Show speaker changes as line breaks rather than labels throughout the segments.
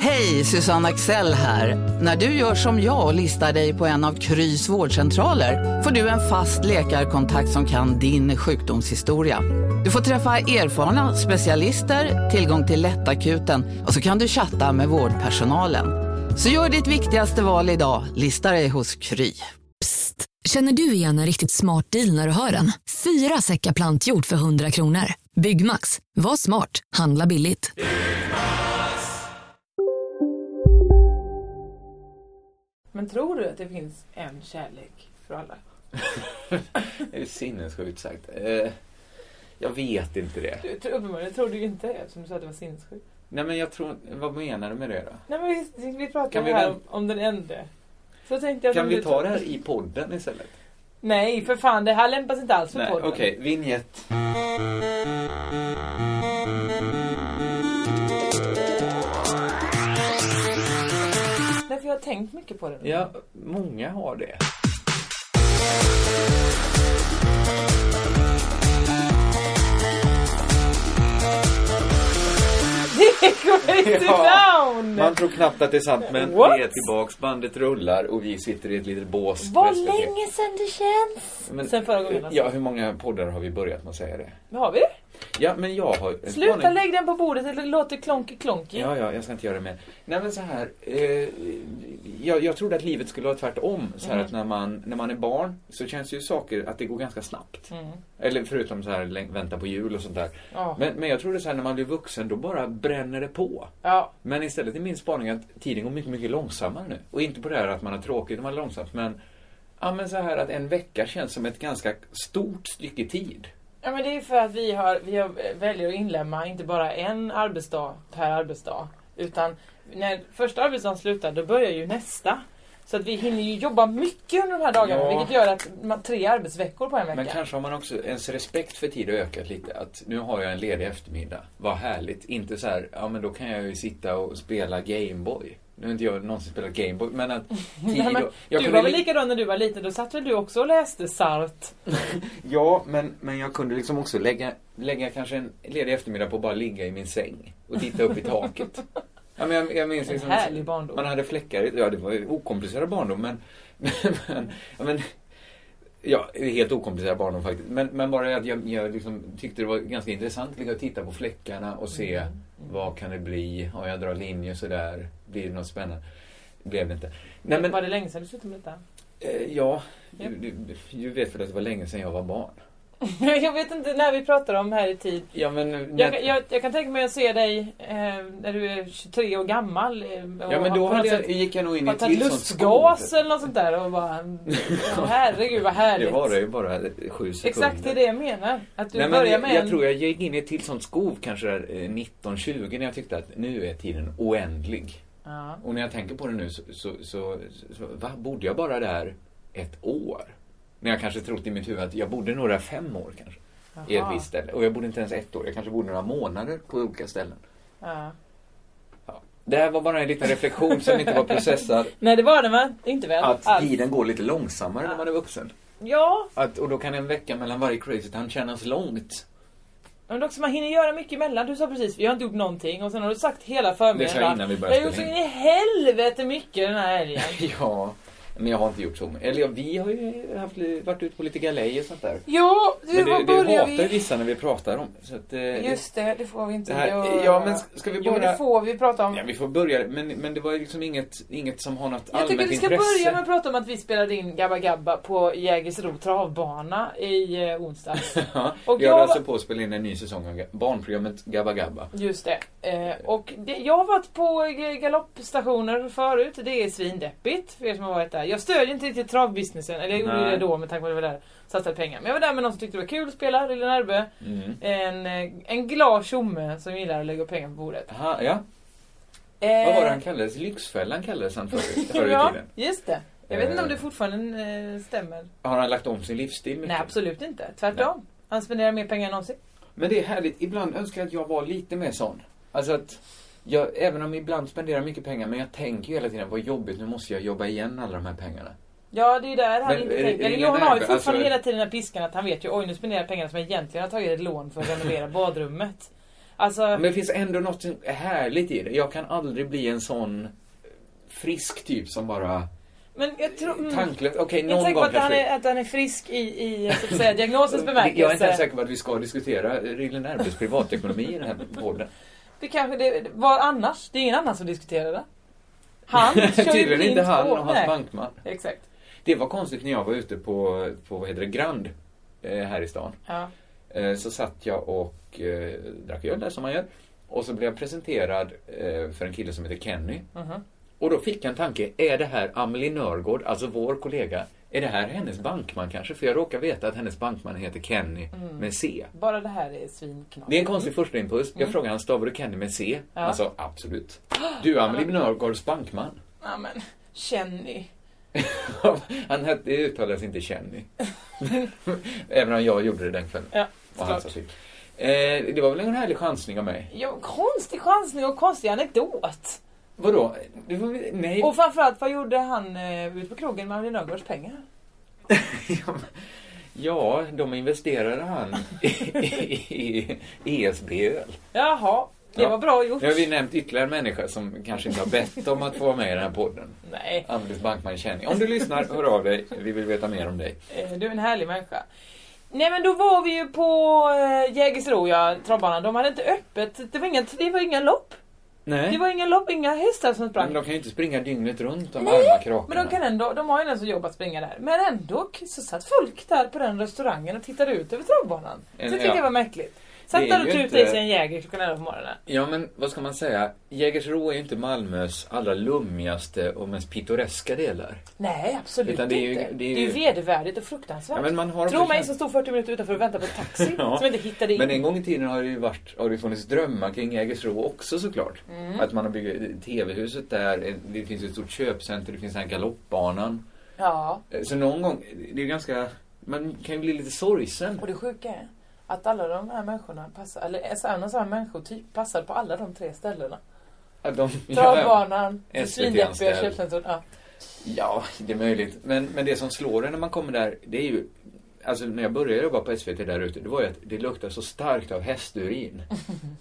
Hej, Susanne Axel här. När du gör som jag och listar dig på en av Krys vårdcentraler får du en fast läkarkontakt som kan din sjukdomshistoria. Du får träffa erfarna specialister, tillgång till lättakuten och så kan du chatta med vårdpersonalen. Så gör ditt viktigaste val idag, listar dig hos Kry.
Psst, känner du igen en riktigt smart deal när du hör den? Fyra säckar plantjord för 100 kronor. Byggmax, var smart, handla billigt.
Men tror du att det finns en kärlek för alla?
Det är sinnessjukt sagt. Eh, jag vet inte det.
Du, tror- uppenbarligen tror du ju inte det eftersom du sa att det var sinnessjukt.
Nej men jag tror Vad menar du med det då?
Nej men vi, vi
Kan
pratade
vi
här
väl-
om, om den ende. Så tänkte jag att
Kan
om
vi
du
ta det här i podden istället?
Nej för fan, det här lämpas inte alls för
Nej,
podden.
okej. Vignett.
Nej för jag har tänkt mycket på det nu.
Ja, många har det.
Det går
Ja.
down!
Man tror knappt att det är sant men
What?
vi är tillbaks, bandet rullar och vi sitter i ett litet bås.
Vad
på SVT.
länge sedan det känns!
Men-
Sen förra gången alltså.
Ja, hur många poddar har vi börjat med att säga det?
Men Har vi det?
Ja, men jag har...
Sluta lägg den på bordet eller låt det klonky klonky.
Ja, ja, jag ska inte göra det mer. Nej men så här, eh, jag, jag trodde att livet skulle vara tvärtom. Så här att när man, när man är barn så känns ju saker att det går ganska snabbt. Eller förutom så här läng- vänta på jul och sånt där.
Mm. Ja.
Men, men jag trodde så här när man blir vuxen då bara bränner det på.
Ja.
Men istället är min spaning att tiden går mycket, mycket långsammare nu. Och inte på det här att man har tråkigt och man är långsamt men Ja men så här att en vecka känns som ett ganska stort stycke tid.
Ja men det är för att vi, har, vi har, väljer att inlämna inte bara en arbetsdag per arbetsdag. Utan när första arbetsdagen slutar då börjar ju nästa. Så att vi hinner ju jobba mycket under de här dagarna
Ja.
vilket gör att man tre arbetsveckor på en vecka.
Men kanske har man också, ens respekt för tid har ökat lite. Att nu har jag en ledig eftermiddag. Vad härligt. Inte så här, ja men då kan jag ju sitta och spela Gameboy. Nu har inte jag någonsin spelat Gameboy, men att tid
Nej, men,
och- jag
du
kunde
var väl
li-
likadan när du var liten? Då satt väl du också och läste Sart?
Ja, men, men jag kunde liksom också lägga, lägga kanske en ledig eftermiddag på att bara ligga i min säng och titta upp i taket. Ja, men jag, jag minns
En
liksom,
härlig barndom.
Man hade fläckar, i- ja det var ju okomplicerad barndom men, men, ja, men Ja, det är helt okomplicerad barndom faktiskt. Men, men bara att jag, jag liksom tyckte det var ganska intressant liksom, att ligga och titta på fläckarna och se
Mm.
vad kan det bli? Om jag drar linjer sådär, blir det något spännande? Blev det inte. Nej, men,
Var det länge sedan du slutade med detta?
eh, ja,
Ja.
du, du, du vet väl att det var länge sedan jag var barn?
jag vet inte när vi pratar om här i tid.
Ja, men, när-
Jag, jag, jag kan tänka mig att se dig eh, när du är 23 år gammal. Eh, och
Ja
har
men då
på något
hade
sätt-
jag, gick jag nog in i
Har
ett
tagit
tillståndsskåp.
lustgas eller något sånt där och bara... ja, Herregud vad härligt.
Det var det ju bara sju sekunder.
Exakt det är det jag menar. Att du
Nej, men
börjar
jag,
med
jag
en...
tror jag gick in i ett till sånt skov kanske där 1920 när jag tyckte att nu är tiden oändlig.
Ja.
Och när jag tänker på det nu så, så, så, så va, bodde jag bara där ett år? När jag kanske trott i mitt huvud att jag bodde några fem år kanske. I ett
Jaha.
visst ställe. Och jag bodde inte ens ett år, jag kanske bodde några månader på olika ställen.
Ja.
Ja. Det här var bara en liten reflektion som inte var processad.
Nej det var det va? Inte väl?
Att
Alls.
tiden går lite långsammare när man är vuxen.
Ja,
Att, och då kan en vecka mellan varje crazy town kännas långt.
men också man hinner göra mycket emellan. Du sa precis, jag har inte gjort någonting och sen har du sagt hela
Det sa jag
förmiddagen.
innan vi
Jag har
började
gjort så in
spela
i
in.
helvete mycket den här helgen.
Ja, men jag har inte gjort så. Eller ja, vi har ju haft, li- varit ute på lite galej och sånt där.
Jo, du,
Men
var
det, det
börjar
hatar ju
vi?
vissa när vi pratar om. Så att, eh,
Just det, det får vi inte
det här,
göra.
ja, men ska- ska vi
Jo,
bara-
det får vi prata om.
Ja, vi får börja. Men, men det var ju liksom inget, inget som har något
Jag tycker
allmänt
vi ska
intresse.
börja med att prata om att vi spelade in Gabba Gabba på Jägersro travbana i eh, onsdags.
ja,
Och
vi jag...
jag-
alltså på att spela in en ny säsong av ga- barnprogrammet Gabba Gabba.
Just det. Eh, och det, jag har varit på eh, galoppstationer förut. Det är svindeppigt för er som har varit där. Jag stödjer inte riktigt travbusinessen. Eller jag gjorde
Nej.
det då med tanke på att jag var där och satsade pengar. Men jag var där med någon som tyckte det var kul att spela, Rille Närbe.
Mm.
En, eh, en glad tjomme som gillar att lägga pengar på bordet.
Aha, ja.
Eh,
Vad var det han kallades? Lyxfällan kallades han förr förr i
Ja,
tiden.
just det. Jag vet inte om
Eh.
det fortfarande eh, stämmer.
Har han lagt om sin livsstil mycket?
Nej, absolut inte. Tvärtom. Han spenderar mer pengar än någonsin.
Men det är härligt. Ibland önskar jag att jag var lite mer sån. Alltså att jag, även om jag ibland spenderar mycket pengar, men jag tänker ju hela tiden vad jobbigt, nu måste jag jobba igen alla de här pengarna.
Ja, det är där han
Men
inte
är-
tänker.
är det
Eller Johan har ju
nerv-
fortfarande
alltså-
hela tiden den här piskan att han vet ju oj nu spenderar jag pengarna som jag egentligen har tagit ett lån för att renovera badrummet. Alltså,
Men det finns ändå något härligt i det. Jag kan aldrig bli en sån frisk typ som bara
men jag tror... Mm, jag
tanklöst. Okej,
är inte
någon
säker på
gång
att han,
kanske.
är, att han är frisk i, i så att säga, diagnosens
Jag är inte ens
bemärkelse.
säker på att vi ska diskutera Rillen Erbes privatekonomi i den här podden.
Det kanske det det var annars. Det är ingen annan som diskuterar det. Han kör ju
Tydligen inte
blint
han
på.
och hans
Nej,
bankman.
Exakt.
Det var konstigt när jag var ute på, på vad heter det, Grand eh, här i stan.
Ja.
Eh, så satt jag och eh, drack öl där som man gör. Och så blev jag presenterad eh, för en kille som heter Kenny.
Mhm.
Och då fick jag en tanke, är det här Amelie Nörgård, alltså vår kollega, är det här hennes bankman kanske? För jag råkar veta att hennes bankman heter Kenny
Mm.
med C.
Bara det här är svinknappt.
Det är en konstig första impuls. Jag frågade han, stavar du Kenny med C?
Mm. Ja.
Han sa, absolut. Du är Amelie Nörgårds bankman.
Ja, men, Kenny.
han hette, det uttalades inte Kenny. Även om jag gjorde det den kvällen.
Ja,
Och han
såklart.
sa sitt. Eh, det var väl en härlig chansning av mig.
Ja, konstig chansning och konstig anekdot.
Vadå? Det var, nej.
Och framförallt, vad gjorde han eh, ute på krogen med Amelie Nörgårds pengar?
Ja, de investerade han i, i, E i ESB-öl.
Jaha, det
Ja.
var bra gjort.
Nu har vi nämnt ytterligare en människa som kanske inte har bett om att få vara med i den här podden.
Nej,
Anders Bankman Känning. Om du lyssnar, hör av dig. Vi vill veta mer om dig.
eh, du är en härlig människa. Nej men då var vi ju på eh, Jägersro, ja, travbanan. De hade inte öppet. Det var inga, det var inga lopp.
Nej.
Det var inga lopp, inga hästar som
Men
sprang.
de kan ju inte springa dygnet runt de arma
Men
krakorna.
de, kan ändå, de har ju ändå som jobb att springa där. Men ändå så satt folk där på den restaurangen och tittade ut över travbanan. Så
En-
det tyckte
ja.
jag var märkligt. Satt
Det är
där och
ju
tog ut
inte-
i sig en Jäger klockan 11 på morgonen.
Ja, men vad ska man säga? Jägersro är ju inte Malmös allra lummigaste och mest pittoreska delar.
Nej, absolut
Utan det är ju-
inte.
det är ju-
vedervärdigt och fruktansvärt.
Ja, men man har
Tro mig
också-
som stod 40 minuter utanför och väntade på en taxi
Ja.
som inte hittade in.
Men en gång i tiden har det ju varit, har det funnits drömmar kring Jägersro också såklart. Att man har byggt TV-huset där, en- det finns ju ett stort köpcenter, det finns den här galoppbanan.
Ja,
Eh, Så någon gång, det är ju ganska, man kan ju bli lite sorgsen.
och det sjuka är att alla de här människorna passar, eller alltså, en och samma människotyp passar på alla de tre ställena.
Att de,
Travbanan, det
SVT
svindeppiga
anställd.
köpcentret. Ja.
Ja, det är möjligt. Men, men det som slår en när man kommer där, det är ju... Alltså när jag började jobba på SVT där ute, det var ju att det luktar så starkt av hästurin.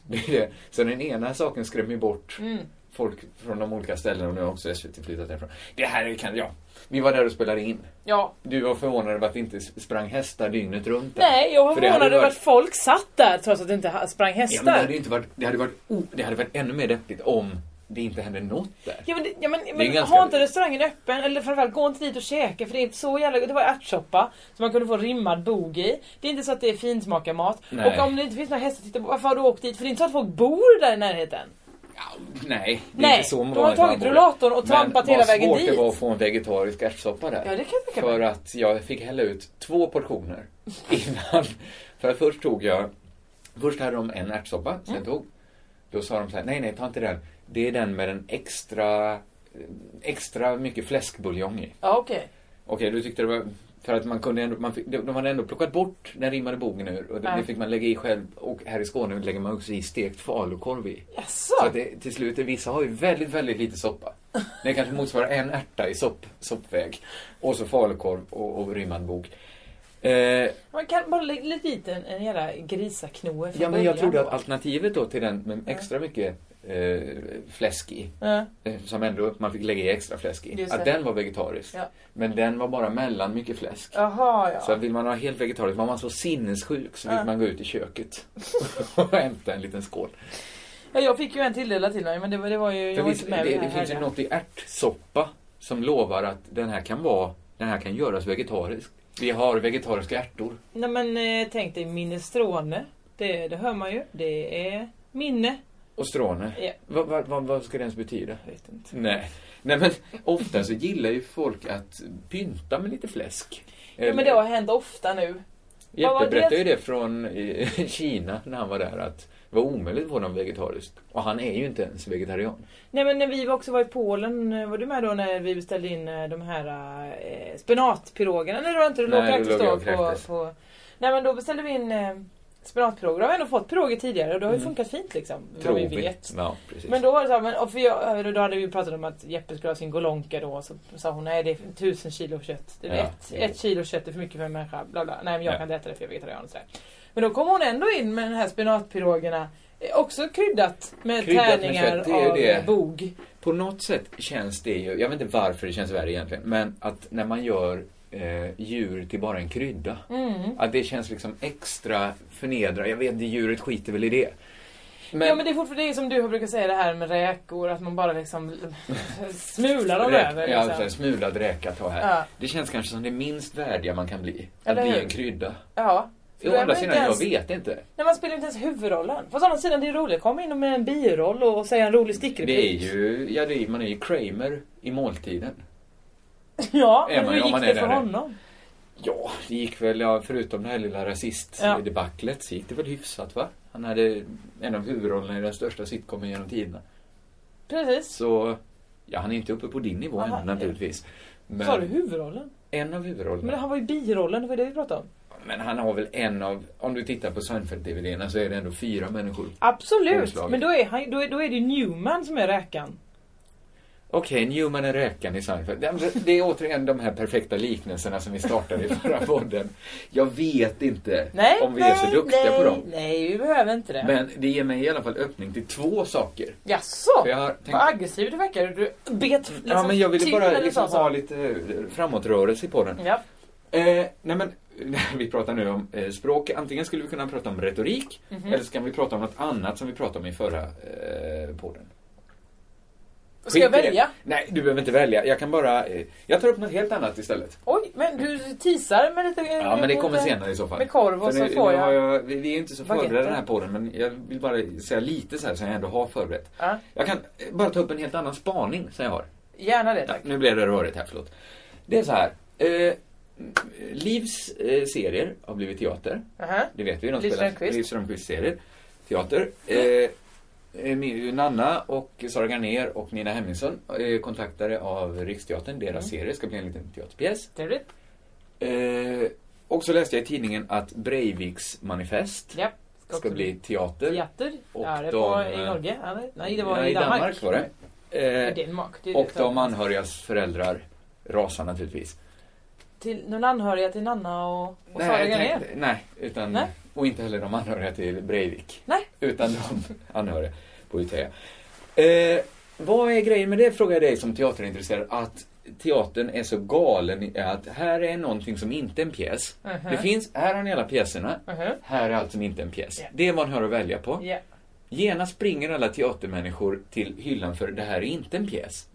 Det är det. Så den ena saken skrämmer ju bort
Mm.
folk från de olika ställena och nu har också SVT flyttat därifrån. Det här kan jag... Vi var där och spelade in.
ja.
Du var förvånad över att det inte sprang hästar dygnet runt där.
Nej, jag var
För det hade
förvånad över
varit-
att folk satt där trots att det inte ha- sprang
Ja, men det
hästar.
hade ju inte varit... Det hade varit, o- det hade varit ännu mer deppigt om det inte hände något där.
Ja men, det- ja, men,
är
men
ganska-
ha inte restaurangen öppen eller framförallt gå inte dit och käka för det är så jävla Det var ärtsoppa som man kunde få rimmad bog i. Det är inte så att det är finsmakarmat.
Nej.
Och om det inte finns några hästar att titta på, varför har du åkt dit? För det är inte så att folk bor där i närheten.
Ja, nej, det är
Nej,
inte så
de har
vanligt
tagit
man bor.
rullatorn och trampat
Men
hela vägen
vad svårt
dit.
det var att få en vegetarisk ärtsoppa där.
Ja det kan jag tänka
För
mig.
att jag fick hälla ut två portioner innan. För att först tog jag, först hade de en ärtsoppa
Mm.
som jag tog. Då sa de så här, nej nej ta inte den. Det är den med den extra, extra mycket fläskbuljong i.
Ja okej.
Okej, du tyckte det var... För att man kunde ändå, man fick, de de hade ändå plockat bort den rimmade bogen ur och det,
Ja.
det fick man lägga i själv. Och här i Skåne lägger man också i stekt falukorv i.
Jaså?
Så att det, till slut, vissa har ju väldigt, väldigt lite soppa. Det kanske motsvarar en ärta i sopp, soppväg. Och så falukorv och, och rimmad bok. Eh,
Man kan bara lä- lägga dit en, en jävla grisaknoe från
ja, men jag
början
trodde
då.
att alternativet då till den med extra mycket eh, fläsk i,
Ja.
eh, som ändå man fick lägga i extra fläsk i,
Just
att
det.
den var vegetarisk.
Ja.
Men den var bara mellan mycket fläsk.
Jaha ja.
Så vill man ha helt vegetariskt, var man så sinnessjuk så fick man gå ut i köket och hämta en liten skål.
ja. Jag fick ju en tilldelad till mig men det var, det var ju...
Det
Jag var
finns,
inte med
det,
vid den
det
här
finns ju
helgen.
något i ärtsoppa som lovar att den här kan vara, den här kan göras vegetarisk. Vi har vegetariska ärtor.
Nej men eh, tänk dig minestrone. Det, det hör man ju. Det är minne.
Och stråne.
Ja.
Vad vad- vad- vad ska det ens betyda?
Jag vet inte.
Nej. Nej men ofta så gillar ju folk att pynta med lite fläsk.
Ja, men det har hänt ofta nu. vad var
Jeppe
det?
berättade ju det från eh, Kina när han var där att det var omöjligt att få dem vegetariskt. Och han är ju inte ens vegetarian.
Nej men när vi också var i Polen, eh, var du med då när vi beställde in eh, de här eh, spenatpirogerna? Nej det var inte, du låg
Nej,
och
då låg jag
då
och
på,
kräktes.
på... Nej men då beställde vi in eh, Spenatpiroger har vi ändå fått piroger tidigare och det har ju
Mm.
funkat fint liksom.
Tror
Vad vi vet.
Ja, precis.
Men då var det så här, men, och för jag, då hade vi ju pratat om att Jeppe skulle ha sin golonka då. Så sa hon, nej det är tusen kilo kött. Det är
Ja,
ett,
jo.
ett kilo kött är för mycket för en människa. Bla, bla. Nej men jag
Ja.
kan inte äta det för jag är vegetarian och sådär. Men då kom hon ändå in med den här spenatpirogerna. eh, Också kryddat med
Kryddat med
tärningar
kött, det är ju
av
det.
bog.
På något sätt känns det ju, jag vet inte varför det känns värre egentligen, men att när man gör eh, djur till bara en krydda.
Mm.
Att det känns liksom extra förnedrande. Jag vet, det djuret skiter väl i det. Men,
ja men det är fortfarande det är som du brukar säga det här med räkor. Att man bara liksom smular dem
räk-
över.
Ja,
Liksom.
så här, smulad räka ta här.
Ja.
Det känns kanske som det minst värdiga man kan bli. Att
Eller
bli
hur?
en krydda.
ja. För
Å
då är
andra
man ju
sidan,
inte ens-
jag vet inte.
Nej, man spelar inte ens huvudrollen. Fast å andra sidan, det är roligt. Kom in med en biroll och säga en rolig stickreplik.
Det är ju, ja det är, man är ju Kramer i måltiden.
Ja,
Är
men
man-
hur
ja,
gick
man är
det
där
för
nu.
honom?
Ja, det gick väl, ja, förutom det här lilla
Ja.
rasistdebaclet, så gick det väl hyfsat va? Han hade en av huvudrollerna i den största sitcomen genom tiderna.
Precis.
Så, ja han är inte uppe på din nivå
Aha,
än naturligtvis. Men
Sa du huvudrollen?
en av huvudrollerna.
Men han var ju birollen, det var det vi pratade om.
Men han har väl en av, om du tittar på Seinfeld-DVDn så är det ändå fyra människor.
Absolut!
Omslaget.
Men då är, han, då, är, då är det ju Newman som är räkan.
Okej, Newman är räkan i Seinfeld. Det- det- Det är återigen de här perfekta liknelserna som vi startade i förra podden. Jag vet inte
Nej,
om vi
nej,
är så duktiga
nej,
på dem.
Nej, vi behöver inte det.
Men det ger mig i alla fall öppning till två saker.
Jaså?
För jag har tänkt,
Vad aggressiv du verkar. Du bet liksom,
ja, men jag ville
till
bara
när du
liksom
sa så. Mm.
ha lite eh, framåtrörelse i podden.
Ja.
Eh, nej men, vi pratar nu om eh, språk. Antingen skulle vi kunna prata om retorik,
Mhm.
eller så kan vi prata om något annat som vi pratade om i förra eh, podden.
Ska jag
Skit i det.
välja?
Nej, du behöver inte välja. Jag kan bara... eh, Jag tar upp något helt annat istället.
Oj, men du teasar med lite...
Ja, men det kommer senare i så fall.
Med korv och
För
så får
nu har
jag...
jag vi, vi är inte så
Baguette.
förberedda den här podden, men jag vill bara säga lite så här som jag ändå har förberett.
Ja,
Jag kan eh, bara ta upp en helt annan spaning som jag har.
gärna det,
Ja,
tack.
nu blev det rörigt här, förlåt. Det är så här. Eh, Livs eh, serier har blivit teater.
Aha.
Det vet vi, de
Liv
spelar
Strömquist.
Liv Strömquists serier. Teater. Eh, eh, min- Nanna och Sara Garnér och Nina Hemmingsson eh, kontaktade av Riksteatern. Deras
Mm.
serie ska bli en liten teaterpjäs.
Trevligt.
Eh, och så läste jag i tidningen att Breiviks manifest
Ja.
ska
också
bli teater.
Teater.
Och
ja, det
de,
var i
eh,
Norge? eller? Nej, det var
Ja,
i Danmark.
var det.
I
Eh,
Danmark. Det är
och
det.
de anhörigas föräldrar rasar naturligtvis.
Till någon anhöriga till Nanna och, och Sara
nej,
Grenén?
tänkte- nej, utan,
Nej.
och inte heller de anhöriga till Breivik.
Nej.
Utan de anhöriga på Utöya. Eh, vad är grejen med det, frågar jag dig som teaterintresserad, att teatern är så galen i att här är någonting som inte är en pjäs.
Mhm.
Det finns, här har ni alla pjäserna,
Mhm.
här är allt som inte är en pjäs.
Ja.
Det är vad ni har att välja på.
Ja.
Genast springer alla teatermänniskor till hyllan för det här är inte en pjäs.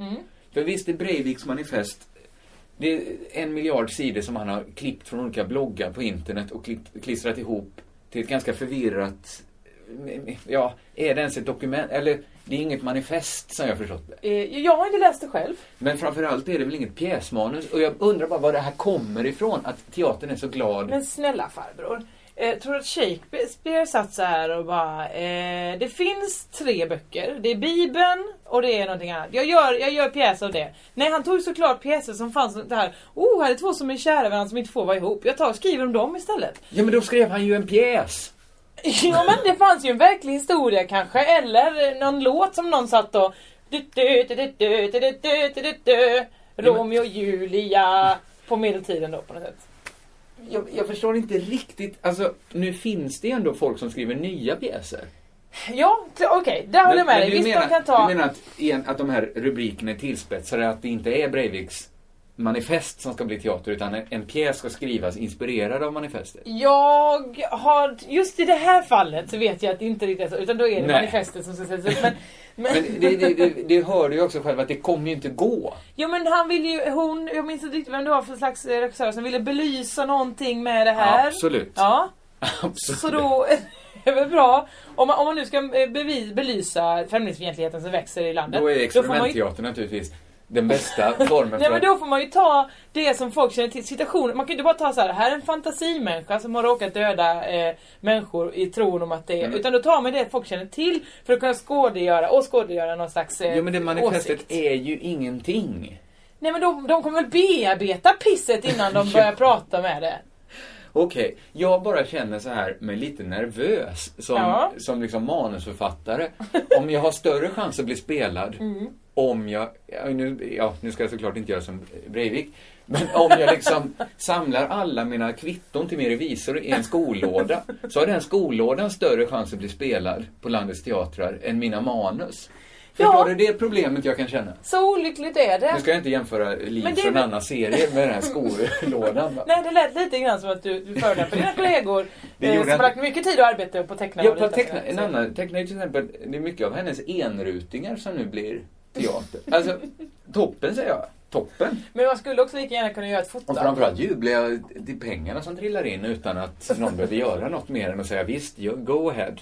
För visst är Breiviks manifest det är en miljard sidor som han har klippt från olika bloggar på internet och klippt, klistrat ihop till ett ganska förvirrat... Ja, är det ens ett dokument? Eller, det är inget manifest som jag förstått det.
Eh, Jag har inte läst det själv.
Men framförallt är det väl inget pjäsmanus och jag undrar bara var det här kommer ifrån, att teatern är så glad.
Men snälla farbror. Eh, tror du att Shakespeare satt så här och bara eh, Det finns tre böcker. Det är Bibeln och det är någonting annat. Jag gör, jag gör pjäs av det. Nej han tog såklart pjäser som fanns det här. Oh, här är två som är kära varandra som inte får vara ihop. Jag tar och skriver om dem istället.
Ja, men då skrev han ju en pjäs!
Ja men det fanns ju en verklig historia kanske, eller någon låt som någon satt och... Du, du, du, du, du, du, du, du, du, du, du. Romeo och Julia på medeltiden då på något sätt.
Jag, jag förstår inte riktigt, alltså nu finns det ju ändå folk som skriver nya pjäser.
Ja, kl- okej, där håller jag med dig.
du
Visst,
menar,
de kan ta...
Du menar att, igen, att de här rubrikerna är tillspetsade, att det inte är Breiviks manifest som ska bli teater, utan en, en pjäs ska skrivas inspirerad av manifestet?
Jag har... Just i det här fallet så vet jag att det inte riktigt är så, utan då är det
Nej.
manifestet som ska sättas upp. Men, men,
Men det, det, det, det hör du ju också själv att det kommer ju inte gå.
Jo men han vill ju, hon, jag minns inte riktigt vem det var för slags eh, regissör som ville belysa någonting med det här.
Absolut.
Ja.
Absolut.
Så då är det väl bra. Om man, om man nu ska eh, bevi, belysa främlingsfientligheten som växer i landet.
Då
får
är
man ju-
experimentteater naturligtvis den bästa formen
Nej
för
men
att...
då får man ju ta det som folk känner till, situationen. Man kan ju inte bara ta så här, här är en fantasimänniska som har råkat döda eh, människor i tron om att det är...
Mm.
Utan då tar man det folk känner till för att kunna skådegöra och skådegöra någon slags eh,
Jo men det manifestet
åsikt.
är ju ingenting.
Nej men de, de kommer väl bearbeta pisset innan de börjar prata med det.
Okej, jag bara känner så här mig lite nervös som,
Ja.
som liksom manusförfattare. Om jag har större chans att bli spelad
Mm.
om jag, ja, nu, ja, nu ska jag såklart inte göra som Breivik, men om jag liksom samlar alla mina kvitton till min revisor i en skollåda så har den skollådan större chans att bli spelad på landets teatrar än mina manus. Förstår du? Det är problemet jag kan känna.
Så olyckligt är det.
Nu ska jag inte jämföra liv
Men det är
från
väl-
annan serie med den här skolådan. va?
Nej, det lät lite grann som att du, du förolämpade dina kollegor
Det
eh,
gjorde
som
jag
har lagt
inte.
mycket tid och arbete på att teckna.
Ja,
och
på
rita
teckna, en
sådär.
annan tecknare till exempel, det är mycket av hennes enrutingar som nu blir teater. Alltså, toppen säger jag. Toppen.
Men man skulle också lika gärna kunna göra ett foto.
Och framförallt jublar jag till pengarna som trillar in utan att någon behöver göra något mer än att säga visst, you- go ahead.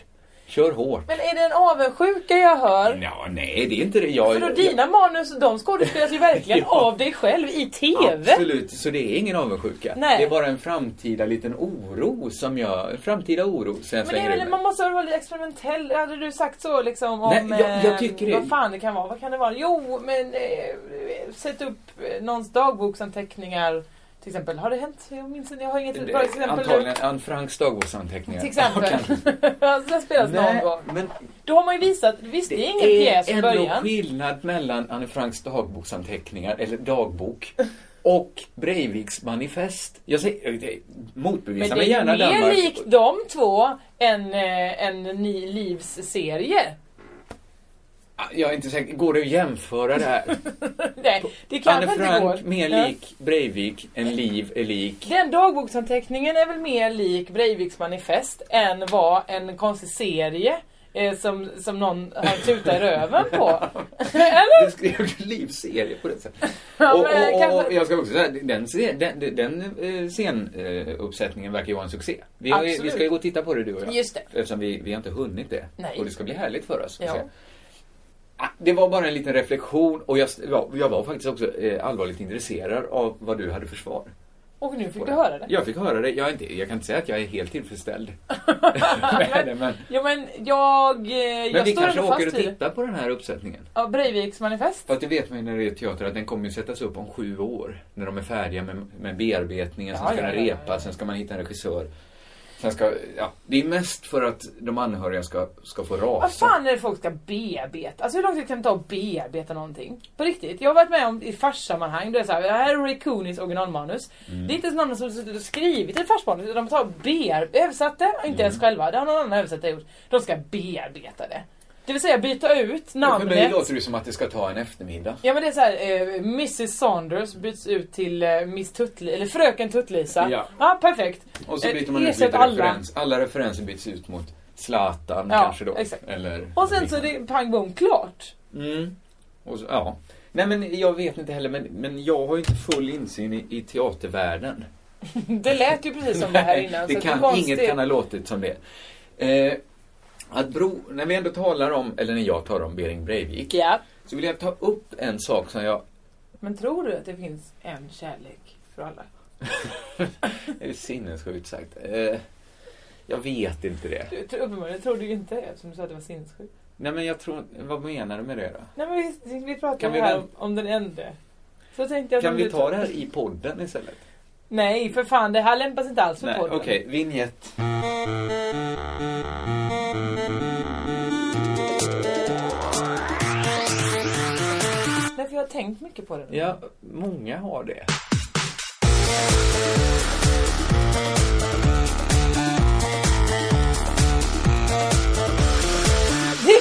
Kör hårt.
Men är det en avundsjuka jag hör?
Ja, nej, det är inte det. Jag,
För då dina manus, de skådespelas ju verkligen
Ja.
av dig själv i
jag,
TV.
absolut, så det är ingen avundsjuka.
Nej.
Det är bara en framtida liten oro som jag... En framtida oro som jag
Men det är
slänger
väl,
ur mig.
man måste väl vara lite experimentell. Hade du sagt så liksom om
Nej, jag- jag
eh,
tycker det-
vad fan det kan vara? Vad kan det vara? Jo, men eh, sätt upp eh, någons dagboksanteckningar. Till exempel, har det hänt? Jag minns inte, jag har inget bra exempel.
Antagligen Anne Franks dagboksanteckningar.
Till exempel.
Ja, kanske.
Alltså, det spelas någon
Nej,
gång.
men
Då har man ju visat, visst det är ingen pjäs från
ändå
början.
skillnad mellan Anne Franks dagboksanteckningar, eller dagbok, och Breiviks manifest. Jag säger, eh, det-
Men
motbevisa
det är
mig
ju
gärna
mer
Danmark.
likt de två än eh, en ny livs serie.
Ah, Jag är inte säker, går det att jämföra det här?
Nej, det
Anne
kanske inte går.
Frank mer
Ja.
lik Breivik än Liv är lik.
Den dagboksanteckningen är väl mer lik Breiviks manifest än vad en konstig serie eh, som, som någon har tutat i röven på. Eller?
Du skrev ju Liv-serie på det sättet.
Ja,
och,
men
och, och,
kanske-
och jag ska också säga, den, se- den, den eh, scenuppsättningen verkar ju vara en succé. Vi, har, ju- vi
Absolut.
ska ju gå och titta på det du och jag.
Just det.
Eftersom vi, vi har inte hunnit det.
Nej.
Och det ska bli härligt för oss. att
Ja.
se. Ah, Det var bara en liten reflektion och jag, ja, jag var faktiskt också eh, allvarligt intresserad av vad du hade för svar.
Och nu
på
fick du höra det.
Jag fick höra det. Jag, är inte, jag kan inte säga att jag är helt tillfredsställd. med det, men
Ja men jag, eh,
men
jag
vi
står
kanske
ändå
åker och
fast vid det.
tittar på den här uppsättningen.
Ja, Breiviks manifest.
För att du vet mig när det är teater att den kommer ju sättas upp om sju år. När de är färdiga med, med bearbetningen, sen
Ja,
ska
ja,
den
ja, ja,
repas,
ja.
sen ska man hitta en regissör. Sen ska, ja, det är mest för att de anhöriga ska, ska få
Vad
rasa.
fan är det folk ska bearbeta? Alltså hur lång tid kan det ta att bearbeta någonting? På riktigt. Jag har varit med om i farssammanhang, det är så här, det här är Ray Coonies originalmanus.
Mm.
Det är inte ens någon som suttit och skrivit ett farsmanus utan de tar och bear, översatt det, inte ens
Mm.
själva, det har någon annan översatt det gjort. De ska bearbeta det. Det vill säga byta ut
För mig
namnet.
låter det som att det ska ta en eftermiddag.
Ja men det är så här, eh, Mrs Saunders byts ut till eh, Miss Tuttli, eller Fröken Tuttlisa.
Ja.
perfekt.
Och så
Eh,
byter man ut
ersätt
lite
alla.
referens. Alla referenser byts ut mot Zlatan
Ja,
kanske då.
exakt.
Eller
Och sen så är det pang bom klart.
Mm. Och så, ja. Nej men jag vet inte heller, men, men jag har ju inte full insyn i, i teatervärlden.
Det lät ju precis som det här innan.
det
så
kan,
konstigt.
inget kan ha låtit som det. Eh, att bro, när vi ändå talar om, eller när jag talar om Bering Breivik,
Ja.
så vill jag ta upp en sak som jag
Men tror du att det finns en kärlek för alla?
Det är sinnessjukt sagt. Eh, jag vet inte det.
Du, tro- uppenbarligen tror du ju inte det eftersom du sa att det var sinnessjukt.
Nej men jag tror, vad menar du med det då?
Nej men vi, vi
Kan
pratade
vi
ju här
väl-
om, om den ende. Så tänkte jag
Kan
om
vi
du
ta det här i podden istället?
Nej för fan, det här lämpar sig inte alls för
Nej,
podden.
Okej, vignett.
Nej för jag har tänkt mycket på det nu.
Ja, många har det.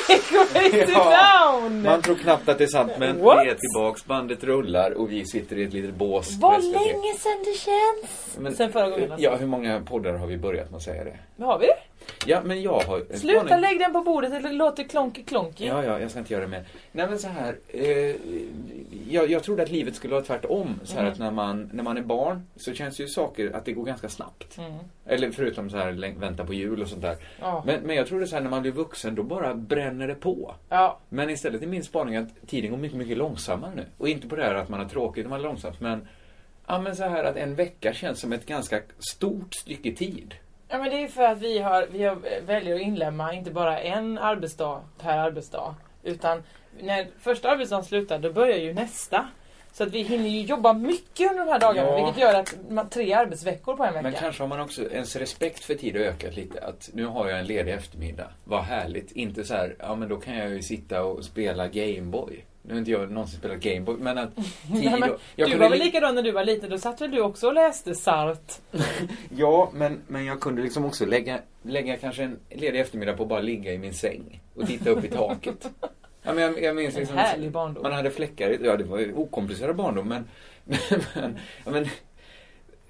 Crazy
Ja.
Town!
Man tror knappt att det är sant men
What?
vi är tillbaks, bandet rullar och vi sitter i ett litet bås. på
Vad
SVT.
länge sedan det känns!
Men-
Sen förra gången alltså.
Ja, hur många poddar har vi börjat med att säga det?
Nu har vi det.
Ja, men jag har... en
Sluta
spaning.
lägg den på bordet eller låt det klonky klonky.
Ja, ja, jag ska inte göra det mer. Nej men så här, eh, jag, jag trodde att livet skulle vara tvärtom. Så här
Mm.
att när man, när man är barn så känns ju saker att det går ganska snabbt. Eller förutom så här läng- vänta på jul och sånt där.
Mm. Ja.
Men, men jag trodde så här när man blir vuxen då bara bränner det på.
Ja.
Men istället är min spaning att tiden går mycket, mycket långsammare nu. Och inte på det här att man har tråkigt när man är långsamt men, ja men så här att en vecka känns som ett ganska stort stycke tid.
Ja men det är för att vi, har, vi har, väljer att inlämna inte bara en arbetsdag per arbetsdag. Utan när första arbetsdagen slutar då börjar ju nästa. Så att vi hinner ju jobba mycket under de här dagarna
Ja.
vilket gör att man tre arbetsveckor på en vecka.
Men kanske har man också ens respekt för tid har ökat lite. Att nu har jag en ledig eftermiddag. Vad härligt. Inte så här, ja men då kan jag ju sitta och spela Gameboy. Nu har inte jag någonsin spelat Gameboy, men att tid...
Nej, men
och- jag
du
kunde
var väl
li-
likadan när du var liten? Då satt väl du också och läste Sart?
Ja, men, men jag kunde liksom också lägga, lägga kanske en ledig eftermiddag på att bara ligga i min säng och titta upp i taket. Ja, men jag, jag minns
En
liksom,
härlig barndom.
Man hade fläckar, i- ja det var ju okomplicerad barndom men, men, ja, men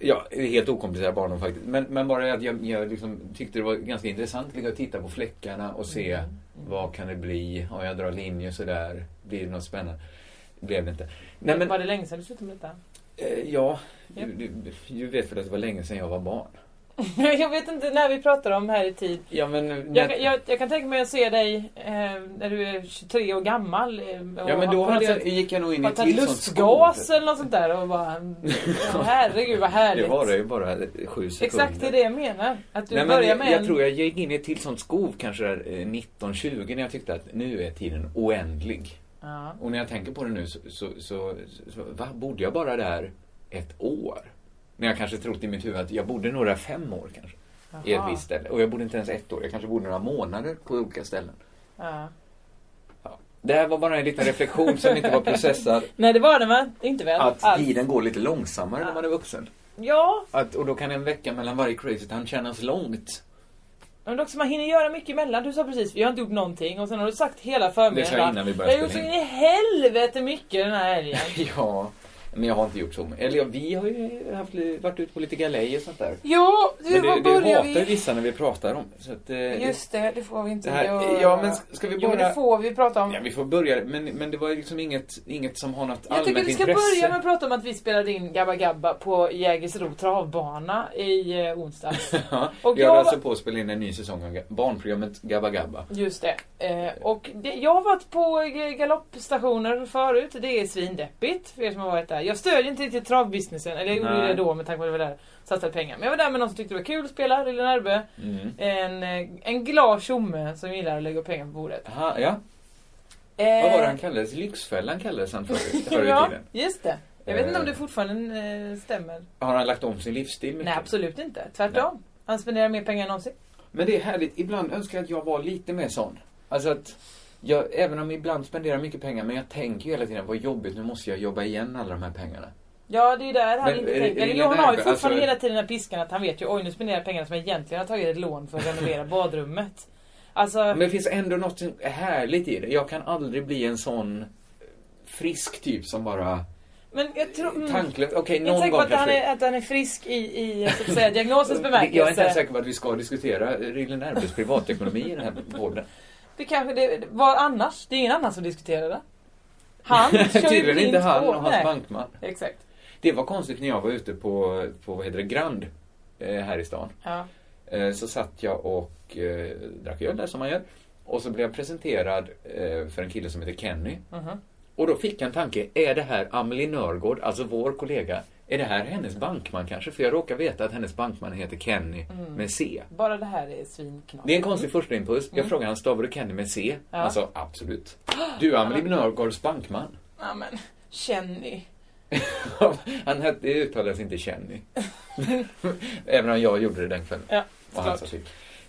Ja, helt okomplicerad barndom faktiskt. Men, men bara att jag, jag liksom tyckte det var ganska intressant liksom, att titta på fläckarna och se
Mm.
vad kan det bli? Om jag drar linjer sådär, blir det något spännande? Blev det inte. Nej, men,
Var det länge sedan du slutade med detta?
eh, ja,
Ja.
du, du, du vet väl att det var länge sedan jag var barn?
jag vet inte när vi pratar om här i tid.
Ja, men,
Jag, jag, jag kan tänka mig att se dig eh, när du är 23 år gammal. Eh, och
Ja men
har
då
på
hade
något
jag,
sätt
gick jag nog in i
Har
ett
tagit
till sånt
lustgas
skov.
eller något sånt där och bara... ja, Herregud vad härligt.
Det var det ju bara sju sekunder.
Exakt det är det jag menar. Att du
Nej, men
börjar
jag,
med
jag
en...
tror jag gick in i ett till sånt skov kanske där 1920 när jag tyckte att nu är tiden oändlig.
Ja.
Och när jag tänker på det nu så, så, så, så va, bodde jag bara där ett år? När jag kanske trott i mitt huvud att jag bodde några fem år kanske. I ett
Jaha.
visst ställe. Och jag bodde inte ens ett år, jag kanske bodde några månader på olika ställen.
Ja.
Det här var bara en liten reflektion som inte var processad.
Nej det var den va? Inte väl?
Att
Alls.
tiden går lite långsammare när man är vuxen.
Ja,
Att, och då kan en vecka mellan varje crazy town kännas långt.
men också man hinner göra mycket emellan. Du sa precis vi har inte gjort någonting och sen har du sagt hela
Det sa jag
förmiddagen.
innan vi
Jag har
började
gjort så in
spela in.
i helvete mycket den här helgen.
Ja, men jag har inte gjort så. mycket. Eller ja, vi har ju haft, li- varit ute på lite galejer och sånt där.
Ja, du,
Men
vad
det, det
börjar
hatar ju
vi?
vissa när vi pratar om. Så att, eh,
Just det, det får vi inte
det här,
göra.
ja, men ska vi
Jo, det
börja?
får vi prata om.
Ja, vi får börja. Men, men det var ju liksom inget, inget som har något
Jag
allmänt
tycker vi ska
intresse.
börja med att prata om att vi spelade in Gabba Gabba på Jägersro travbana i eh, onsdags.
Ja,
Och
vi
jag
har
var-
alltså på att spela in en ny säsong av ga- barnprogrammet Gabba Gabba.
Just det. Eh, och det, jag har varit på eh, galoppstationer förut. Det är svindeppigt för er som har varit där. Jag stödjer inte riktigt travbusinessen. Eller jag gjorde
Nej.
det då med tanke på att jag var där och satsade pengar. Men jag var där med någon som tyckte det var kul att spela. Lille Närbe.
Mm.
En, eh, en glad tjomme som gillar att lägga upp pengar på bordet.
Aha, ja.
Eh,
Vad var det han kallades? Lyxfällan kallades han förr förr i
Ja,
tiden.
just det. Jag vet inte om
Eh.
det fortfarande eh, stämmer.
Har han lagt om sin livsstil mycket?
Nej, absolut inte. Tvärtom. Han spenderar mer pengar än någonsin.
Men det är härligt. Ibland önskar jag att jag var lite mer sån. Alltså att, jag, även om jag ibland spenderar mycket pengar, men jag tänker ju hela tiden, vad jobbigt, nu måste jag jobba igen alla de här pengarna.
Ja, det är där han
Men
inte
är det-
tänker.
är det
Eller
ingen
jo, han har ju
nerv?
fortfarande
Alltså-
hela tiden den här piskan att han vet ju oj nu spenderar jag pengarna som jag egentligen har tagit ett lån för att renovera badrummet. Alltså,
Men det finns ändå något härligt i det. Jag kan aldrig bli en sån frisk typ som bara
men jag tror... Mm,
tanklös. Okej,
jag är
någon
säker på
gång
att han,
kanske.
är, att han är frisk i, i så att säga, diagnosens bemärkelse.
Jag är inte ens säker på att vi ska diskutera Rillen Erbes privatekonomi i den här podden.
Det kanske det var annars. Det är ingen annan som diskuterade det. Han kör ju
Tydligen inte
blint
han
på.
och hans
Nej,
bankman.
Exakt.
Det var konstigt när jag var ute på, på vad heter det, Grand eh, här i stan.
Ja.
Eh, Så satt jag och eh, drack öl där som man gör. Och så blev jag presenterad eh, för en kille som heter Kenny.
Mhm.
Och då fick jag en tanke, är det här Amelie Nörgård, alltså vår kollega, är det här hennes bankman kanske? För jag råkar veta att hennes bankman heter Kenny
Mm.
med C.
Bara det här är svinknas.
Det är en konstig första impuls. Jag frågade han, stavar du Kenny med C?
Mm. Ja.
Han sa, absolut. Du är Amelie Nörgårds bankman.
Ja men, Kenny.
han hette, det uttalades inte Kenny. Även om jag gjorde det den kvällen.
Ja,
Och han sa
såklart.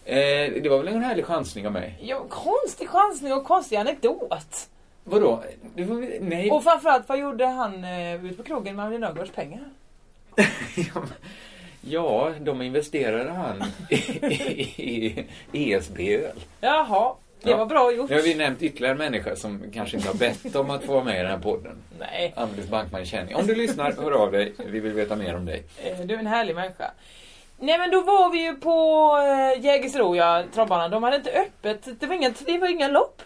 fick. Eh, det var väl en härlig chansning av mig.
Ja, konstig chansning och konstig anekdot.
Vadå? Det var, nej.
Och framförallt, vad gjorde han eh, ute på krogen med Amelie Nörgårds pengar?
ja, de investerade han i, i, E i ESB-öl.
Jaha, det
Ja.
var bra gjort.
Nu har vi nämnt ytterligare en människa som kanske inte har bett om att få vara med i den här podden.
Nej,
Anders Bankman Känning. Om du lyssnar, hör av dig. Vi vill veta mer om dig.
eh, du är en härlig människa. Nej men då var vi ju på eh, Jägersro, ja, travbanan. De hade inte öppet. Det var inga, det var inga lopp.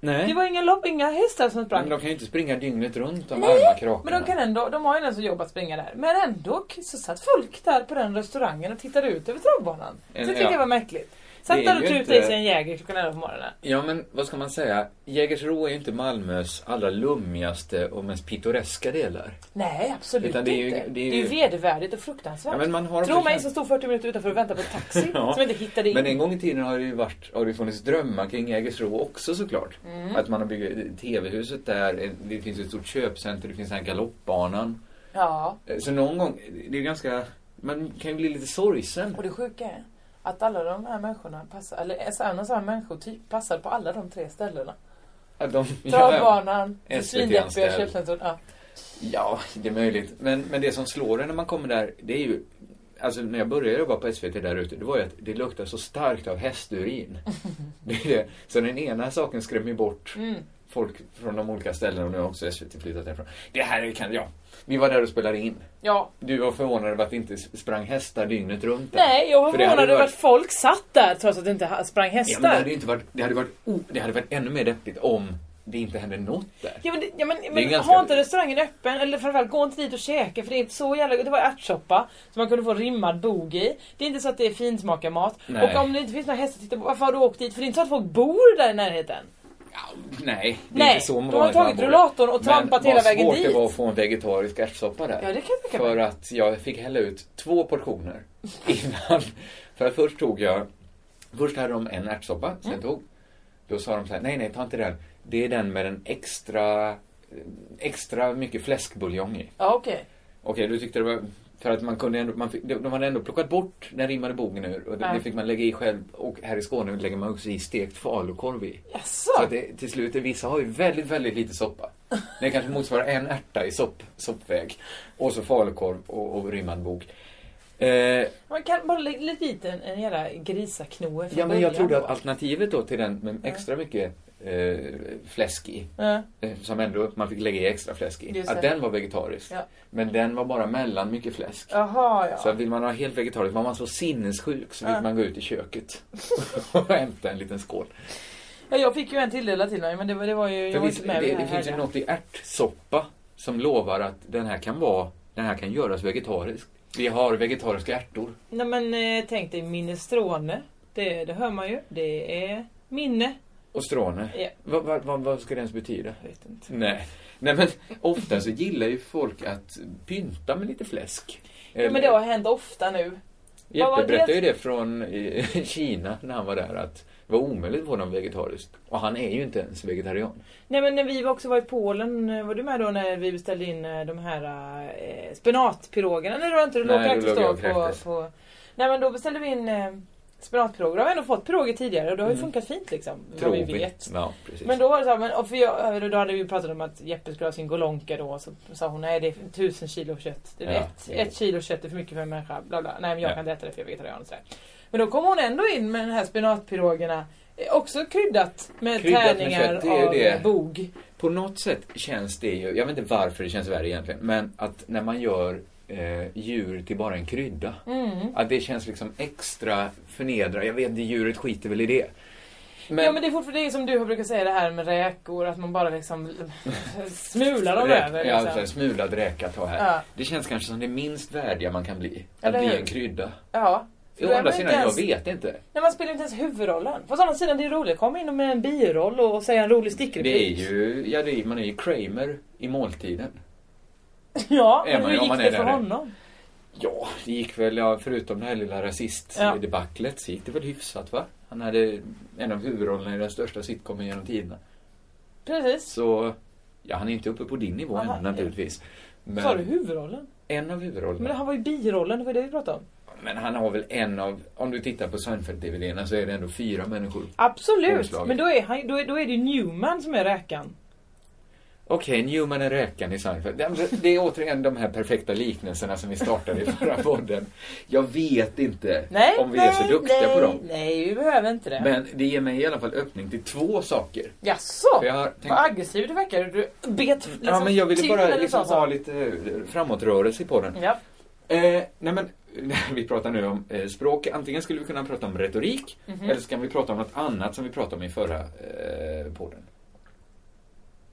Det
Nej.
var inga lopp, inga hästar som
Men
sprang.
de kan ju inte springa dygnet runt de
Nej,
arma
Men de
kråkorna.
kan ändå, de har ju en som jobb att springa där. Men ändå så satt folk där på den restaurangen och tittade ut över travbanan. Så
En-
det tycker
ja.
jag var märkligt. Sätt
Det är
dig och
ju
tuta
inte-
i sig en Jäger klockan 11 på morgonen.
Ja, men vad ska man säga? Jägersro är ju inte Malmös allra lummigaste och mest pittoreska delar.
Nej, absolut
Utan det är ju-
inte.
det är ju-
vedervärdigt och fruktansvärt.
Ja, men man har
Tro mig som stod 40 minuter utanför och väntade på en taxi
Ja.
som inte hittade in.
Men en gång i tiden har det ju varit, har det funnits drömmar kring Jägersro också såklart. Att man har byggt TV-huset där, det finns ett stort köpcenter, det finns den här galoppbanan.
Ja,
Eh, Så någon gång, det är ju ganska, man kan ju bli lite sorgsen.
och det sjuka är att alla de här människorna passar, eller en sån här människotyp passar på alla de tre ställena.
Att de,
Travbanan, det
SVT
svindeppiga
anställd.
köpcentrum. Ja.
Ja, det är möjligt. Men, men det som slår en när man kommer där, det är ju... Alltså när jag började jobba på SVT där ute, det var ju att det luktar så starkt av hästurin. Det är det. Så den ena saken skrämmer bort
Mm.
folk från de olika ställena och nu har också SVT flyttat därifrån. Det här är- kan, ja. Vi var där och spelade in.
ja.
Du var förvånad över att vi inte sprang hästar dygnet runt där.
Nej, jag var
För det hade
förvånad
ju
över
varit-
att folk satt där trots att det inte ha- sprang
Ja, men det
hästar.
hade ju inte varit, det hade varit, o- det hade varit ännu mer deppigt om det inte hände något där.
Ja men, det- ja, men, men
ganska-
ha inte restaurangen öppen eller framförallt gå inte dit och käka för det är inte så jävla Det var ärtsoppa som man kunde få rimmad bog i. Det är inte så att det är finsmakarmat.
Nej.
Och om det inte finns några hästar att titta på, varför har du åkt dit? För det är inte så att folk bor där i närheten.
Nej, det är
Nej,
inte så
de har
vanligt
tagit
man bor.
rullatorn och trampat hela vägen
Men vad svårt
dit.
det var att få en vegetarisk ärtsoppa där.
Ja, det kan jag tänka mig.
För att jag fick hälla ut två portioner innan. för att först tog jag, först hade de en ärtsoppa som
Mm.
jag tog. Då sa de så här, nej nej ta inte den. Det är den med den extra, extra mycket fläskbuljong i.
Ja okej.
Okej, du tyckte det var... För att man kunde ändå, man fick, de de hade ändå plockat bort den rimmade bogen ur och det,
Ja.
det fick man lägga i själv. Och här i Skåne lägger man också i stekt falukorv i.
Jaså?
Så att det, till slut, är vissa har ju väldigt, väldigt lite soppa. Det kanske motsvarar en ärta i sopp, soppväg. Och så falukorv och, och rimmad bog. Eh,
Man kan bara lägga lite dit en, en jävla grisaknoe från
ja, men jag
början
trodde
då.
att alternativet då till den med extra mycket eh, fläsk i,
Ja.
eh, som ändå man fick lägga i extra fläsk i,
Just
att
det.
den var vegetarisk.
Ja.
Men den var bara mellan mycket fläsk.
Jaha ja.
Så vill man ha helt vegetariskt, var man så sinnessjuk så fick man gå ut i köket och hämta en liten skål.
ja. Jag fick ju en tilldelad till mig men det, var- det var ju... Jag
För
var
visst,
inte
det
med vid
det,
den här
finns ju
helgen.
något i ärtsoppa som lovar att den här kan vara, den här kan göras vegetarisk. Vi har vegetariska ärtor.
Nej men eh, tänk dig minestrone. Det, det hör man ju. Det är minne.
Och stråne.
Ja.
Vad, vad, vad, vad ska det ens betyda?
Jag vet inte.
Nej. Nej men ofta så gillar ju folk att pynta med lite fläsk.
Ja, men det har hänt ofta nu. vad var
Jeppe
det?
berättade ju det från eh, Kina när han var där att det var omöjligt att få någon vegetariskt. Och han är ju inte ens vegetarian.
Nej men när vi var också var i Polen, eh, var du med då när vi beställde in eh, de här eh, spenatpirogerna? Nej det var inte, du låg
Nej,
kräktes
då
då
låg jag och
på,
kräktes.
på... Nej men då beställde vi in eh, spenatpiroger, då har vi ändå fått piroger tidigare och det har ju funkat fint liksom.
Mm. Tror
vad vi vet.
Ja, precis.
Men då var det så här, men, och för jag, då hade vi ju pratat om att Jeppe skulle ha sin golonka då och så sa hon nej det är tusen kilo kött. Det är
Ja,
ett,
jo.
ett kilo kött är för mycket för en människa. Bla, bla. Nej men jag
Ja.
kan inte äta det för jag är vegetarian och sådär. Men då kom hon ändå in med den här spenatpirogerna. eh, Också kryddat med
Kryddat med
tärningar
kött, det är ju
av
det.
bog.
På något sätt känns det ju, jag vet inte varför det känns värre egentligen, men att när man gör eh, djur till bara en krydda. Att det känns liksom extra förnedrande. Jag vet, det djuret skiter väl i det. Men,
ja men det är fortfarande det är som du brukar säga det här med räkor, att man bara liksom smular dem
Räk-
över.
ja,
Liksom.
så här, smulad räka ta här.
Ja.
Det känns kanske som det minst värdiga man kan bli.
Eller
att bli
hur?
en krydda.
Ja. För
Å
då är
andra
man
sidan,
inte ens-
jag vet inte.
Nej, man spelar inte ens huvudrollen. Fast å andra sidan det är roligt. Kom in med en biroll och säga en rolig stickreplik.
Det är ju, ja, det är, man är ju Kramer i måltiden.
Ja,
Är
men
man
hur
ju, om
gick
man
det
är
för
där.
honom?
Ja, det gick väl, ja, förutom det här lilla rasistdebaclet, så gick det väl hyfsat va? Han hade en av huvudrollerna i den största sitcomen genom tiderna.
Precis.
Så, ja han är inte uppe på din nivå
Aha,
än naturligtvis. Men
Sa du huvudrollen?
en av
Men
huvudrollerna.
han var ju birollen, det var det vi pratade om.
Men han har väl en av, om du tittar på Seinfeld-DVDn så är det ändå fyra människor.
Absolut!
Omslaget.
Men då är, han, då, är, då är det ju Newman som är räkan.
Okej, Newman är räkan i Seinfeld. Det är- Det är återigen de här perfekta liknelserna som vi startade i förra podden. Jag vet inte
Nej,
om vi
nej,
är så duktiga
nej,
på dem.
Nej, vi behöver inte det.
Men det ger mig i alla fall öppning till två saker.
Jaså?
För jag har tänkt-
Vad aggressiv du verkar. Du bet liksom
ja, men jag ville
till
bara
när du
liksom
sa så.
ha lite eh, framåtrörelse i podden.
Ja.
Eh, nej men, vi pratar nu om eh, språk. Antingen skulle vi kunna prata om retorik,
Mhm.
eller så kan vi prata om något annat som vi pratade om i förra eh, podden.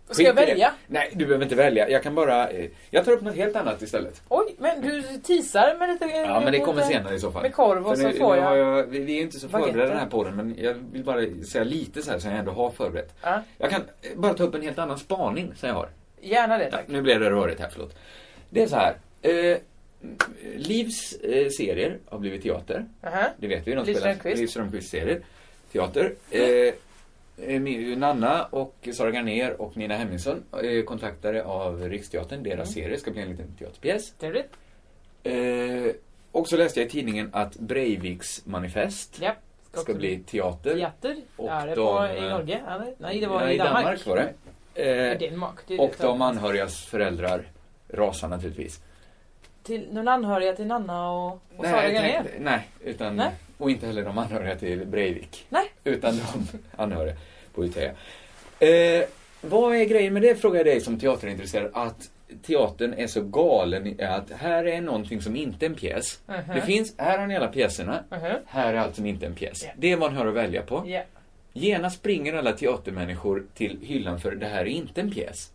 Ska jag
Skit i det.
välja?
Nej, du behöver inte välja. Jag kan bara... eh, Jag tar upp något helt annat istället.
Oj, men du teasar med lite...
Ja, men det
lite-
kommer senare i så fall.
Med korv och
För
så
nu-
får
nu har
jag...
jag vi, vi är inte så
baguette.
förberedda den här podden, men jag vill bara säga lite så här som jag ändå har förberett.
Ja,
Jag kan eh, bara ta upp en helt annan spaning som jag har.
gärna det tack.
Nu blev det rörigt här, förlåt. Det är så här. Eh, Livs eh, serier har blivit teater.
Aha.
Det vet vi. De
Liv
spelar-
Strömquist.
Liv Strömquists serier. Teater. Eh, eh, min- Nanna och Sara Garnér och Nina Hemmingsson eh, kontaktade av Riksteatern. Deras
Mm.
serie ska bli en liten teaterpjäs.
Trevligt.
Eh, och så läste jag i tidningen att Breiviks manifest
Ja.
ska,
också
bli teater.
Jatter.
Och
Ja, det
de,
var
eh,
i Norge? Eller? Nej, det var
Ja,
i Danmark.
var det.
I
Eh,
Danmark. Det är
och
det.
de anhörigas föräldrar rasar naturligtvis.
Till någon anhöriga till Nanna och, och
Nej,
Sara
jag
Garnér?
tänkte- nej, utan,
Nej.
och inte heller de anhöriga till Breivik.
Nej.
Utan de anhöriga på UTH. Eh, vad är grejen med det, frågar jag dig som teaterintresserad, att teatern är så galen i att här är någonting som inte är en pjäs.
Mhm.
Det finns, här har ni alla pjäserna,
Mhm.
här är allt som inte är en pjäs.
Ja.
Det är vad ni har att välja på.
Ja.
Genast springer alla teatermänniskor till hyllan för det här är inte en pjäs.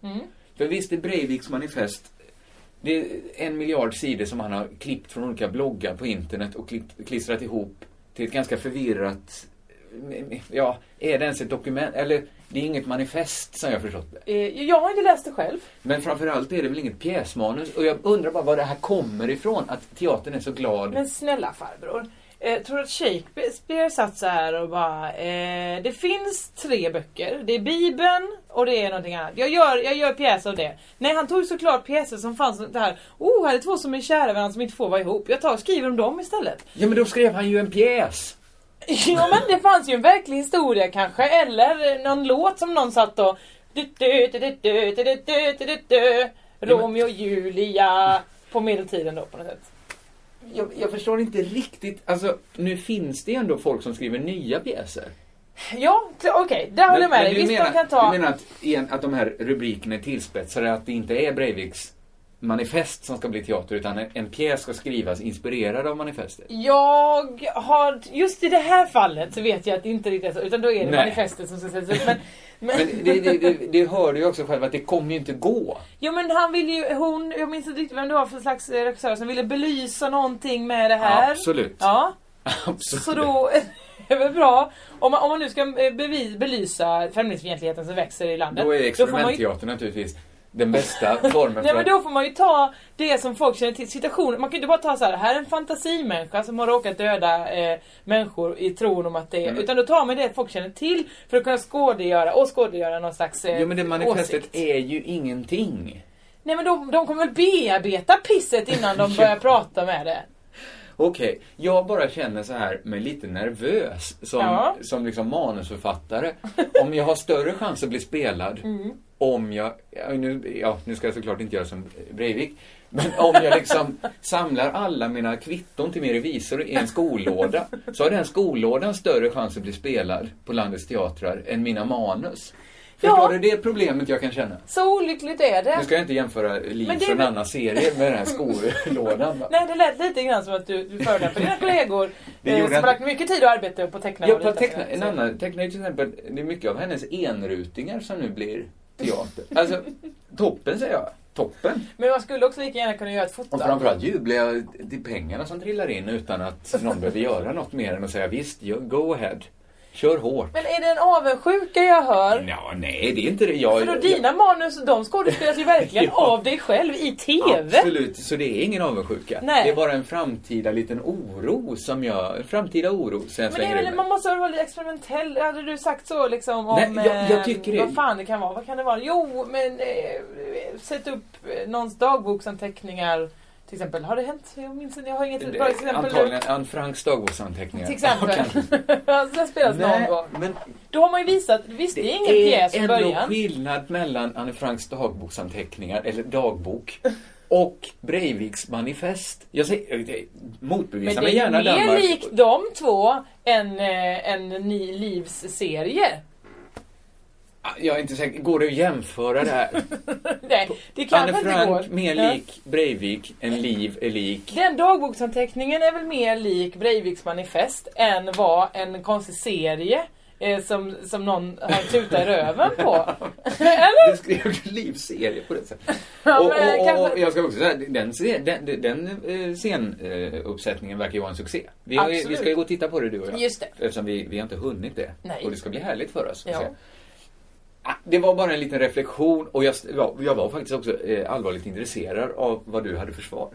För visst är Breiviks manifest det är en miljard sidor som han har klippt från olika bloggar på internet och klippt, klistrat ihop till ett ganska förvirrat... Ja, är det ens ett dokument? Eller, det är inget manifest som jag förstått det.
Eh, Jag har inte läst det själv.
Men framförallt är det väl inget pjäsmanus? Och jag undrar bara var det här kommer ifrån, att teatern är så glad.
Men snälla farbror. Eh, tror du att Shakespeare satt så här och bara eh, Det finns tre böcker. Det är Bibeln och det är någonting annat. Jag gör, jag gör pjäs av det. Nej han tog såklart pjäser som fanns det här. Oh här är två som är kära varandra som inte får vara ihop. Jag tar och skriver om dem istället.
Ja, men då skrev han ju en pjäs!
Ja men det fanns ju en verklig historia kanske. Eller eh, någon låt som någon satt och du, du, du, du, du, du, du, du, du, du, Romeo och Julia. På medeltiden då på något sätt.
Jag, jag förstår inte riktigt. Alltså, nu finns det ju ändå folk som skriver nya pjäser.
Ja t- okej, där håller jag med dig.
du
Visst
menar,
de kan ta...
Du menar att, igen, att de här rubrikerna är tillspetsade, att det inte är Breiviks manifest som ska bli teater, utan en, en pjäs ska skrivas inspirerad av manifestet?
Jag har, just i det här fallet så vet jag att det inte riktigt är så, utan då är det
Nej.
manifestet som ska sättas upp. Men, men,
Men det, det, det, det hör du ju också själv att det kommer ju inte gå.
Jo men han vill ju, hon, jag minns inte riktigt vem det var för slags eh, regissör som ville belysa någonting med det här.
Absolut.
Ja,
Absolut.
så då är det väl bra. Om man, om man nu ska eh, bevi, belysa främlingsfientligheten som växer i landet.
Då är
får man ju
experimentteater naturligtvis den bästa formen
Nej
för
men
att...
då får man ju ta det som folk känner till. Situationen, man kan ju inte bara ta så här, här är en fantasimänniska som har råkat döda eh, människor i tron om att det är...
Mm.
Utan då tar man det folk känner till för att kunna skådegöra och skådegöra någon slags eh,
Jo men det manifestet
åsikt.
är ju ingenting.
Nej men de, de kommer väl bearbeta pisset innan de börjar prata med det.
Okej, jag bara känner så här mig lite nervös som,
Ja.
som liksom manusförfattare. Om jag har större chans att bli spelad
Mm.
om jag, ja, nu, ja nu ska jag såklart inte göra som Breivik, men om jag liksom samlar alla mina kvitton till min revisor i en skollåda så har den skollådan större chans att bli spelad på landets teatrar än mina manus. Förstår du? Det är problemet jag kan känna.
Så olyckligt är
Nu
det.
ska jag inte jämföra Liv
Men det är
från
väl-
Annas serier med den här skolådan. va?
Nej det lät lite grann som att du, du förolämpar dina kollegor
Det
eh,
gjorde
som
jag
har lagt mycket tid och arbete på att teckna
Ja,
och
på att
rita
teckna,
sina
en
serier.
annan tecknare till exempel, det är mycket av hennes enrutingar som nu blir teater. Alltså, toppen säger jag. Toppen.
Men man skulle också lika gärna kunna göra ett foto.
Och framförallt jublar jag till pengarna som trillar in utan att någon behöver göra något mer än att säga visst, you- go ahead. Kör hårt.
Men är det en avundsjuka jag hör?
Ja, nej, det är inte det. Jag,
För då
jag-
dina manus, de skådespelas ju verkligen
Ja.
av dig själv i TV.
Absolut, så det är ingen avundsjuka.
Nej.
Det är bara en framtida liten oro som jag... En framtida oro som jag
Men det
slänger
är väl,
ur mig.
man måste väl vara lite experimentell. Hade du sagt så liksom om
Nej, jag- jag
eh,
tycker det-
vad fan det kan vara? Vad kan det vara? Jo, men eh, sätt upp eh, någons dagboksanteckningar. Till exempel, har det hänt? Jag minns inte, jag har inget bra
Det-
exempel.
Antagligen Anne Franks dagboksanteckningar.
Till exempel.
Kan-
Så det spelas någon
Nej,
gång.
men
Då har man ju visat, visst det är ingen pjäs i
ändå
början.
skillnad mellan Anne Franks dagboksanteckningar, eller dagbok, och Breiviks manifest. Jag säger, jag- jag-
Men
motbevisa
det
mig
är
gärna
mer
Danmark.
likt de två än eh, en ny livsserie.
Ah, Jag är inte säker, går det att jämföra det här?
Nej, det kanske
Anne
inte
Frank
går.
mer
Ja.
lik Breivik än Liv är lik.
Den dagboksanteckningen är väl mer lik Breiviks manifest än vad en konstig serie eh, som, som någon har tutat röven på. Eller?
Du skrev en livserie på det sättet.
Ja,
och,
men
och, och,
kanske-
och jag ska också säga, den, se- den, den eh, scenuppsättningen verkar ju vara en succé. Vi, har ju, vi
Absolut.
ska ju gå och titta på det du och jag.
Just det.
Eftersom vi, vi har inte hunnit det.
Nej.
Och det ska bli härligt för oss. att
Ja.
se. Ah, Det var bara en liten reflektion och jag, ja, jag var faktiskt också eh, allvarligt intresserad av vad du hade för svar.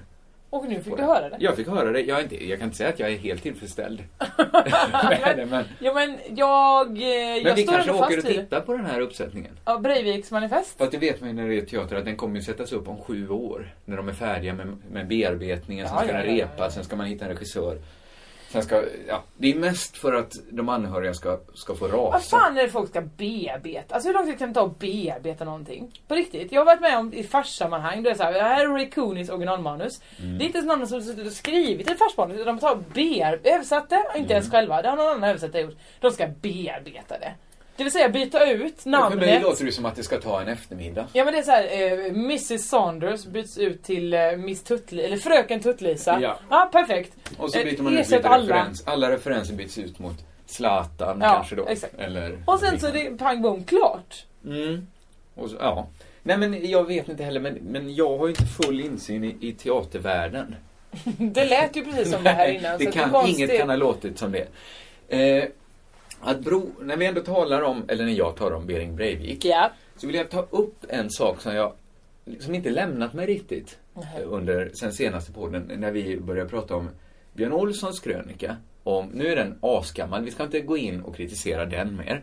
Och nu fick du höra det.
Jag fick höra det. Jag, är inte, jag kan inte säga att jag är helt tillfredsställd. men, men, men
Ja men jag, eh, jag
vi
står
kanske
ändå
åker och
fast i det.
tittar på den här uppsättningen.
Ja, Breiviks manifest.
Fast det vet man ju när det är teater att den kommer ju sättas upp om sju år. När de är färdiga med, med bearbetningen, sen
Ja,
ska
ja,
den
ja, ja,
repas, sen ska man hitta en regissör. Sen ska, ja, det är mest för att de anhöriga ska, ska få
Vad
rasa.
fan är det folk ska bearbeta? Alltså hur lång tid kan det ta att bearbeta någonting? På riktigt. Jag har varit med om i farssammanhang, då är det så här, det här är Ray Coonies originalmanus.
Mm.
Det är inte ens någon som suttit och skrivit ett farsmanus, utan de tar och bear- översatt det, inte
Mm.
ens själva. Det har någon annan översättare gjort. De ska bearbeta det. Det vill säga byta ut
För mig
namnet.
låter det som att det ska ta en eftermiddag.
Ja men det är så här, eh, Mrs Saunders byts ut till eh, Miss Tuttli, eller Fröken Tuttlisa.
Ja.
ja perfekt.
Och så
Eh,
byter man ut
ersätt
lite
alla.
referens. Alla referenser byts ut mot Zlatan
Ja,
kanske då.
exakt.
Eller
Och sen så är det pang bom klart.
Mm. Och så, ja. Nej men jag vet inte heller, men, men jag har ju inte full insyn i, i teatervärlden.
Det lät ju precis som det här innan.
det
så att
kan,
är konstigt.
inget kan ha låtit som det. Eh, att bro, när vi ändå talar om, eller när jag talar om Bering Breivik,
Ja.
så vill jag ta upp en sak som jag som inte lämnat mig riktigt
Nej.
eh, under sen senaste podden när vi började prata om Björn Olssons krönika. Om, nu är den asgammal, vi ska inte gå in och kritisera den mer.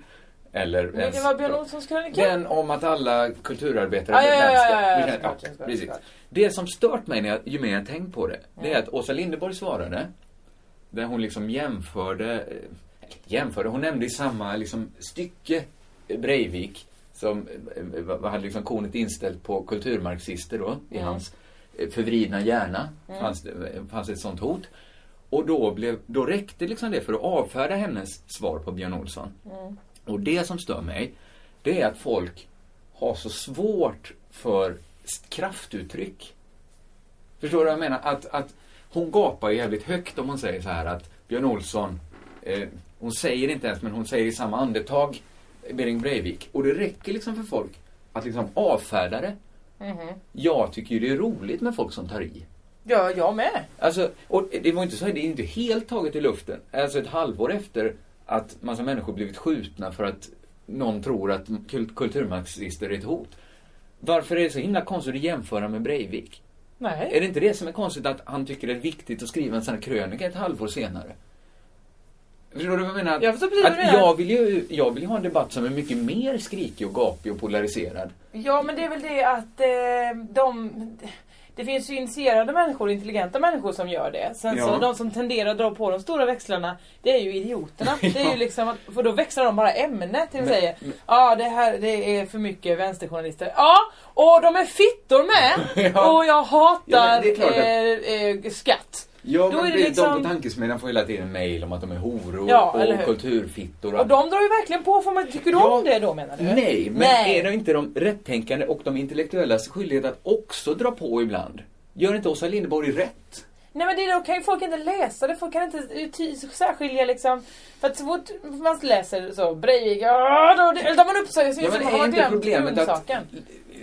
Eller
Men det
ens-
var Björn Olssons krönika.
Den om att alla kulturarbetare
Ja, ja, ja, ja, ja,
Vi kan-
såklart, såklart,
precis.
såklart.
Det som stört mig när jag, ju mer jag tänkt på det, det är att Åsa Linderborg svarade. Där hon liksom jämförde, eh, jämförde, hon nämnde i samma liksom stycke eh, Breivik som eh, eh, vad- hade liksom konet inställt på kulturmarxister då, i
Mm.
hans eh, förvridna hjärna. Fanns, det- eh, fanns ett sånt hot. Och då, blev, då räckte liksom det för att avfärda hennes svar på Björn Olsson.
Mm.
Och det som stör mig, det är att folk har så svårt för s- kraftuttryck. Förstår du vad jag menar? Att, att hon gapar jävligt högt om hon säger så här att Björn Olsson, eh, hon säger inte ens men hon säger i samma andetag eh, Bering Breivik. Och det räcker liksom för folk att liksom avfärda det. Jag tycker ju det är roligt med folk som tar i.
Ja, jag med.
Alltså, och det var inte så här, det är inte helt taget i luften. Alltså ett halvår efter att massa människor blivit skjutna för att någon tror att kul- kulturmarxister är ett hot. Varför är det så himla konstigt att jämföra med Breivik?
Nej.
Är det inte det som är konstigt att han tycker det är viktigt att skriva en sån här krönika ett halvår senare? Förstår du vad jag menar? Att,
Jag förstår precis vad du
att
menar.
jag, vill ju, jag vill ju ha en debatt som är mycket mer skrikig och gapig och polariserad.
Ja, men det är väl det att eh, de... Det finns ju initierade människor, intelligenta människor som gör det. Sen
Ja.
så de som tenderar att dra på de stora växlarna, det är ju idioterna. Det är
Ja.
ju liksom att, för då växlar de bara ämne till att
Men-
säga ja ah, det här det är för mycket vänsterjournalister. Ja, och de är fittor med!
Ja.
Och jag
Ja, men
hatar
det är klart att-
eh, eh, skatt.
Ja,
Då
men
är det
de
liksom-
på tankesmedjan får hela tiden mejl om att de är horor
Ja, eller hur?
och kulturfittor
Och
allt
de drar ju verkligen på, för man, tycker du
Ja.
om det då menar du?
Nej, men
Nej.
är det inte de rättänkande och de intellektuellas skyldighet att också dra på ibland? Gör inte Åsa Linderborg rätt?
Nej men det är, då kan ju folk inte läsa det, folk kan inte utty- särskilja liksom. För att så fort man läser så Breivik, ja, då då tar man upp sig och så
Ja, men
man
är
har
inte
glömt
problemet att...
grundsaken.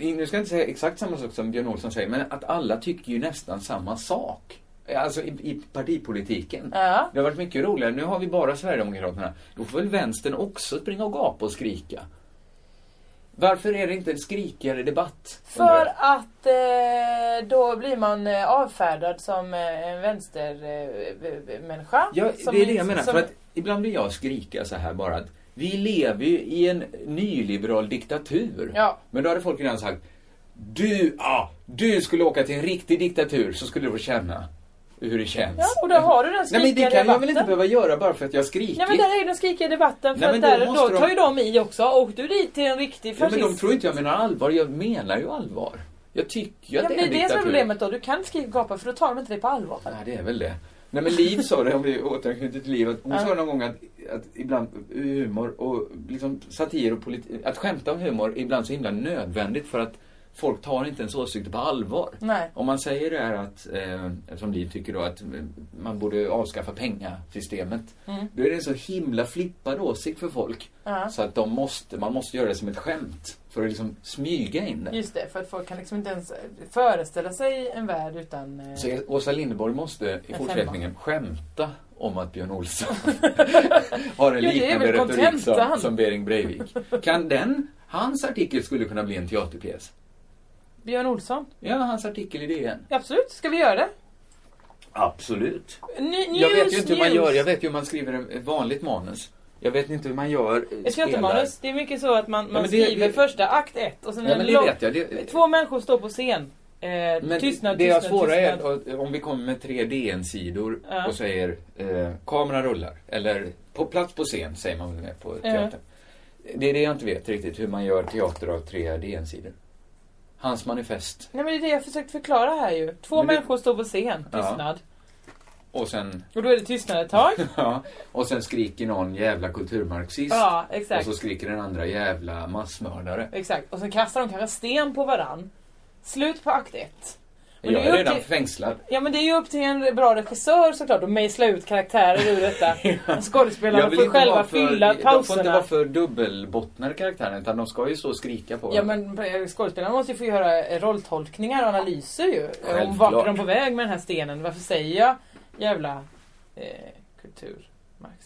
Nu ska jag inte säga exakt samma sak som Björn Olsson säger, men att alla tycker ju nästan samma sak. Alltså i, i partipolitiken.
Ja.
Det har varit mycket roligare. Nu har vi bara Sverigedemokraterna. Då får väl vänstern också springa och gapa och skrika. Varför är det inte en skrikigare debatt? undrar
För
jag?
att eh, då blir man eh, avfärdad som eh, en vänstermänniska. Eh, människa.
Ja,
som,
det är det jag menar.
som-
För att ibland vill jag skrika så här bara att vi lever ju i en nyliberal diktatur.
Ja.
Men då hade folk redan sagt du, ah, du skulle åka till en riktig diktatur så skulle du få känna hur det känns.
Ja, och då har du den
Nej
skrikiga
men det kan jag
debatten.
väl inte behöva göra bara för att jag skrikit.
Nej men där är ju den skrikiga debatten, för
Nej,
att
men då
där, då,
måste de-
tar ju de i också. Åkte du dit till en riktig
ja,
fascist?
men de tror inte jag menar allvar. Jag menar ju allvar. Jag tycker ju
Ja,
att
men
det är en
det är det som är
diktatur.
problemet då, du kan inte skrika och gapa för då tar de inte dig på allvar.
Ja, det är väl det. Nej men Liv sa det, om vi återknyter till Liv, att hon sa någon gång att, att ibland humor och liksom satir och politik, att skämta om humor är ibland så himla nödvändigt för att folk tar inte ens åsikter på allvar.
Nej.
Om man säger det här att, eh, som Liv tycker då, att eh, man borde avskaffa pengasystemet. Då är det en så himla flippad åsikt för folk.
Ja.
Så att de måste, man måste göra det som ett skämt. För att liksom smyga in det.
Just det, för att folk kan liksom inte ens föreställa sig en värld utan... eh,
Så Åsa Lindborg måste i
femma.
fortsättningen skämta om att Björn Olsson har en
Jo, det är
liknande
väl
retorik som,
kontentan.
som Bering Breivik. Kan den, hans artikel skulle kunna bli en teaterpjäs.
Björn Olsson.
Ja, hans artikel i DN.
Absolut, ska vi göra det?
Absolut.
Ny, news,
Jag vet ju inte hur man
news.
gör, jag vet ju hur man skriver en- ett vanligt manus. Jag vet inte hur man gör. eh,
Ett teatermanus, det är mycket så att man, man
men det-
skriver
det-
första akt ett och sen
Ja,
en
men det
lång...
vet jag. Det,
Två människor står på scen. Eh,
Men
tystnad,
det jag
tystnad,
svåra
tystnad.
är att- eh, om vi kommer med tre DN-sidor
Ja.
och säger eh, kamera rullar. Eller på plats på scen säger man väl mer på teatern. Det är det jag inte vet riktigt, hur man gör teater av tre DN-sidor. Hans manifest
Nej men det är det jag försökt förklara här ju. Två
Men det-
människor står på scen,
Ja.
tystnad.
och sen,
Och då är det tystnad ett tag.
ja, och sen skriker någon jävla kulturmarxist.
ja,
och
exakt.
så skriker den andra jävla massmördare.
Exakt. Och sen kastar de kanske sten på varann. Slut på akt ett. Men
jag
det är
är
upp
redan
till-
fängslad.
Ja men det är ju upp till en bra regissör såklart att mejsla ut karaktärer ur detta. Skådespelarna får själva
vara
fylla
de får inte
pauserna.
vara för dubbelbottnade karaktärer utan de ska ju så skrika på
Ja
varandra.
men eh, skådespelarna måste ju få göra eh, rolltolkningar och analyser ju. Eh, Om
Självklart.
vart är de på väg med den här stenen? Varför säger jag jävla eh, kulturmarxist?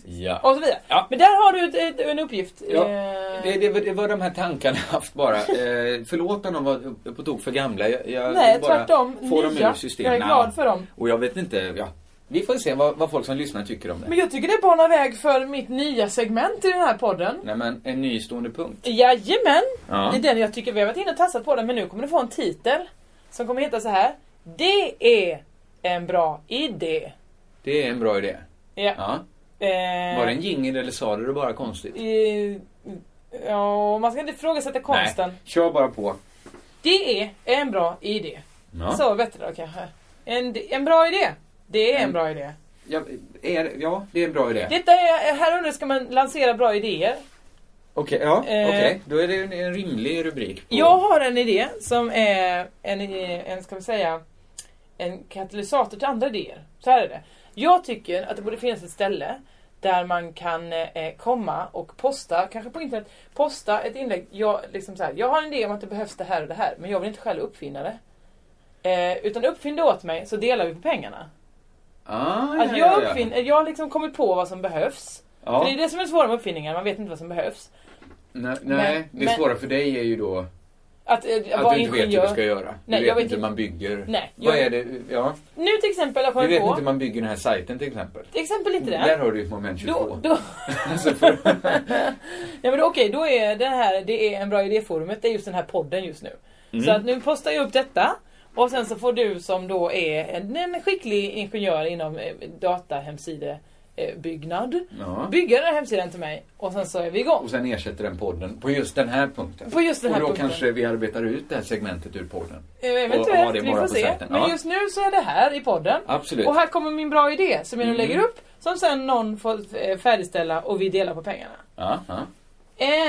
Ja.
Och så vidare.
Ja.
Men där har du ett, ett, en uppgift.
Ja,
Eh,
Det, det, var- det var de här tankarna jag haft bara. Eh, förlåt om de var på tok för gamla. Jag, jag
Nej
vill bara
tvärtom.
få dem ur
Nya.
systemet.
Jag är glad för dem.
Och jag vet inte, ja. Vi får se vad, vad folk som lyssnar tycker om det.
Men jag tycker det banar väg för mitt nya segment i den här podden.
Nej men, en ny stående punkt.
Jajamän!
Ja.
Det är den jag tycker vi har varit inne och tassat på den men nu kommer du få en titel. Som kommer heta så här. Det är en bra idé.
Det är en bra idé.
Ja.
Ja.
Eh,
Var det en jingel eller sa du det bara konstigt?
Eh, Ja, man ska inte ifrågasätta konsten.
Nej, kör bara på.
Det är en bra idé.
Ja.
Så bättre då kanske. En, en bra idé. Det är
Mm.
en bra idé.
Ja, är, ja, det är en bra idé.
Detta är, här under ska man lansera bra idéer.
Okej, ja,
Eh.
okej. Då är det en, en rimlig rubrik. På.
Jag har en idé som är en, en ska vi säga, en katalysator till andra idéer. Så här är det. Jag tycker att det borde finnas ett ställe där man kan eh, komma och posta, kanske på internet, posta ett inlägg. Jag, liksom så här, jag har en idé om att det behövs det här och det här, men jag vill inte själv uppfinna det. Eh, utan uppfinn det åt mig så delar vi på pengarna.
Ah,
Att
ja,
jag,
ja, ja.
uppfinner, jag har liksom kommit på vad som behövs. För det är
Ja.
det som är det svåra med uppfinningar, man vet inte vad som behövs.
Nej, nej, det
men-
svåra för dig är ju då
Att, eh,
Att
vara
du inte vet hur
ingenjör.
du ska göra.
Nej,
du
jag
vet,
vet
inte hur
inte.
man bygger.
Nej,
Vad
jag-
är det? Ja.
Nu till exempel, jag
Du
kommer
vet
på...
inte hur man bygger den här sajten till exempel.
Till exempel inte
Där
det.
har du ett moment 22.
Då, då,
Alltså, för,
ja, men då- okej, då är det här det är en bra idéforumet, det är just den här podden just nu.
Mm.
Så att nu postar jag upp detta och sen så får du som då är en, en skicklig ingenjör inom eh, datahemsidebyggnad
ja.
bygga den här hemsidan till mig och sen så är vi igång.
Och sen ersätter den podden på just den här punkten.
På just den här
och då
punkten.
kanske vi arbetar ut det här segmentet ur podden.
Eh,
och ha det
Eventuellt, vi
bara
får
på
se.
sajten, ja.
Men just nu så är det här i podden.
Absolut.
Och här kommer min bra idé som jag nu
Mm.
lägger upp som sen någon får eh, färdigställa och vi delar på pengarna.
Ja, ja.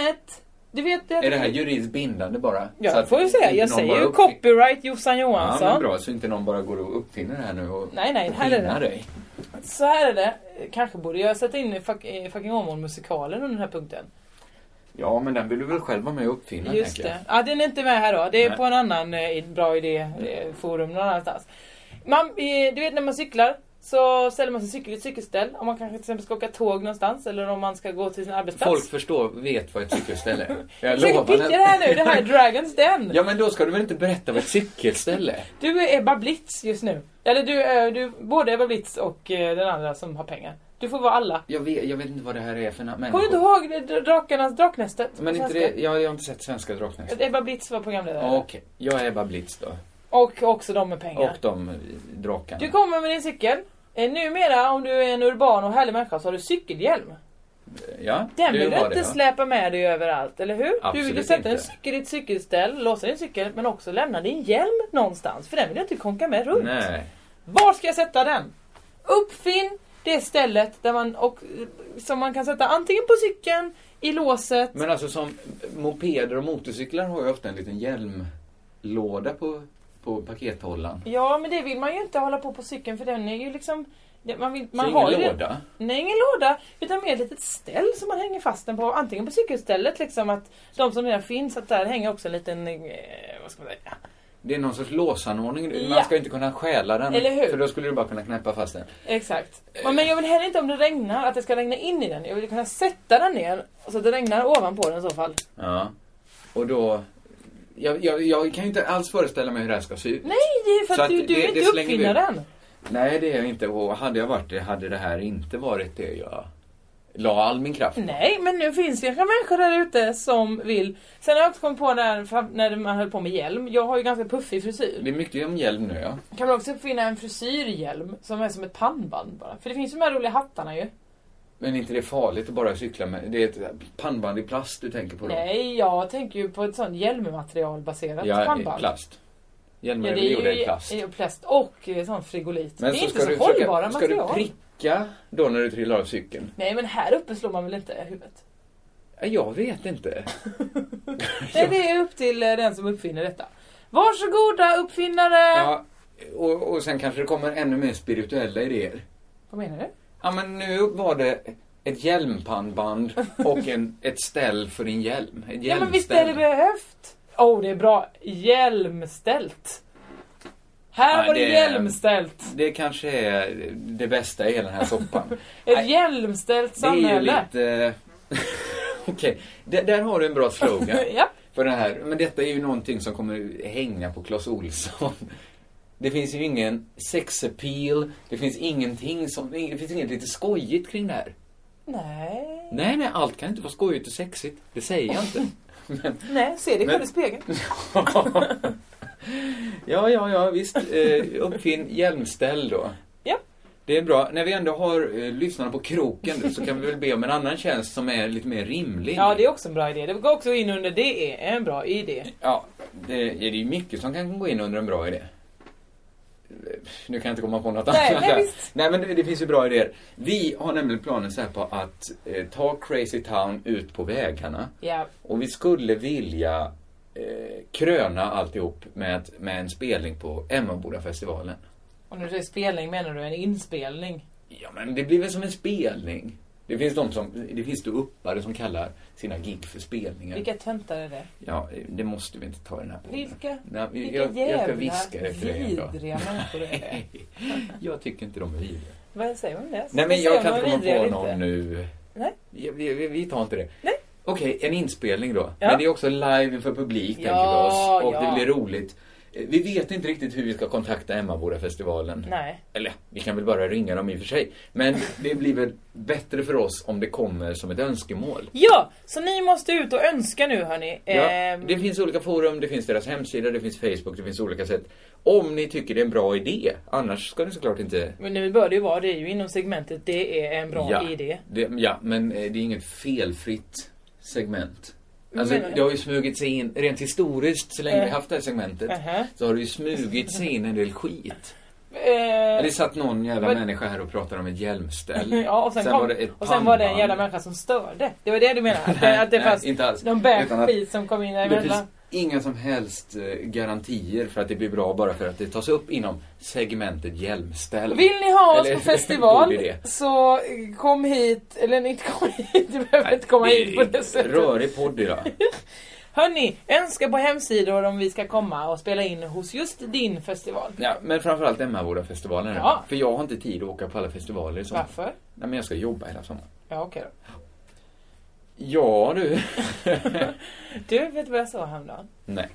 Ett. Du vet
Är det här juridiskt bindande bara?
Ja,
Så att
får vi säga.
inte
Jag
någon
säger
bara
ju
uppfin-
copyright Jossan
Ja,
Johansson.
men bra. Så inte någon bara går och uppfinner det här nu och
Nej, nej, här är
pinnar
det.
dig.
Så här är det. Kanske borde jag sätta in fuck, eh, Fucking Åmål-musikalen under den här punkten.
Ja, men den vill du väl själv vara med och uppfinna?
Just
tänker jag.
det. Ja, den är inte med här då. Det är
Nej.
på en annan eh, bra idé-forum någon annanstans. Man, eh, du vet när man cyklar så ställer man sin cykel i ett cykelställ. Om man kanske till exempel ska åka tåg någonstans eller om man ska gå till sin arbetsplats.
Folk förstår, vet vad ett cykelställe är. Jag
Försöker
lovar.
pitcha det här nu. Det här är Dragons Den.
Ja men då ska du väl inte berätta vad ett cykelställe är?
Du är Ebba Blitz just nu. Eller du, är- du både Ebba Blitz och eh, den andra som har pengar. Du får vara alla.
Jag vet, jag vet inte vad det här är för na-
Kommer du inte
människor.
ihåg det- dra- Drakarnas Draknästet?
Men inte
Svenska?
det, jag, jag har inte sett Svenska Draknästet.
Att Ebba Blitz var programledare.
Ja, Okej, jag är Ebba Blitz då.
Och också de med pengar.
Och de eh, drakarna.
Du kommer med din cykel. Eh, Numera om du är en urban och härlig människa så har du cykelhjälm.
Ja,
Den
du
vill du
har
inte
det, va?
släpa med dig överallt, eller hur? du vill ju
Absolut
sätta din
inte.
cykel i ett cykelställ, låsa din cykel men också lämna din hjälm någonstans. För den vill du inte konka med runt.
Nej.
Var ska jag sätta den? Uppfinn det stället där man, och, som man kan sätta antingen på cykeln, i låset.
Men alltså som mopeder och motorcyklar har ju ofta en liten hjälm låda på, på pakethållaren.
Ja, men det vill man ju inte hålla på på cykeln för den är ju liksom... det- Man, vill,
Man
man
så
har
har
ju
ingen
det-
låda.
Nej, ingen låda. Utan mer ett litet ställ som man hänger fast den på. Antingen på cykelstället liksom att de som redan finns, att där hänger också en liten... Eh, vad ska man säga?
Det är någon sorts låsanordning.
Ja.
Man ska inte kunna stjäla den.
Eller hur?
För då skulle du bara kunna knäppa fast den.
Exakt. Men men jag vill heller inte om det regnar, att det ska regna in i den. Jag vill kunna sätta den ner så att det regnar ovanpå den i så fall.
Ja. Och då... Jag, jag, jag kan ju inte alls föreställa mig hur det här ska se ut.
Nej, för
Så
att
att
du, du
det-
är
det
inte
slänger vi ut.
uppfinnaren.
Nej, det är jag inte. Och hade jag varit det hade det här inte varit det jag la all min kraft på.
Nej, men nu finns det kanske människor där ute som vill. Sen har jag också kommit på när, fram- när man höll på med hjälm. Jag har ju ganska puffig frisyr.
Det är mycket om hjälm nu ja.
Kan man också uppfinna en frisyrhjälm som är som ett pannband bara? För det finns ju de här roliga hattarna ju.
Men inte det är farligt att bara cykla med. Det är ett pannband i plast du tänker på då.
Nej, jag tänker ju på ett sånt hjälmmaterialbaserat
ja, i
pannband.
plast. Hjälmar
Ja,
är
det
väl gjorda
är ju
i plast.
i plast och eh, sån frigolit. det är
så
inte
ska
så
du försöka-
hållbara
Ska du
material.
pricka då när du trillar av cykeln?
Nej, men här uppe slår man väl inte huvudet?
Ja, Jag vet inte.
Nej, det är upp till eh, den som uppfinner detta. Varsågoda uppfinnare!
Ja, och, och sen kanske det kommer ännu mer spirituella idéer.
Vad menar du?
Ja, men nu var det ett hjälmpannband och en, ett ställ för din hjälm. Ett
Ja men visst är det
hjälmställ.
behövt? Åh oh, det är bra. Hjälmställt. Här
Ja,
var det
det är-
hjälmställt.
Det kanske är det bästa i hela den här soppan.
Ett
Nej,
hjälmställt
det är ju
samhälle.
lite... eh, Okej, där, där har du en bra slogan.
Ja.
för den här. Men detta är ju någonting som kommer hänga på Clas Olsson. Det finns ju ingen sexappeal, det finns ingenting som... Det finns inget lite skojigt kring det här.
Nej.
Nej, nej, allt kan inte vara skojigt och sexigt. Det säger jag inte. Men...
Nej, se dig
Men- Mm.
själv i spegeln.
ja, ja, ja, visst. Eh, uppfinn hjälmställ då.
Ja.
Det är bra. När vi ändå har eh, lyssnarna på kroken nu, så kan vi väl be om en annan tjänst som är lite mer rimlig.
Ja, det är också en bra idé. Det går också in under det är en bra idé.
Ja, det är det ju mycket som kan gå in under en bra idé. Nu kan jag inte komma på något
Nej,
annat.
nej,
här.
visst.
nej, men det, det finns ju bra idéer. Vi har nämligen planer så här på att eh, ta Crazy Town ut på vägarna.
Ja.
Och vi skulle vilja eh, kröna alltihop med, att- med en spelning på Emmabodafestivalen.
Och när du säger spelning menar du en inspelning?
Ja, men det blir väl som en spelning. Det finns de som, det finns uppare som kallar sina gig för spelningar.
Vilka töntar är det?
Ja, det måste vi inte ta i den här podden.
Vilka,
Nej, men
vilka
jag, jag ska
jävla
viska det till dig en dag.
vidriga människor det är.
Jag tycker inte de är vidriga.
Vad säger man om det?
Nej men
Säger man
jag kan inte komma
vidriga
på
eller
någon
inte?
nu.
Nej.
Ja, Vi, vi, vi tar inte det.
Nej.
Okej, en inspelning då.
Ja.
Men det är också live inför publik
Ja,
tänker vi oss. Och
ja.
det blir roligt. Eh, Vi vet inte riktigt hur vi ska kontakta Emmabodafestivalen.
Nej.
Eller vi kan väl bara ringa dem i och för sig. Men det blir väl bättre för oss om det kommer som ett önskemål.
Ja, så ni måste ut och önska nu hörni.
Ja,
Ehm,
det finns olika forum, det finns deras hemsida, det finns Facebook, det finns olika sätt. Om ni tycker det är en bra idé, annars ska ni såklart inte
Men nu bör det ju vara, det är ju inom segmentet det är en bra
ja,
idé.
Det, ja, men eh, det är inget felfritt segment. Alltså,
menar du?
det har ju smugit sig in, rent historiskt, så länge vi
Eh.
haft det här segmentet,
Aha.
så har det ju smugit sig in en del skit.
Eh,
Det satt någon jävla
Vad-
människa här och pratade om ett hjälmställ.
ja, och sen, kom,
var det ett
och sen var det en
pannband.
jävla människa som störde. Det var det du menade? Att det, att det
Nej,
fanns
inte alls.
någon bög
Utan att-
skit som kom in
Det finns
däremellan?
inga som helst eh, garantier för att det blir bra bara för att det tas upp inom segmentet hjälmställ.
Vill ni ha oss
Eller-
på festival
god idé.
så eh, kom hit, eller inte kom hit, du behöver inte komma
Nej,
hit på det sättet.
Rörig podd idag.
Hörni, önska på hemsidor om vi ska komma och spela in hos just din festival.
Ja, men framförallt Emmabodafestivalen. nu.
Ja.
För jag har inte tid att åka på alla festivaler i sommar.
Varför?
Nej, men jag ska jobba hela sommaren.
Ja okej då.
Ja du.
Du, vet du vad jag sa häromdagen?
Nej.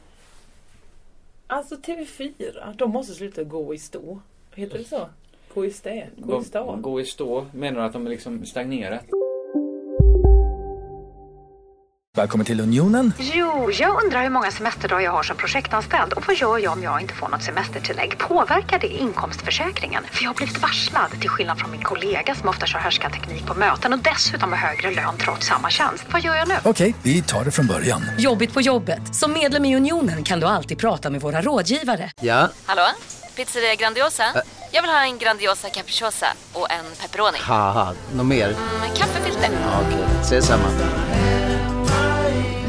Alltså TV4, de måste sluta gå i stå. Heter det så? Gå i stä? Gå i stå?
Gå i stå. Menar du att de är liksom stagnerat?
Välkommen till Unionen.
Jo, jag undrar hur många semesterdagar jag har som projektanställd och vad gör jag om jag inte får något semestertillägg? Påverkar det inkomstförsäkringen? För jag har blivit varslad, till skillnad från min kollega som ofta kör härskarteknik på möten och dessutom har högre lön trots samma tjänst. Vad gör jag nu?
Okej, vi tar det från början.
Jobbigt på jobbet. Som medlem i Unionen kan du alltid prata med våra rådgivare.
Ja,
Hallå? Pizzeria Grandiosa? Jag vill ha en Grandiosa capriciosa och en pepperoni.
haha, något mer?
Med kaffefilter.
Ja, Okej, ses samma.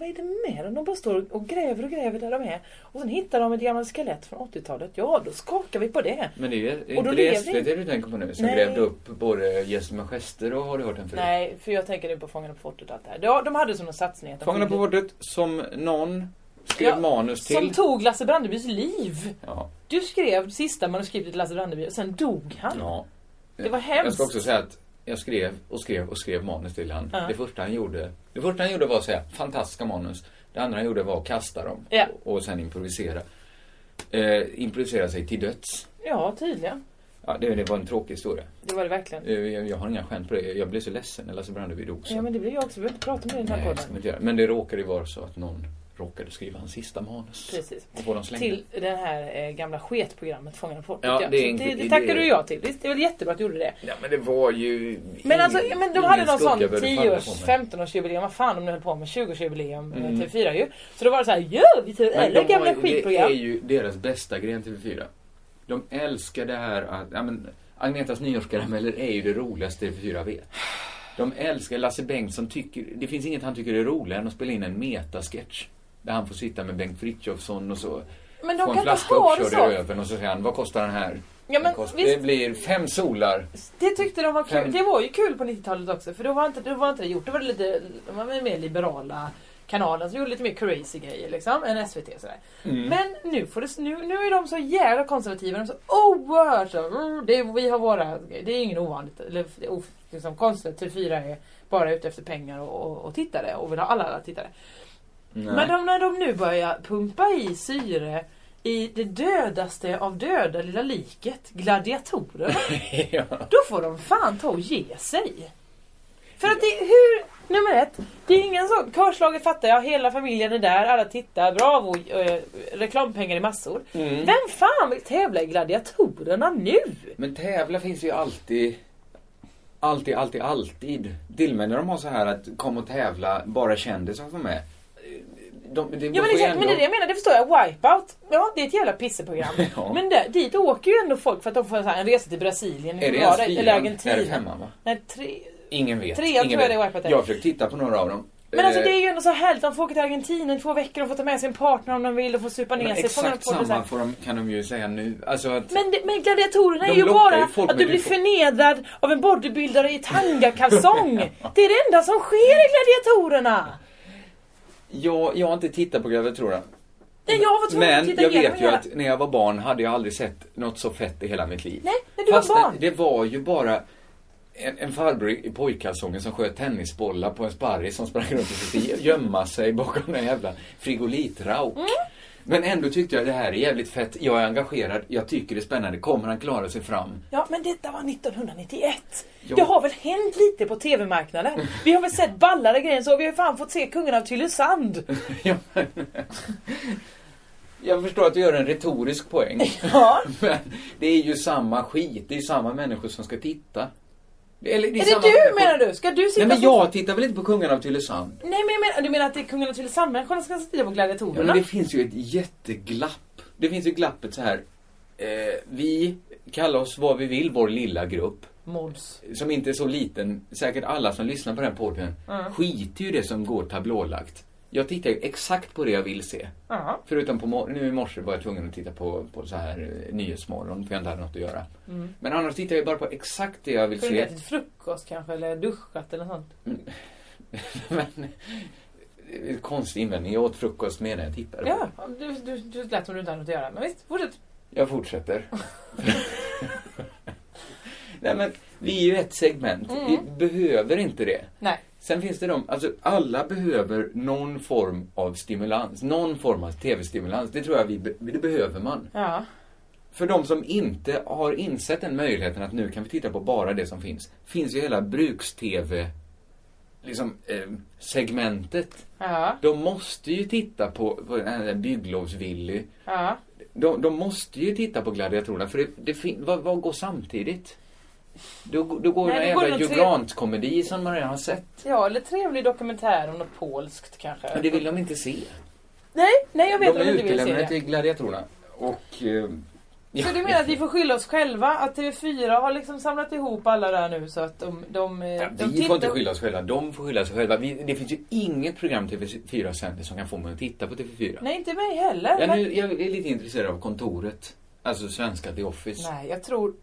Vad är det med dem? De bara står och gräver och gräver där de är. Och sen hittar de ett gammalt skelett från 80-talet. Ja, då skakar vi på det.
Men det är ju
Och då
inte det
lever
SVT du tänker på nu som
Nej.
grävde upp både Gäster med gester och Har du hört den förut?
Nej, för jag tänker nu på Fångarna på fortet och allt det här. Ja, De hade som en satsning att de
Fångarna på
skyldig-
bordet som någon skrev
Ja,
manus till.
Som tog Lasse Brandebys liv.
Ja.
Du skrev sista manuskriptet till Lasse Brandeby och sen dog han.
Ja.
Det var
Jag
hemskt.
ska också säga att jag skrev och skrev och skrev manus till han.
Ja.
Det första han gjorde, det första han gjorde var att säga fantastiska manus. Det andra han gjorde var att kasta dem
Ja.
och sen improvisera. Eh, improvisera sig till döds.
Ja, tydligen.
Ja, det, det var en tråkig historia.
Det var det verkligen.
Eh, Jag, jag har inga skämt på det. Jag blev så ledsen när Lasse Brandeby dog. Så.
Ja, men det blir jag också. Vi behöver inte prata om det i den här
Nej, det ska
podden.
man inte göra. Men det råkade ju vara så att någon råkade skriva hans sista manus.
Precis.
Och få dem slängda.
Till det här eh, gamla sketprogrammet Fångarna på fortet.
Ja, det är
Så
inte-
det, det
det-
tackar du och jag till. Visst, det är väl jättebra att du gjorde det.
Ja men det var ju...
Men
ingen-
alltså, men de
ingen
hade någon
skugga
sån
behövde falla
10-års,
på mig.
15-årsjubileum, vad fan om nu höll på med 20-årsjubileum med
Mm.
TV4 ju. Så då var det så här, ja vi tar
Men
alla
de har
gamla
ju- Det
skitprogram.
är ju deras bästa gren TV4. De älskar det här att, ja men Agnetas nyårskarameller är ju det roligaste TV4 vet. De älskar Lasse Bengtsson tycker, det finns inget han tycker är roligare än att spela in en metasketch. Där han får sitta med Bengt Frithiofsson och så.
Men de
får
kan
en
inte
flaska
ha det
uppkörd i
så.
röven och så säger han, vad kostar den här?
Ja, men
Den kost-
visst.
Det blir fem solar.
Det tyckte de var kul.
Fem-
Det var ju kul på 90-talet också för då var inte, då var inte det gjort. Då var det lite, de var mer liberala kanalen som gjorde lite mer crazy grejer liksom än SVT och sådär.
Mm.
Men nu, får det, nu, nu är de så jävla konservativa. De är så oerhört så, "Mm, det, är- vi har våra grejer." Det är ingen ovanligt, eller det är of- liksom, konstigt. TV4 är bara ute efter pengar och, och, och tittare och vill ha alla, alla tittare. Men de, när de nu börjar pumpa i syre i det dödaste av döda lilla liket, gladiatorerna. Då får de fan ta och ge sig. För att det är hur... Nummer ett, det är ingen sån... Körslaget fattar jag, hela familjen är där, alla tittar, bravo, eh, reklampengar i massor.
Mm.
Vem fan vill tävla i gladiatorerna nu?
Men tävla finns ju alltid. Alltid, alltid, alltid. Till och med när de har så här att kom och tävla, bara kändisar får med. De, det,
Ja men exakt, men det är det jag menar, det förstår jag. Wipeout, ja det är ett jävla pisseprogram.
Ja.
Men där, dit åker ju ändå folk för att de får så här, en resa till Brasilien,
Är det
Uruguay
ens fyran?
eller
Är det
Argentina.
femman va?
Nej, tre...
Ingen vet.
Trean
Ingen
tror jag
vet.
det är Wipeout är.
Jag har försökt titta på några av dem.
Men alltså
Eh,
det är ju ändå så härligt, de får åka till Argentina i två veckor, de får ta med sin partner om de vill, de får supa
men
ner sig. fånga
Exakt
på det så här.
samma får de, kan de ju säga nu. Alltså att...
Men, det- men gladiatorerna
De
är ju
lockar
bara
ju folk,
att
men
du
du
blir
får-
förnedrad av en bodybuildare i tangakalsong. det är det enda som sker i gladiatorerna.
Jag, jag har inte tittat på Gladiatorerna.
Nej, jag var tvungen att
Men
titta
jag
igenom
vet ju
hela-
att när jag var barn hade jag aldrig sett något så fett i hela mitt liv.
Nej, när du var
det-
barn.
det var ju bara en, en farbror i pojkkalsongen som sköt tennisbollar på en sparris som sprang runt och försökte gömma sig bakom en jävla frigolitrauk.
Mm.
Men ändå tyckte jag det här är jävligt fett, jag är engagerad, jag tycker det är spännande, kommer han klara sig fram?
Ja, men detta var 1991.
Jo.
Det har väl hänt lite på TV-marknaden. Vi har väl sett ballare grejer så. Vi har ju fan fått se kungen av Tylösand.
Jag förstår att du gör en retorisk poäng.
Ja.
Men det är ju samma skit, det är ju samma människor som ska titta. Eller,
Är det du menar du? Ska du sitta
Nej men
och-
jag tittar väl inte på Kungarna av Tylösand?
Nej men jag menar, du menar att det är kungen av Tylösand-människorna som ska titta på
Ja,
gladiatorerna?
men det finns ju ett jätteglapp. Det finns ju glappet så här. Eh, vi kallar oss vad vi vill, vår lilla grupp.
Mods.
Som inte är så liten. Säkert alla som lyssnar på den här podden
Mm.
skiter ju i det som går tablålagt. Jag tittar ju exakt på det jag vill se.
Ja.
Förutom på mor- nu i morse var jag tvungen att titta på, på så här eh, Nyhetsmorgon för jag inte hade något att göra.
Mm.
Men annars tittar jag bara på exakt det jag vill
För du
se.
ätit frukost kanske eller duschat eller sånt.
Men, eh, konstig invändning. Jag åt frukost medan jag tittade på
Ja, du, du, du lät som du inte hade något att göra. Men visst, fortsätt.
Jag fortsätter. Nej men, vi är ju ett segment. Vi
Mm.
behöver inte det.
Nej.
Sen finns det de, alltså alla behöver någon form av stimulans. Någon form av tv-stimulans. Det tror jag vi, be- det behöver man.
Ja.
För de som inte har insett den möjligheten att nu kan vi titta på bara det som finns. Finns ju hela bruks-tv, liksom, eh, segmentet.
Ja.
De måste ju titta på, på den här bygglovsvilly.
Ja.
De, de måste ju titta på gladiatorerna för det, det fin- vad, vad går samtidigt? Då, då går
Nej,
Nej,
då
en
går
jävla
det nog tre-
Jugrant-komedi som man redan har sett.
Ja, eller trevlig dokumentär om något polskt kanske.
Men det vill de inte se.
Nej, nej jag vet
de
att
är
de inte vill se
utelämnade
det.
till gladiatorerna. Och... Eh,
Så du menar att vi får skylla oss själva? Att TV4 har liksom samlat ihop alla där nu så att de... de, eh, de
Vi
tittar-
får inte skylla oss själva, de får skylla sig själva. Vi, det finns ju inget program TV4 sänder som kan få mig att titta på TV4.
Nej, inte mig heller.
Jag,
men-
nu, jag är lite intresserad av kontoret. Alltså svenska The Office.
Nej, jag tror...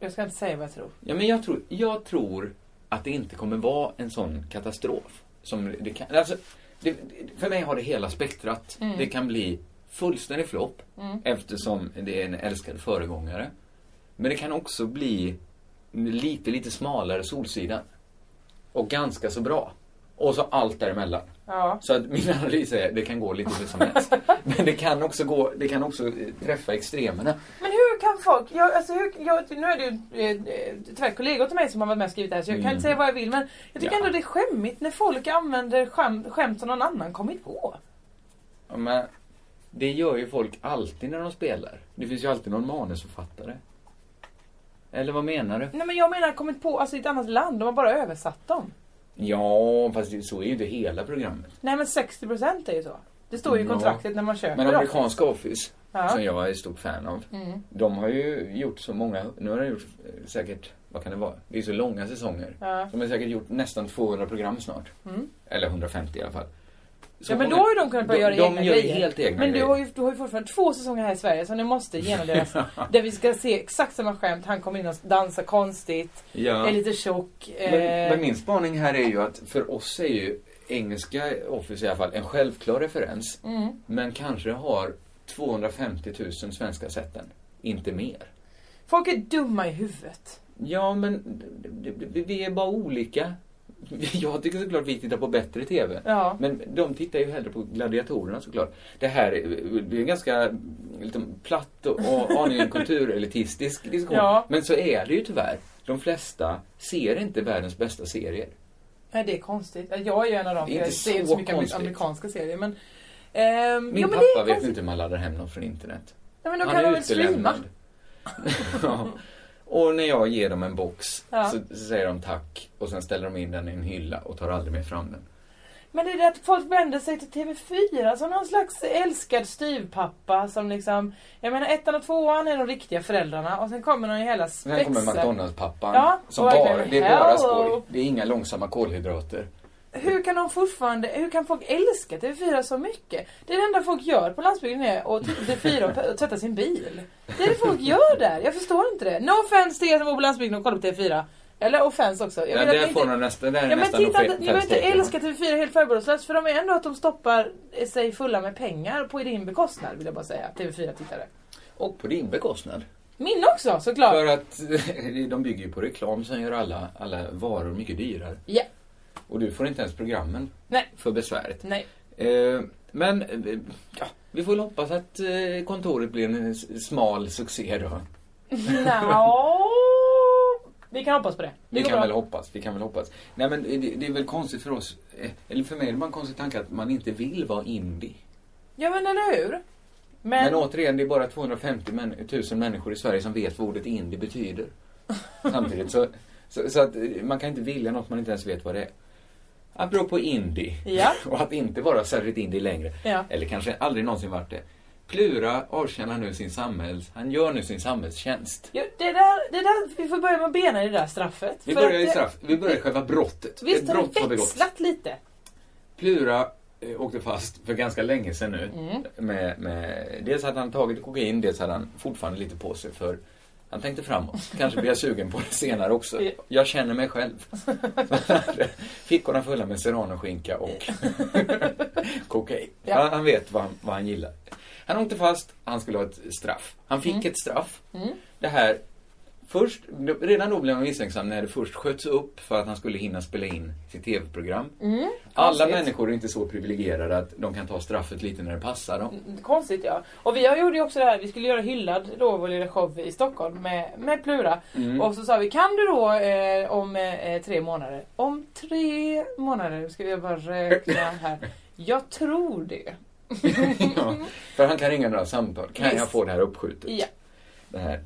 Jag ska inte säga vad jag tror.
Ja, men jag, tror, jag tror att det inte kommer vara en sån katastrof. Som det kan, alltså, det, det- för mig har det hela spektrat.
Mm.
Det kan bli fullständig flopp
Mm.
eftersom det är en älskad föregångare. Men det kan också bli lite, lite smalare Solsidan. Och ganska så bra. Och så allt däremellan.
Ja.
Så att min analys är det kan gå lite hur som helst. Men det kan också, gå, det kan också eh, träffa extremerna.
Men hur kan folk... Jag, alltså, hur, jag, nu är det ju eh, eh, tyvärr kollegor till mig som har varit med och skrivit det här så jag kan
Mm.
inte säga vad jag vill men jag tycker
Ja.
ändå det är skämmigt när folk använder skämt, skämt som någon annan kommit på.
Ja, Men det gör ju folk alltid när de spelar. Det finns ju alltid någon manusförfattare. Eller vad menar du?
Nej men jag menar kommit på alltså, i ett annat land, de har bara översatt dem.
Ja, fast det- så är ju inte hela programmet.
Nej men 60% är ju så. Det står ju i
Ja.
kontraktet när man köper
Men
dem.
amerikanska Office,
Ja.
som jag är stor fan av.
Mm.
De har ju gjort så många, nu har de gjort eh, säkert, vad kan det vara? Det är så långa säsonger.
Ja.
De har säkert gjort nästan 200 program snart.
Mm.
Eller 150 i alla fall. Så
Ja men då
många-
har ju de kunnat börja
de,
göra
de
egna
gör ju
grejer.
helt egna
men
grejer.
Du, har ju, du har ju fortfarande två säsonger här i Sverige som du måste genomlösa. där vi ska se exakt samma skämt. Han kommer in och dansar konstigt.
Ja.
Är lite tjock. Eh,
Men, men min spaning här är ju att för oss är ju engelska Office i alla fall en självklar referens.
Mm.
Men kanske har 250 000 svenska sätten. Inte mer.
Folk är dumma i huvudet.
Ja, men d- d- d- vi är bara olika. Jag tycker såklart vi tittar på bättre TV.
Ja.
Men de tittar ju hellre på gladiatorerna såklart. Det här är, det är en ganska lite platt och, och aningen kulturelitistisk diskussion.
Ja.
Men så är det ju tyvärr. De flesta ser inte världens bästa serier.
Nej det är konstigt. Jag är ju en av dem.
Det är inte
jag ser
så
så mycket
konstigt.
amerikanska serier. Men, ehm,
Min
ja, men det
pappa
är
vet
konstigt.
inte hur man laddar hem någon från internet.
Nej, men då
Han
kan
är
de väl streama.
utelämnad. ja. Och när jag ger dem en box
Ja.
så, så säger de tack och sen ställer de in den i en hylla och tar aldrig mer fram den.
Men det är det att folk vänder sig till TV4 som någon slags älskad styvpappa som liksom... Jag menar ettan och tvåan är de riktiga föräldrarna och sen kommer någon i hela
Sen kommer
spexen.
McDonalds-pappan.
Ja,
som
och
bara,
verkligen,
det är bara
hello.
skoj. Det är inga långsamma kolhydrater.
Hur kan de fortfarande... Hur kan folk älska TV4 så mycket? Det är det enda folk gör på landsbygden är att titta på TV4 och t- och tvätta sin bil. Det är det folk gör där. Jag förstår inte det. No offense till er som bor på landsbygden och kollar på TV4. Eller offense också. Jag
Ja,
menar att
där
ni
får
inte-
de nästan, där är
Ja men
nästan
titta,
ofe-
ni behöver inte
offensive.
älska TV4 helt förbehållslöst för de är ändå att de stoppar sig fulla med pengar på din bekostnad vill jag bara säga, TV4-tittare.
Och på din bekostnad.
Min också såklart!
För att de bygger ju på reklam som gör alla, alla varor mycket dyrare.
Ja.
Och du får inte ens programmen
Nej.
för besväret.
Nej.
Eh, men eh, ja, vi får väl hoppas att eh, kontoret blir en s- smal succé då.
Nå. Vi kan hoppas på det. Det
Vi
går
kan
bra.
väl hoppas, vi kan väl hoppas. Nej men eh, det, det är väl konstigt för oss, eh, eller för mig är det bara en konstig tanke att man inte vill vara indie.
Ja men eller hur?
Men,
Men,
återigen, det är bara 250 män, 000 människor i Sverige som vet vad ordet indie betyder. Samtidigt så, så, så att eh, man kan inte vilja något man inte ens vet vad det är. Apropå indie,
Ja.
och att inte vara särskilt indie längre,
Ja.
eller kanske aldrig någonsin varit det. Plura avtjänar nu sin samhälls... Han gör nu sin samhällstjänst.
ja, det, där, det där, vi får börja med benen i det där straffet.
Vi
För
börjar
att
i
det-
straff. Vi börjar i själva brottet. Ett
Visst har
brott
det
har begåtts.
växlat lite?
Plura eh, åkte fast för ganska länge sedan nu. Med, med, dels hade han tagit kokain, dels hade han fortfarande lite på sig för han tänkte framåt. Kanske blir jag sugen på det senare också. Jag känner mig själv. Fickorna fulla med serranoskinka och kokain.
Ja.
Han, han vet vad han, vad han gillar. Han åkte fast, han skulle ha ett straff. Han fick ett straff. Det här Först, redan då blev han misstänksam när det först sköts upp för att han skulle hinna spela in sitt tv-program.
Mm,
Alla människor är inte så privilegierade att de kan ta straffet lite när det passar dem.
Konstigt ja. Och vi gjorde ju också det här, vi skulle göra Hyllad då, vår lilla show i Stockholm med, med Plura.
Mm.
Och så sa vi, kan du då eh, om eh, tre månader? Om tre månader, nu ska vi bara räkna här. Jag tror det.
ja, för han kan ringa några samtal. Kan
Mm. Visst.
jag få det här uppskjutet?
Ja.
Det här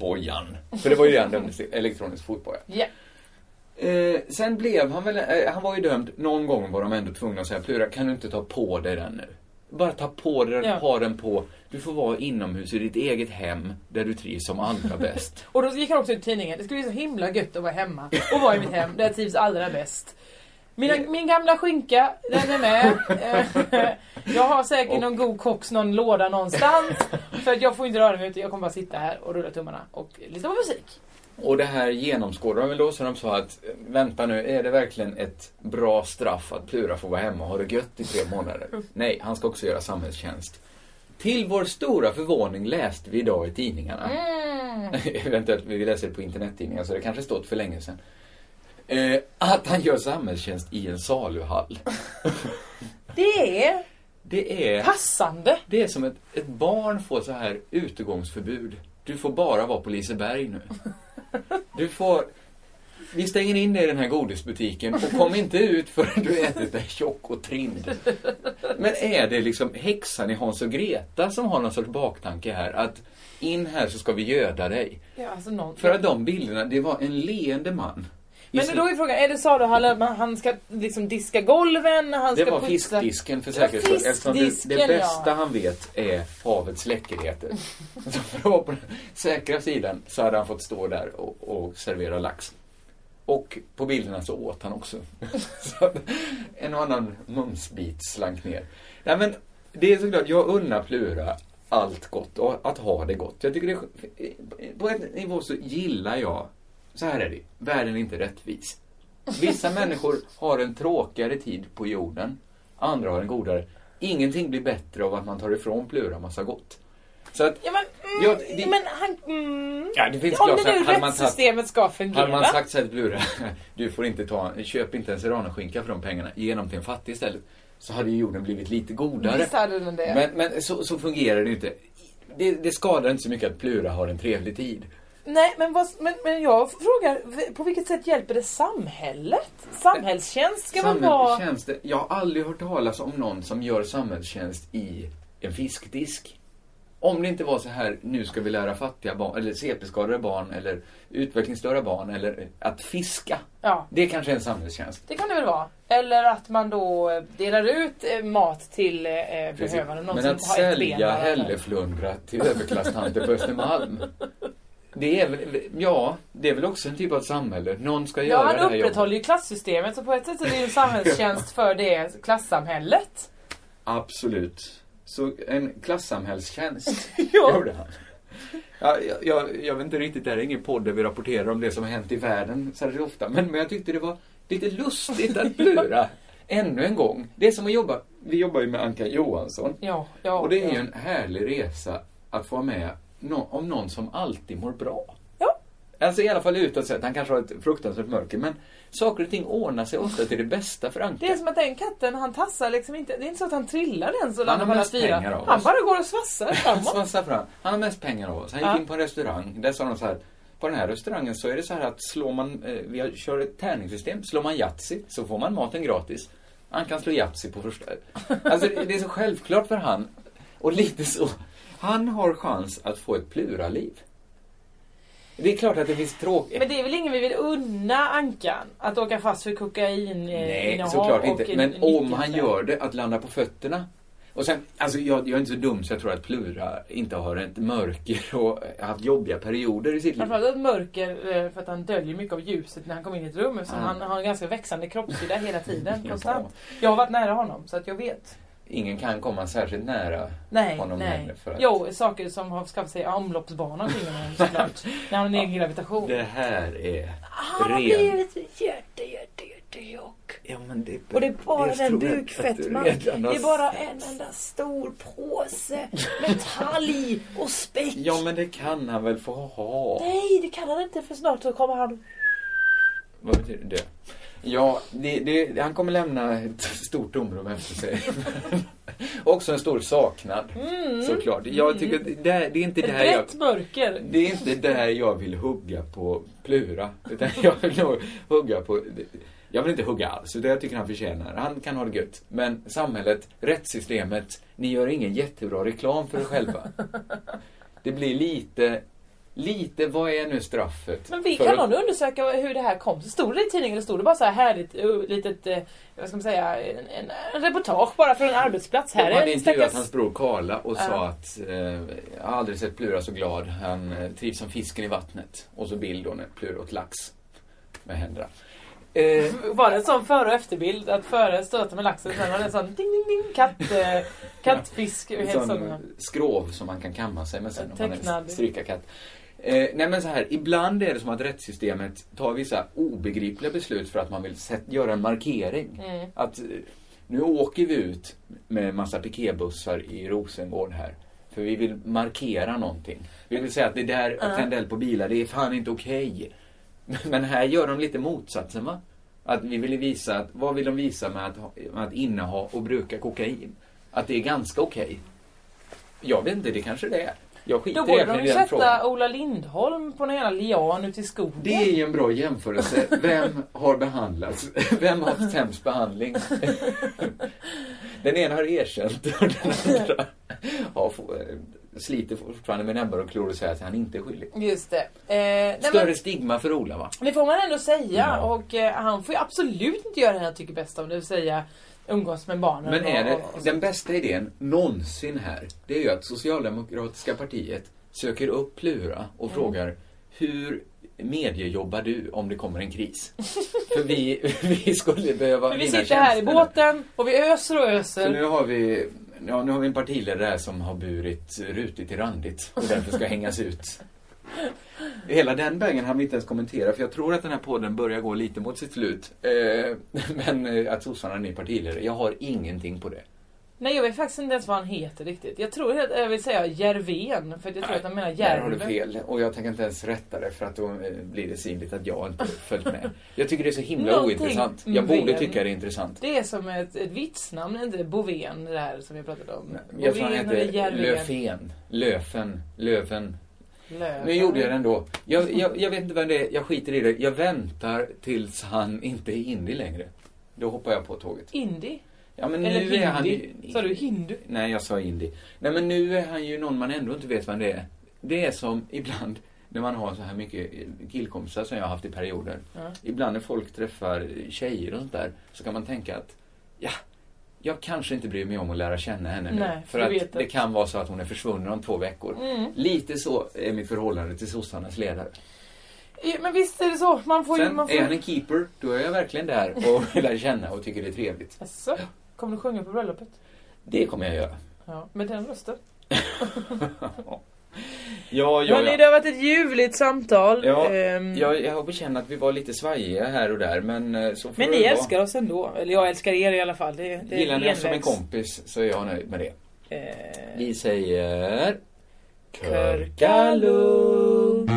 Bojan. För det var ju det han dömdes till, elektronisk fotboja.
Ja.
Eh, sen blev han väl, eh, han var ju dömd, någon gång var de ändå tvungna att säga Plura, kan du inte ta på dig den nu? Bara ta på dig den,
Ja.
ha den på. Du får vara inomhus i ditt eget hem där du trivs som allra bäst.
Och då gick han också ut i tidningen. Det skulle bli så himla gött att vara hemma och vara i mitt hem där jag trivs allra bäst. Mina, min gamla skinka, den är med. Eh, Jag har säkert någon god koks, någon låda någonstans. För att jag får inte röra mig ute, jag kommer bara sitta här och rulla tummarna och lyssna på musik.
Och det här genomskådade de väl då så de sa att eh, vänta nu, är det verkligen ett bra straff att Plura får vara hemma och ha det gött i tre månader? Nej, han ska också göra samhällstjänst. Till vår stora förvåning läste vi idag i tidningarna. Eventuellt, vi läser det på internettidningar så det kanske stått för länge sedan. Eh, att han gör samhällstjänst i en saluhall.
Det är
Det är...
passande.
Det är som ett, ett barn får så här utegångsförbud. Du får bara vara på Liseberg nu. Du får... Vi stänger in dig i den här godisbutiken och kom inte ut förrän du ätit dig tjock och trimd. Men är det liksom häxan i Hans och Greta som har någon sorts baktanke här? Att in här så ska vi göda dig.
Ja, alltså någon...
För att de bilderna, det var en leende man. I
Men
sin-
då är frågan, är det saluhallen, men han ska liksom diska golven, han
Det
ska
var
putsa-
fiskdisken för
Det var
säkerhets skull. Eftersom det, det
fiskdisken,
bästa
ja.
han vet är havets läckerheter. så för att vara på den säkra sidan så hade han fått stå där och, och servera lax. Och på bilderna så åt han också. så att en och annan mumsbit slank ner. Nej men, det är såklart, jag unnar Plura allt gott och att ha det gott. Jag tycker det, på en nivå så gillar jag, så här är det, världen är inte rättvis. Vissa människor har en tråkigare tid på jorden, andra har en godare. Ingenting blir bättre av att man tar ifrån Plura massa gott. Så att,
Ja, men, mm,
Ja, det-
men han... Mm,
Ja, det finns
om
klart
det
så här,
nu
hade man tagit-
rättssystemet ska fungera.
hade man sagt så här till Plura, du får inte ta, köp inte en serranoskinka för de pengarna, ge dem till en fattig istället. Så hade ju jorden blivit lite godare.
Visst hade den det.
Men, men så, så fungerar det inte. Det, det skadar inte så mycket att Plura har en trevlig tid.
Nej, men, vad, men, men jag frågar, v- på vilket sätt hjälper det samhället? Samhällstjänst ska väl vara...
Samhällstjänst, jag har aldrig hört talas om någon som gör samhällstjänst i en fiskdisk. Om det inte var så här, nu ska vi lära fattiga barn, eller CP-skadade barn, eller utvecklingsstörda barn, eller att fiska.
Ja.
Det kanske är en samhällstjänst.
Det kan det väl vara. Eller att man då eh, delar ut eh, mat till eh, behövande. Någon
Men
som
att
har ett ben
sälja
bara.
hälleflundra till överklasstanter på Östermalm. Det är väl, ja, det är väl också en typ av samhälle. Någon ska
Ja,
göra det
han
här jobbet.
upprätthåller ju klassystemet så på ett sätt är det ju en samhällstjänst för det klassamhället.
Absolut. Så en klassamhällstjänst
Ja.
gjorde han. Ja, jag, jag, jag vet inte riktigt, det här är ingen podd där vi rapporterar om det som har hänt i världen särskilt ofta. Men, men jag tyckte det var lite lustigt att plura ännu en gång. Det är som att jobba, vi jobbar ju med Anka Johansson.
Ja, ja,
och det är
ja.
ju en härlig resa att få vara med nå- om någon som alltid mår bra.
Ja.
Alltså i alla fall utåt sett, han kanske har ett fruktansvärt mörker men saker och ting ordnar sig ofta till det bästa för Anka.
Det är som att den katten, han tassar liksom inte. Det är inte så att han trillar den så landar
har
på alla
mest pengar
fyra.
av
Han
oss.
bara går och svassar
Han
framåt.
svansade fram. Han har mest pengar av oss. Han gick in på en restaurang. Där sa de så här. På den här restaurangen så är det så här att slår man, eh, vi har, kör ett tärningssystem. Slår man Yatzy så får man maten gratis. Han kan slå Yatzy på första. Alltså det det är så självklart för han. Och lite så. Han har chans att få ett pluraliv. Det är klart att det finns tråkigt.
Men det är väl ingen vi vill unna Ankan? Att åka fast för kokain eh,
Eh,
Nej, såklart inte. Men om han gör det, att landa på fötterna. Och sen, alltså jag, jag är inte så dum så jag tror att Plura inte har ett mörker och haft jobbiga perioder i sitt liv.
Framförallt ett mörker eh, för att han döljer mycket av ljuset när han kommer in i ett rum eftersom han har en ganska växande kroppshydda hela tiden.
Ja.
konstant. Jag har varit nära honom så att jag vet.
Ingen kan komma särskilt nära
Nej,
honom
nej.
heller. För att
Jo, saker som har skaffat sig omloppsbana omkring honom såklart. när han har en egen gravitation.
det här är
Han har
ren...
blivit jätte, jätte, jättetjock.
Ja, men det,
Och det är bara
jag
en
tror att-
bukfettman.
att
Det
du redan har
är bara en enda stor påse med talg och späck.
Ja, men det kan han väl få ha.
Nej, det kan han inte för snart så kommer han...
Vad betyder det? Ja, det, det, han kommer lämna ett stort tomrum efter sig. Också en stor saknad, såklart. Jag tycker att det, det är inte
Mm. Ett
där jag...
brett mörker.
Det är inte där jag vill hugga på Plura. Utan jag vill nog hugga på... Jag vill inte hugga alls, utan jag tycker han förtjänar. Han kan ha det gött. Men samhället, rättssystemet, ni gör ingen jättebra reklam för er själva. Det blir lite, lite, vad är nu straffet?
Men vi,
För
kan
att-
någon undersöka hur det här kom? Så stod det i tidningen eller stod det bara så här härligt, ö, litet, eh, vad ska man säga, en, en, en reportage bara från en arbetsplats här?
De hade
är en
intervjuat
stackars-
hans bror Karla och sa
Ja.
att eh, jag har aldrig sett Plura så glad. Han eh, trivs som fisken i vattnet. Och så bild då när Plura åt lax med händerna. Eh,
Var det en sån före och efterbild? Att före stöter med laxen, sen var det en sån ding ding ding katt, eh, kattfisk.
en
helt
sån
sån, ja.
skrov som man kan kamma sig med sen om man är
Tecknad.
strykarkatt. Eh, nej men så här, ibland är det som att rättssystemet tar vissa obegripliga beslut för att man vill sätt, göra en markering.
Mm.
Att eh, nu åker vi ut med massa piketbussar i Rosengård här. För vi vill markera någonting. Vi vill säga att det där
Ja.
Attendell på bilar, det är fan inte okej. Men här gör de lite motsatsen va? Att vi ville visa, att, vad vill de visa med att, ha- med att inneha och bruka kokain? Att det är ganska okej. Jag vet inte, det kanske det är. Jag skiter
Då borde
egentligen
de ju
i den
sätta
frågan.
Ola Lindholm på någon jävla lian ute i skogen.
Det är ju en bra jämförelse. Vem har behandlats? Vem har haft sämst behandling? Den ena har erkänt och den andra har, få- sliter fortfarande med näbbar och klor och säger att han inte är skyldig.
Just det. Eh, nej, men-
Större stigma för Ola va?
Det får man ändå säga
Ja.
och eh, han får ju absolut inte göra det han tycker bäst om, det vill säga umgås med barnen.
Men är
och,
det,
och, och,
den bästa idén någonsin här, det är ju att Socialdemokratiska partiet söker upp Plura och frågar hur mediejobbar du om det kommer en kris? För vi, vi skulle behöva
För vi
dina
sitter här i
tjänster.
båten och vi öser och
Så nu
öser.
har vi, ja, nu har vi en partiledare här som har burit rutigt till randigt och därför ska hängas ut. Hela den vägen hann vi inte ens kommentera för jag tror att den här podden börjar gå lite mot sitt slut. Eh, men eh, att sossarna är ny partiledare, jag har ingenting på det.
Nej jag vet faktiskt inte ens vad han heter riktigt. Jag tror att jag vill säga Järven för jag tror att han menar
Där har du
Järv.
fel. Och jag tänker inte ens rätta det för att då eh, blir det synligt att jag inte följt med. Jag tycker det är så himla
Någonting
ointressant. Jag borde
med-
tycka det är intressant.
Det är som ett, ett vitsnamn, är inte det Bovén det här som vi pratade om?
Jag tror han
Bovén eller
heter
Järvingen?
Löfven. Löfen. Löfen.
Löven.
Nu gjorde jag det ändå. Jag, jag, jag vet inte vem det är. Jag skiter i det. Jag väntar tills han inte är indie längre. Då hoppar jag på tåget.
Indi?
Ja, men
Eller
nu är han ju...
hindi? Sa du hindu?
Nej, jag sa indie. Nej, men nu är han ju någon man ändå inte vet vem det är. Det är som ibland när man har så här mycket eh, killkompisar som jag har haft i perioder.
Ja.
Ibland när folk träffar tjejer och sånt där så kan man tänka att ja, jag kanske inte bryr mig om att lära känna henne nu.
Nej,
för
du
att
vet
det
att-
kan vara så att hon är försvunnen om två veckor.
Mm.
Lite så är mitt förhållande till sossarnas ledare.
Ja, Men visst är det så. Man får ju...
Sen
Man får...
är han en keeper, då är jag verkligen där och lär känna och tycker det är trevligt.
Jaså? Kommer du sjunga på bröllopet?
Det kommer jag göra.
Ja, med den rösten.
Ja, ja,
Hörni,
ja.
det har varit ett ljuvligt samtal.
Ja,
Ehm,
jag, jag har på känn att vi var lite svajiga här och där men eh, så får
Men
det
ni
vara.
älskar oss ändå. Eller jag älskar er i alla fall. Det, det är
Gillar ni oss som en
genvägs.
kompis så är jag nöjd med det.
Ehm,
Vi säger...
Körkalund.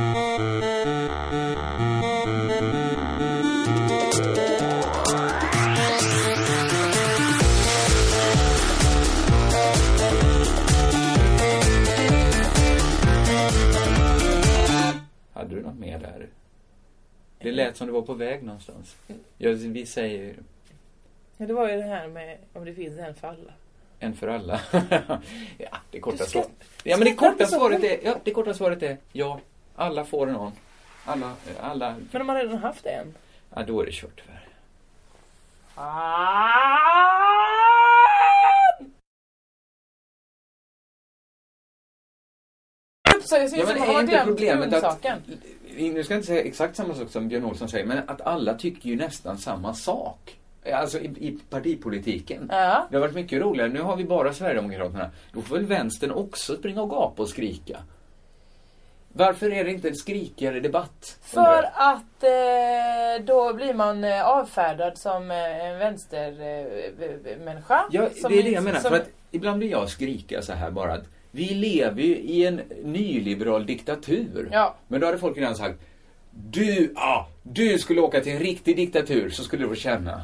Hade du något mer där? Det lät som du var på väg någonstans. Ja, vi säger
Ja, det var ju det här med om det finns en för alla.
en för alla. ja, det korta
Du ska-
svaret. Ja, men det
skrattar
korta
så
svaret är, ja, det korta svaret är ja. Alla får en on. Alla, alla,
Men om man redan haft en?
ja då är det kört tyvärr.
Så jag
Ja,
syns
men
som att man
är
har
inte
glömt
problemet att...
grundsaken.
Nu ska jag inte säga exakt samma sak som Björn Olsson säger, men att alla tycker ju nästan samma sak. Alltså i, i partipolitiken.
Ja.
Det har varit mycket roligare. Nu har vi bara Sverigedemokraterna. Då får väl vänstern också springa och gapa och skrika. Varför är det inte en skrikigare debatt?
För att eh, då blir man eh, avfärdad som eh, en vänstermänniska. Eh,
Ja,
som
det är
in-
det jag menar.
som-
För att ibland blir jag skrika så här bara att vi lever ju i en nyliberal diktatur.
Ja.
Men då hade folk redan sagt du, ah, du skulle åka till en riktig diktatur så skulle du få känna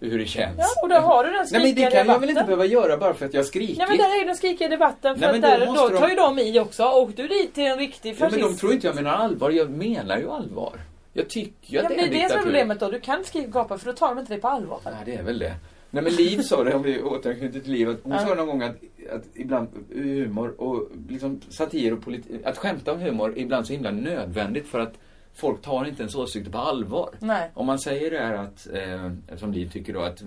hur det känns.
Ja, och då har du den
Nej men det
skrikiga
kan jag väl inte
debatten.
behöva göra bara för att jag skrikit.
Nej men där är ju den skrikiga debatten för
Nej, men
att
då
där, då
måste de-
tar ju de i också. Åk du dit till en riktig
ja,
fascist.
men de tror inte jag menar allvar. Jag menar ju allvar. Jag tycker ju
Ja,
att
men
det är en
det är det som
diktatur.
är problemet då. Du kan inte skrika och gapa för då tar de inte dig på allvar.
Nej, det är väl det. Nej men Liv sa det, om vi återknyter till Liv, att hon
Ja.
sa någon gång att, att ibland humor och liksom satir och politik, att skämta om humor är ibland så himla nödvändigt för att folk tar inte ens åsikter på allvar.
Nej.
Om man säger det här att, eh, som Liv tycker då, att eh,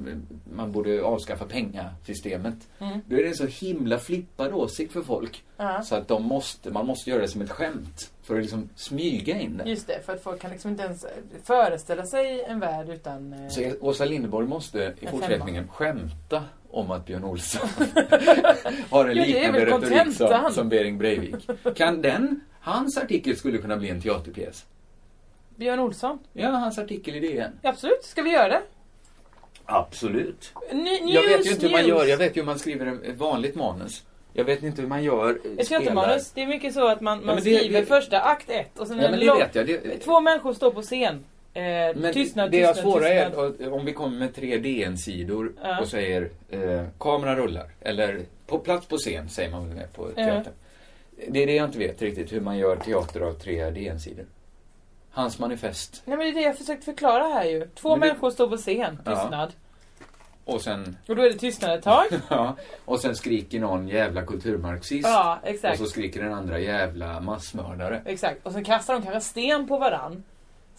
man borde avskaffa pengasystemet.
Mm.
Då är det en så himla flippad åsikt för folk.
Ja.
Så att de måste, man måste göra det som ett skämt. För att liksom smyga in det.
Just det, för att folk kan liksom inte ens föreställa sig en värld utan... eh,
Så Åsa Linderborg måste i
En
fortsättningen skämta om att Björn Olsson har en
Jo, det är
liknande
väl
retorik som,
kontentan.
som Bering Breivik. Kan den, hans artikel skulle kunna bli en teaterpjäs.
Björn Olsson?
Ja, hans artikel i DN.
Absolut, ska vi göra det?
Absolut.
Ny, news,
Jag vet ju inte hur man
news.
gör, jag vet ju hur man skriver ett vanligt manus. Jag vet inte hur man gör, eh,
Ett teatermanus, det är mycket så att man, man
men det-
skriver
det-
första akt ett och sen
Nej
en
men det
lång...
vet jag. Det,
Två människor står på scen. Eh,
Men
tystnad,
det jag
tystnad,
svåra
tystnad.
är att om vi kommer med tre DN-sidor
Ja.
och säger eh, kamera rullar eller på plats på scen säger man väl med på teatern. Det är det jag inte vet riktigt hur man gör teater av tre DN-sidor. Hans manifest
Nej men det är det jag försökt förklara här ju. Två
Men det-
människor står på scen,
Ja.
tystnad.
och sen,
Och då är det tystnad ett tag.
ja, och sen skriker någon jävla kulturmarxist
ja,
och
exakt.
så skriker den andra jävla massmördare.
Exakt. Och sen kastar de kanske sten på varann.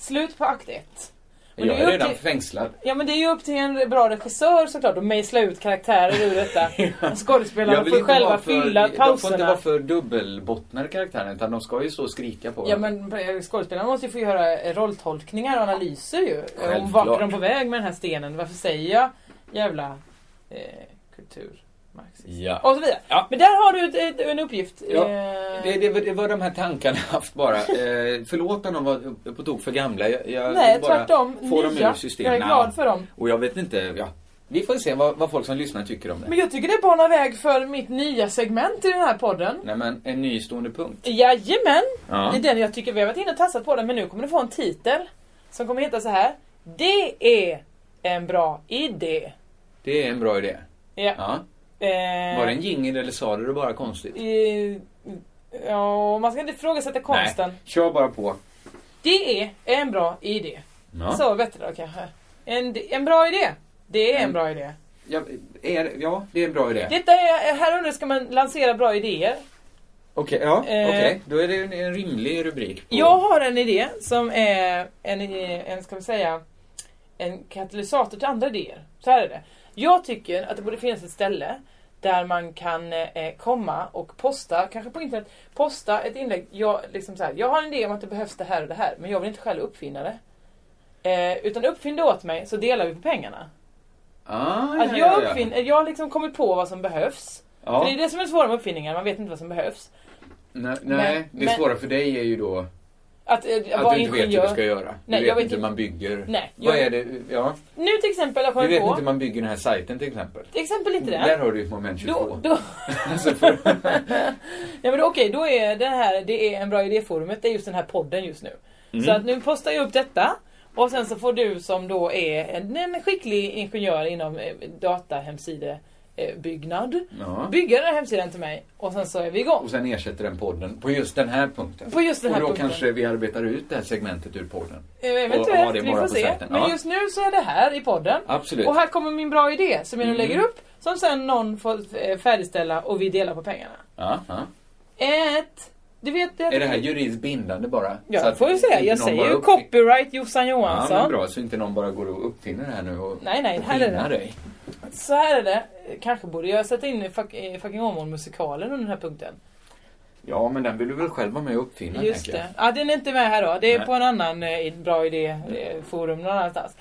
Slut på akt ett. Men
jag
det är ju
är redan
upp till-
fängslad.
Ja men det är ju upp till en bra regissör såklart att mejsla ut karaktärer ur detta. Skådespelarna
Jag vill
får
inte
själva
vara för,
fylla
de får inte vara
pauserna.
för dubbelbottnade karaktärer utan de ska ju stå och skrika på
Ja
varandra.
men eh, skådespelarna måste ju få göra eh, rolltolkningar och analyser ju. Eh, Om
Självklart.
vart är de på väg med den här stenen? Varför säger jag jävla eh, kultur?
Ja.
Och så vidare.
Ja.
Men där har du ett, ett, en uppgift.
Ja,
Eh,
Det, det, var- det var de här tankarna jag haft bara. Eh, förlåt om de var på tok för gamla. Jag, jag
nej
vill bara
tvärtom.
få dem ur
nya.
systemet.
Jag är glad för dem.
Och jag vet inte, ja. Vi får se vad, vad folk som lyssnar tycker om det.
Men jag tycker det banar väg för mitt nya segment i den här podden.
Nej men, en ny stående punkt.
Jajamän!
Ja.
Det är den jag tycker vi har varit inne och tassat på den men nu kommer du få en titel som kommer heta så här. Det är en bra idé.
Det är en bra idé.
Ja.
Ja.
Eh,
Var det en jingel eller sa du det bara konstigt?
eh, Ja, man ska inte ifrågasätta konsten.
Nej, kör bara på.
Det är en bra idé.
Ja.
Så bättre då kanske. En, en bra idé. Det är en bra idé.
Ja, är, ja, det är en bra idé.
Detta är, här under ska man lansera bra idéer.
Okej, ja,
Eh.
okej. Då är det en, en rimlig rubrik. På.
Jag har en idé som är en, en ska vi säga, en katalysator till andra idéer. Så här är det. Jag tycker att det borde finnas ett ställe där man kan eh, komma och posta, kanske på internet, posta ett inlägg. Jag, liksom så här, jag har en idé om att det behövs det här och det här, men jag vill inte själv uppfinna det. Eh, utan uppfinn det åt mig så delar vi på pengarna.
Ah, ja,
Att
ja,
jag,
ja.
uppfinn, jag har liksom kommit på vad som behövs.
Ja.
För det är det som är det svåra med uppfinningar, man vet inte vad som behövs.
Nej, nej,
Men-
det
men-
svåra för dig är ju då
Att, eh,
Att
vara
du inte vet hur
ingenjör.
du ska göra. Du
Nej,
vet,
jag vet
inte hur
inte.
man bygger.
Nej,
Vad
jag-
är det? Ja.
Nu till exempel har jag
Du
kommit
vet
på...
inte hur man bygger den här sajten till exempel.
Till exempel inte det.
Där har du ett moment 22.
Då, då,
Alltså, för...
ja, men då, okej, då är den här Det är en bra idéforumet, det är just den här podden just nu.
Mm.
Så att nu postar jag upp detta och sen så får du som då är en, en skicklig ingenjör inom eh, datahemsidebyggnad
ja.
bygga den här hemsidan till mig och sen så är vi igång.
Och sen ersätter den podden på just den här punkten.
På just den här
Och då
punkten.
kanske vi arbetar ut det här segmentet ur podden.
Eh,
och ha
Eventuellt,
det
vi
bara
får
på
se.
sajten.
Men
Ja.
just nu så är det här i podden.
Absolut.
Och här kommer min bra idé som jag nu
Mm.
lägger upp som sen någon får eh, färdigställa och vi delar på pengarna.
Ja, ja.
Ett... Du vet,
Är det här juridiskt bindande bara?
Ja,
Så
det
att
får vi se.
inte
Jag
någon
säger
bara
ju
uppfin-
copyright Jossan
Ja,
Johansson.
men bra. Så inte någon bara går och uppfinner det här nu och
Nej, nej,
och
här är det.
pinnar dig.
Så här är det. Kanske borde jag sätta in fuck, eh, Fucking Åmål-musikalen under den här punkten.
Ja, men den vill du väl själv vara med och uppfinna?
Just
tänker jag.
det. Ja, den är inte med här då. Det är
Nej.
på en annan eh, bra idé-forum någon annanstans.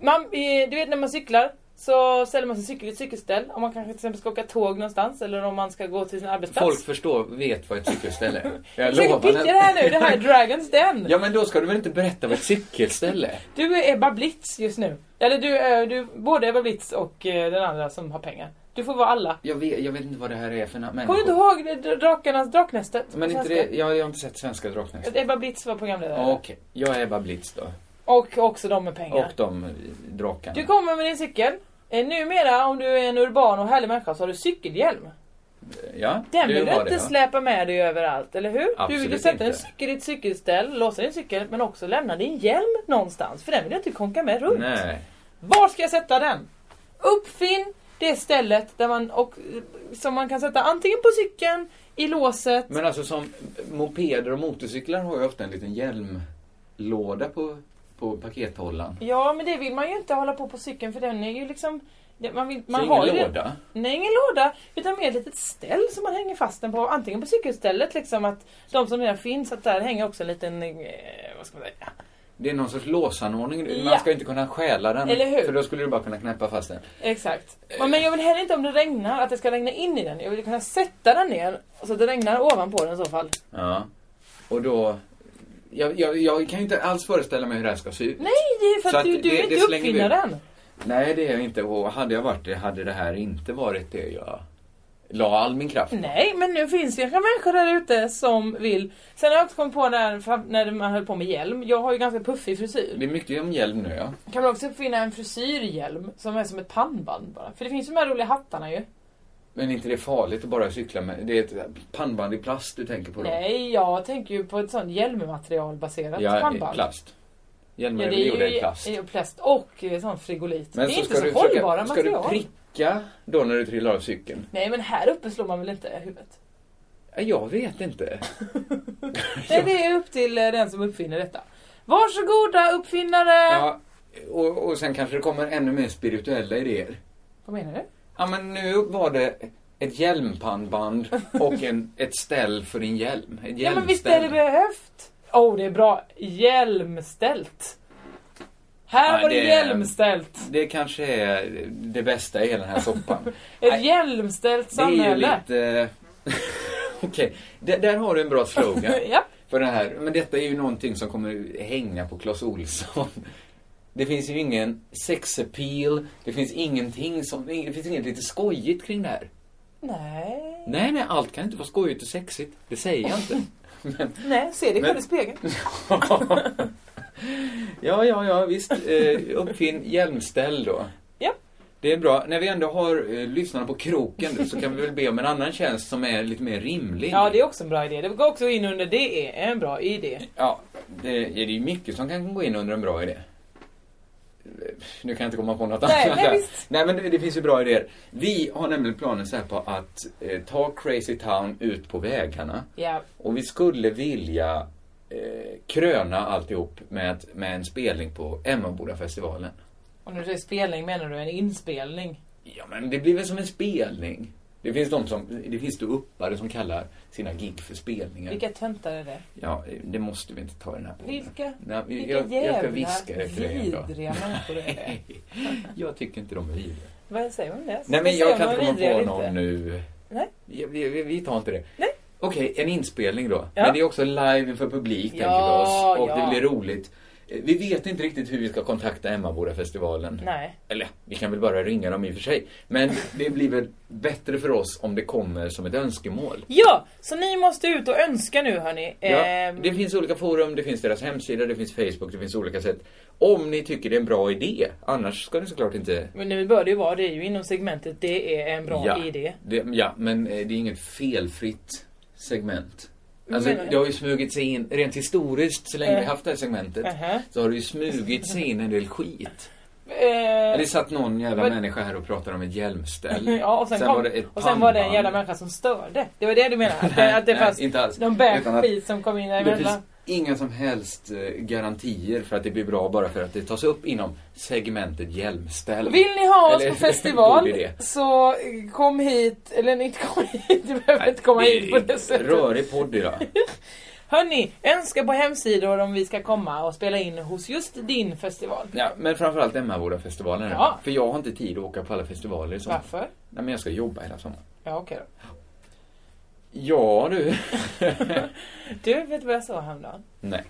Man, eh, du vet när man cyklar så ställer man sin cykel i ett cykelställ. Om man kanske till exempel ska åka tåg någonstans eller om man ska gå till sin arbetsplats.
Folk förstår, vet vad ett cykelställe är. Jag
Försöker
lovar.
pitcha det här nu. Det här är Dragons Den.
Ja men då ska du väl inte berätta vad ett cykelställe är?
Du är Ebba Blitz just nu. Eller du är du, både Ebba Blitz och eh, den andra som har pengar. Du får vara alla.
Jag vet, jag vet inte vad det här är för na- människor.
Kommer du inte ihåg det- dra- Drakarnas Draknästet? på
Men inte
svenska?
det, jag, jag har inte sett Svenska Draknästet.
Att Ebba Blitz var programledare.
Ja, Okej, jag är Ebba Blitz då.
Och också de med pengar.
Och de eh, drakarna.
Du kommer med din cykel. Eh, Numera om du är en urban och härlig människa så har du cykelhjälm.
Ja,
Den
du
vill du
har
inte
det, va?
släpa med dig överallt, eller hur? du vill ju
Absolut
sätta din
inte.
cykel i ett cykelställ, låsa din cykel men också lämna din hjälm någonstans. För den vill du inte konka med runt.
Nej.
Var ska jag sätta den? Uppfinn det stället där man och, som man kan sätta antingen på cykeln, i låset.
Men alltså som mopeder och motorcyklar har ju ofta en liten hjälmlåda på, på pakethållaren.
Ja, men det vill man ju inte hålla på på cykeln för den är ju liksom... det- Man, vill, man
ingen
har ju det-
låda?
Nej, ingen låda. Utan mer ett litet ställ som man hänger fast den på. Antingen på cykelstället liksom att de som redan finns, att där hänger också en liten... Eh, vad ska man säga?
Det är någon sorts låsanordning.
Ja.
Man ska inte kunna stjäla den.
Eller hur?
För då skulle du bara kunna knäppa fast den.
Exakt. Men- Men jag vill heller inte om det regnar att det ska regna in i den. Jag vill kunna sätta den ner så att det regnar ovanpå den i så fall.
Ja. Och då... Jag, jag, jag kan ju inte alls föreställa mig hur det här ska se ut.
Nej, det är för
Så
att,
att
du, du
det-
är
det
inte
slänger vi ut.
uppfinnaren.
Nej, det är jag inte. Och hade jag varit det, hade det här inte varit det jag la all min kraft på.
Nej, men nu finns ju kanske människor där ute som vill. Sen har jag också kommit på när, när man höll på med hjälm. Jag har ju ganska puffig frisyr.
Det är mycket om hjälm nu, ja.
Kan man också uppfinna en frisyrhjälm som är som ett pannband bara? För det finns ju de här roliga hattarna ju.
Men inte det är farligt att bara cykla med. Det är ett pannband i plast du tänker på då.
Nej, jag tänker ju på ett sånt hjälmmaterialbaserat
ja, i
pannband.
plast. Hjälmar
Ja,
är
det
väl
är
gjorda
ju
i plast.
i plast och eh, sån frigolit.
Men
det är
så
inte
ska
så
du
hållbara
försöka, Ska
material.
du pricka då när du trillar av cykeln?
Nej, men här uppe slår man väl inte huvudet?
Ja, Jag vet inte.
Nej, det är upp till eh, den som uppfinner detta. Varsågoda uppfinnare!
Ja, och, och sen kanske det kommer ännu mer spirituella idéer.
Vad menar du?
Ja, men nu var det ett hjälmpannband och en, ett ställ för din hjälm. Ett
Ja, men visst är det
hjälmställ.
behövt? Åh, oh, det är bra. Hjälmställt. Här
Ja,
var det,
det-
hjälmställt.
Det kanske är det bästa i hela den här soppan.
Ett
Nej,
hjälmställt
det är ju
samhälle.
lite... Okej, där- där har du en bra slogan.
ja.
för den här. Men detta är ju någonting som kommer hänga på Clas Olsson. Det finns ju ingen sexappeal, det finns ingenting som, det finns inget lite skojigt kring det här.
Nej.
Nej, nej, allt kan inte vara skojigt och sexigt. Det säger jag inte. Men,
Nej, se dig själv i
Men-
spegeln.
ja, ja, ja, visst. Eh, uppfinn hjälmställ då.
Ja.
Det är bra. När vi ändå har eh, lyssnarna på kroken så kan vi väl be om en annan tjänst som är lite mer rimlig.
Ja, det är också en bra idé. Det går också in under det är en bra idé.
Ja, det är det ju mycket som kan gå in under en bra idé. Nu kan jag inte komma på något
Nej,
annat.
nej, visst.
nej men det, det finns ju bra idéer. Vi har nämligen planer så här på att eh, ta Crazy Town ut på vägarna.
Ja.
Och vi skulle vilja eh, kröna alltihop med, med en spelning på Emmabodafestivalen.
Och när du säger spelning menar du en inspelning?
Ja men det blir väl som en spelning. Det finns de som, det finns ståuppare som kallar sina gig för spelningar.
Vilka töntar är det?
Ja, det måste vi inte ta i den här podden.
Vilka?
Nej,
Vilka
jag, jag ska
jävla
viska efter dig en dag.
vidriga människor det är.
jag tycker inte de är vidriga.
Vad säger man om det?
Nej,
Ska
men
vi
jag
se om
kan inte
de är
komma
vidriga
på
eller
någon
inte?
nu.
Nej.
Ja, Vi, vi, vi tar inte det.
Nej.
Okej, en inspelning då.
Ja.
Men det är också live inför publik,
Ja,
tänker vi oss. Och
ja.
det blir roligt. Eh, Vi vet inte riktigt hur vi ska kontakta Emmabodafestivalen.
Nej.
Eller, vi kan väl bara ringa dem i och för sig. Men det blir väl bättre för oss om det kommer som ett önskemål.
Ja, så ni måste ut och önska nu hörni.
Ja,
Ehm,
det finns olika forum, det finns deras hemsida, det finns Facebook, det finns olika sätt. Om ni tycker det är en bra idé, annars ska ni såklart inte...
Men nu bör det ju vara det är ju inom segmentet det är en bra
ja,
idé.
Det, ja, men eh, det är inget felfritt segment. Alltså,
menar du?
det har ju smugit sig in, rent historiskt, så länge
Eh.
vi haft det här segmentet,
Aha.
så har det ju smugit sig in en del skit.
Eh,
Det satt någon jävla
Vad-
människa här och pratade om ett hjälmställ.
ja, och sen, kom,
var det ett
och sen var det en
pannband.
jävla människa som störde. Det var det du menade? Att det, att det
Nej,
fanns
inte alls.
någon bär
Utan att-
skit som kom in
Det finns
däremellan.
inga som helst eh, garantier för att det blir bra bara för att det tas upp inom segmentet hjälmställ.
Vill ni ha oss
Eller-
på festival
god idé.
så eh, kom hit, eller inte kom hit, du behöver inte komma hit på det sättet.
Rörig podd idag.
Hörni, önska på hemsidor om vi ska komma och spela in hos just din festival.
Ja, men framförallt Emmabodafestivalen.
Ja.
Ja. För jag har inte tid att åka på alla festivaler i sommar.
Varför?
Nej, men jag ska jobba hela sommaren.
Ja, okej då.
Ja, du.
Du, vet du vad jag sa häromdagen?
Nej.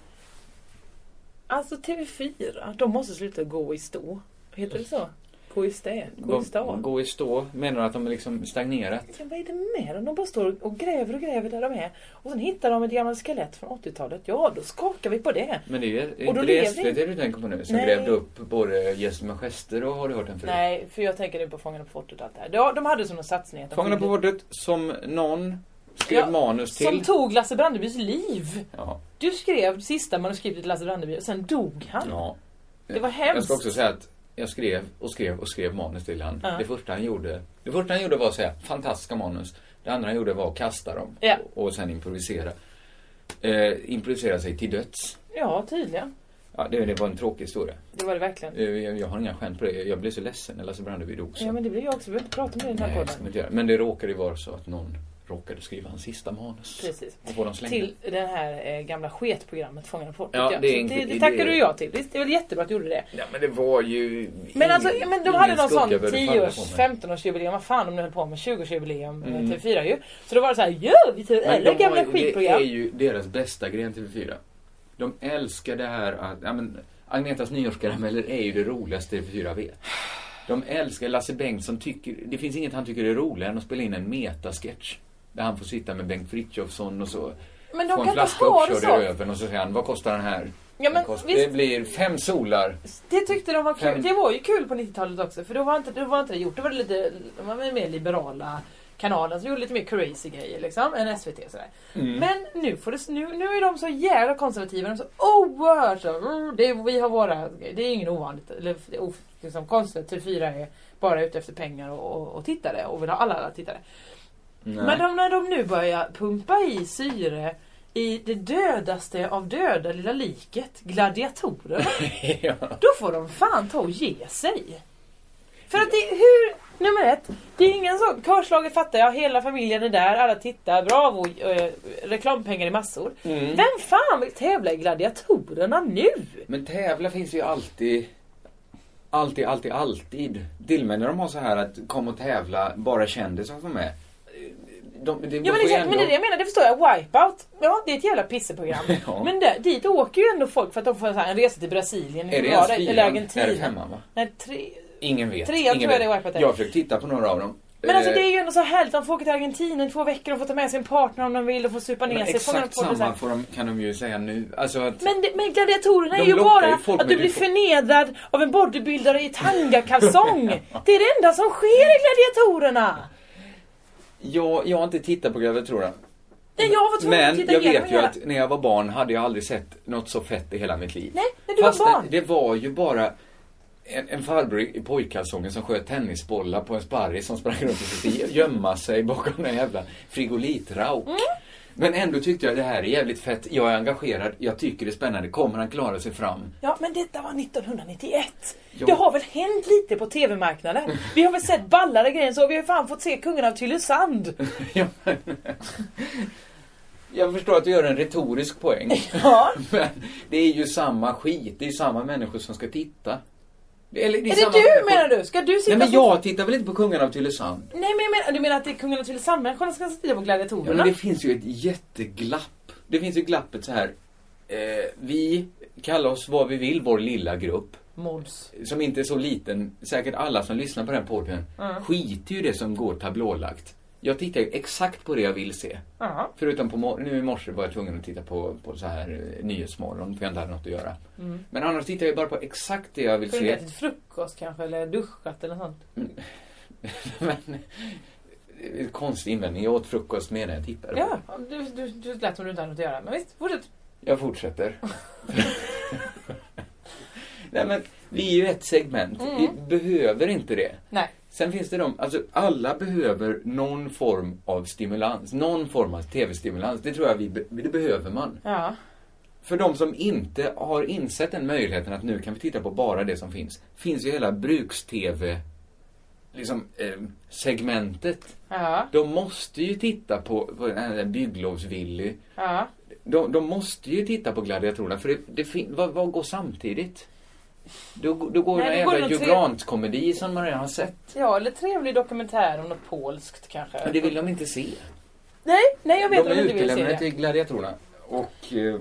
Alltså TV4, de måste sluta gå i stå. Heter det så? Gå i stä? Gå i stå?
Gå i stå. Menar du att de liksom stagnerat?
Ja, vad är det med dem? De bara står och gräver och gräver där de är. Och sen hittar de ett gammalt skelett från 80-talet. Ja, då skakar vi på det.
Men det är ju
Och då
inte
lever
det SVT du tänker på nu? Som
Nej.
grävde upp både Gäster med gester och Har du hört den förut?
Nej, för jag tänker nu på Fångarna på fortet och allt det här. Ja, de hade som en satsning att de
Fångarna på
skyldig-
bordet som någon skrev
Ja,
manus till.
Som tog Lasse Brandebys liv.
Ja.
Du skrev sista manuskriptet till Lasse Brandeby och sen dog han.
ja.
Det var hemskt.
Jag ska också säga att jag skrev och skrev och skrev manus till han.
Ja.
Det första han gjorde Det första han gjorde var att säga fantastiska manus. Det andra han gjorde var att kasta dem
Ja.
och, och sen improvisera. Eh, improvisera sig till döds.
Ja, tydligen.
Ja, det, det var en tråkig historia.
Det var det verkligen.
Eh, Jag, jag har inga skämt på det. Jag blir så ledsen när Lasse Brandeby dog. så-
Ja, men det blir jag också. Vi behöver inte prata om det i den
Nej,
här
Eh, jag ska
podden.
inte göra. Men det råkade ju vara så att någon råkade skriva hans sista manus.
Precis.
Och få dem slängda.
Till det här eh, gamla sketprogrammet Fångarna på fortet.
Ja, det är
Så
en-
det,
det-
det tackar du ja till. Visst, det är väl jättebra att du gjorde det.
Ja, men det var ju...
Men
ingen-
alltså, men de
ingen
hade någon
skugga
sån
behövde falla på
10-års,
mig.
15-årsjubileum, vad fan om du höll på med 20-årsjubileum,
Mm.
mm. TV4 ju. Så då var det så här, ja vi tar
Men
alla
de har
gamla
ju- Det är
skitprogram.
ju deras bästa gren TV4. De älskar det här att... Ja, men, Agnetas nyårskarameller är ju det roligaste TV4 vet. De älskar Lasse Bengtsson tycker... Det finns inget han tycker är roligare än att spela in en metasketch. Där han får sitta med Bengt Frithiofsson och så.
Men de
får
kan
en
inte
flaska
ha det
uppkörd i
så.
röven och så säger han, vad kostar den här?
Ja, men
Den kost-
visst.
Det blir fem solar.
Det tyckte de var
Fem-
kul. Det var ju kul på 90-talet också för då var inte, då var inte det gjort. Då var det lite, de var mer liberala kanalen som gjorde lite mer crazy grejer liksom än SVT sådär.
Mm.
Men nu, får det, nu, nu är de så jävla konservativa. De är så oerhört så, "Mm, det, är- vi har våra grejer." Det är ingen ovanligt. Eller, det är of- liksom, konstigt. TV4 är bara ute efter pengar och, och, och tittare och vill ha alla, alla tittare. Men de, när de nu börjar pumpa i syre i det dödaste av döda lilla liket, gladiatorerna.
ja.
Då får de fan ta och ge sig. För att det hur... Nummer ett, det är ingen sån... Körslaget fattar jag, hela familjen är där, alla tittar, bravo, eh, reklampengar i massor.
Mm.
Vem fan vill tävla i Gladiatorerna nu?
Men tävla finns ju alltid. Alltid, alltid, alltid. Till och med när de har så här att kom och tävla, bara kändisar får med. De, de, de
Ja men,
får ju
exakt,
ändå-
men det är det jag menar, det förstår jag. Wipeout, ja det är ett jävla pisseprogram.
Ja.
Men där, dit åker ju ändå folk för att de får så här, en resa till Brasilien,
Är det
var
ens fyran?
eller
Är det
Argentina.
femman va?
Nej, tre...
Ingen vet.
Trean
Ingen
tror jag
vet.
det är Wipeout är.
Jag har försökt titta på några av dem.
Men alltså
Eh,
det är ju ändå så härligt, de får åka till Argentina i två veckor, de får ta med sin partner om de vill, och får supa
men
ner sig. Fångarna
Eh, Exakt
på fortet, så här.
samma får de, kan de ju säga nu. Alltså att,
Men, det- men gladiatorerna
De
är ju
lockar ju
bara
folk,
att
men
du
du
blir
får-
förnedrad av en bodybuildare i tangakalsong. det är det enda som sker i gladiatorerna.
jag, jag har inte tittat på Gladiatorerna.
Nej, jag var tvungen att
Men
titta
jag
igenom
vet ju
hela.
att när jag var barn hade jag aldrig sett något så fett i hela mitt liv.
Nej, men du var
det-
barn.
det var ju bara en, en farbror i pojkkalsonger som sköt tennisbollar på en sparris som sprang runt och försökte gömma sig bakom en jävla frigolitrauk.
Mm.
Men ändå tyckte jag det här är jävligt fett, jag är engagerad, jag tycker det är spännande, kommer han klara sig fram?
Ja, men detta var 1991.
Jo.
Det har väl hänt lite på TV-marknaden. Vi har väl sett ballare grejer så. Vi har ju fan fått se Kungen av Tylösand.
Ja, men- jag förstår att du gör en retorisk poäng.
Ja.
Men det är ju samma skit, det är ju samma människor som ska titta. Eller,
Är
samma
det du
människor-
menar du? Ska du sitta
Nej men
fortfarande-
jag tittar väl inte på Kungen av Tylösand?
Nej men jag menar, du menar att det är Kungen av Tylösand-människorna som ska titta på
Ja,
gladiatorerna?
men det finns ju ett jätteglapp. Det finns ju glappet så här. Eh, vi kallar oss vad vi vill, vår lilla grupp.
Mods.
Som inte är så liten. Säkert alla som lyssnar på den podden
Mm.
skiter ju i det som går tablålagt. Jag tittar ju exakt på det jag vill se.
Ja.
Förutom på mor- nu i morse var jag tvungen att titta på, på så här eh, Nyhetsmorgon för jag inte hade något att göra. Men annars tittar jag bara på exakt det jag vill
Kunde
se.
du ätit frukost kanske eller duschat eller något sånt?
Men, eh, konstig invändning. Jag åt frukost medan jag tittade. på
Ja, du, du, du lät som du inte hade något att göra. Men visst, fortsätt.
Jag fortsätter. Nej men, vi är ju ett segment. Vi behöver inte det.
Nej.
Sen finns det de, alltså alla behöver någon form av stimulans. Någon form av TV-stimulans. Det tror jag vi, be- det behöver man.
Ja.
För de som inte har insett den möjligheten att nu kan vi titta på bara det som finns. Finns ju hela bruks-TV, liksom, eh, segmentet.
Ja.
De måste ju titta på, på den här bygglovsvillig.
Ja.
De, de måste ju titta på gladiatorerna för det, det fin- vad, vad går samtidigt? Då, då går
Nej,
det en
det går
jävla
någon tre-
Jugrant-komedi som man redan har sett.
Ja, eller trevlig dokumentär om något polskt kanske.
Men det vill de inte se.
Nej, nej jag vet
de
att de
är
inte vill se
utelämnade
det.
till gladiatorerna. Och... Eh,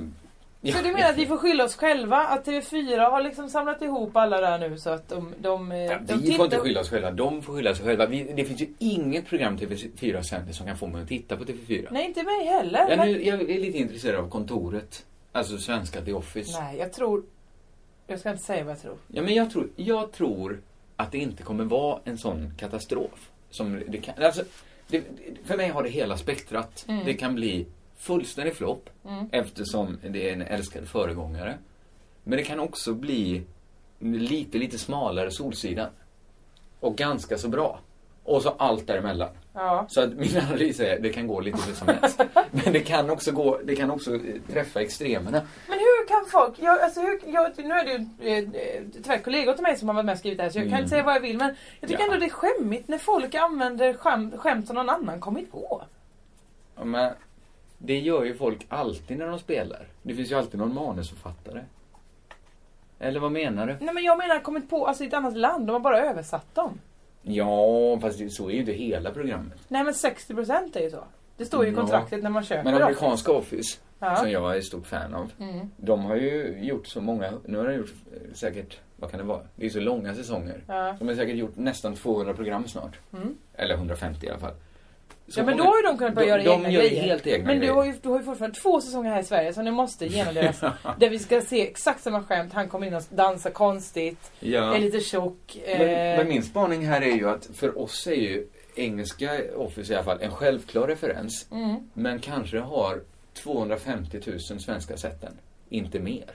ja.
Så du menar att vi får skylla oss själva? Att TV4 har liksom samlat ihop alla där nu så att de... de, eh,
Ja,
de
vi får inte skylla oss själva, de får skylla sig själva. Vi, det finns ju inget program TV4 sänder som kan få mig att titta på TV4.
Nej, inte mig heller.
jag,
men...
nu, jag är lite intresserad av kontoret. Alltså svenska The Office.
Nej, jag tror... Jag ska inte säga vad jag tror.
Ja, men jag tror, jag tror att det inte kommer vara en sån katastrof. Som det kan, alltså, det, det- för mig har det hela spektrat. Det kan bli fullständig flopp eftersom det är en älskad föregångare. Men det kan också bli lite, lite smalare Solsidan. Och ganska så bra. Och så allt däremellan.
Ja.
Så att min analys är, det kan gå lite hur som helst. Men det kan också, gå, det kan också eh, träffa extremerna.
Men hur kan folk, jag, alltså hur, jag, nu är det ju eh, tyvärr kollegor till mig som har varit med och skrivit det här så jag kan
Mm.
inte säga vad jag vill men jag tycker
Ja.
ändå det är skämmigt när folk använder skämt, skämt som någon annan kommit på.
Ja, Men det gör ju folk alltid när de spelar. Det finns ju alltid någon manusförfattare. Eller vad menar du?
Nej men jag menar kommit på, alltså i ett annat land, de har bara översatt dem.
Ja, fast det, så är ju inte hela programmet.
Nej men 60% är ju så. Det står ju i
Ja.
kontraktet när man köper
Men
dem.
amerikanska Office,
Ja.
som jag är stort fan av.
Mm.
De har ju gjort så många, nu har de gjort eh, säkert, vad kan det vara? Det är så långa säsonger.
Ja.
De har säkert gjort nästan 200 program snart.
Mm.
Eller 150 i alla fall. Så
ja men då
många-
har ju de kunnat börja
de,
göra
de
egna
gör ju
grejer.
helt egna
men
grejer.
du har, ju, du har ju fortfarande två säsonger här i Sverige som du måste genomleva. där vi ska se exakt samma skämt, han kommer in och dansar konstigt,
Ja.
är lite tjock. Eh.
Men, men min spaning här är ju att för oss är ju engelska Office i alla fall en självklar referens.
Mm.
Men kanske har 250 000 svenska sätten. Inte mer.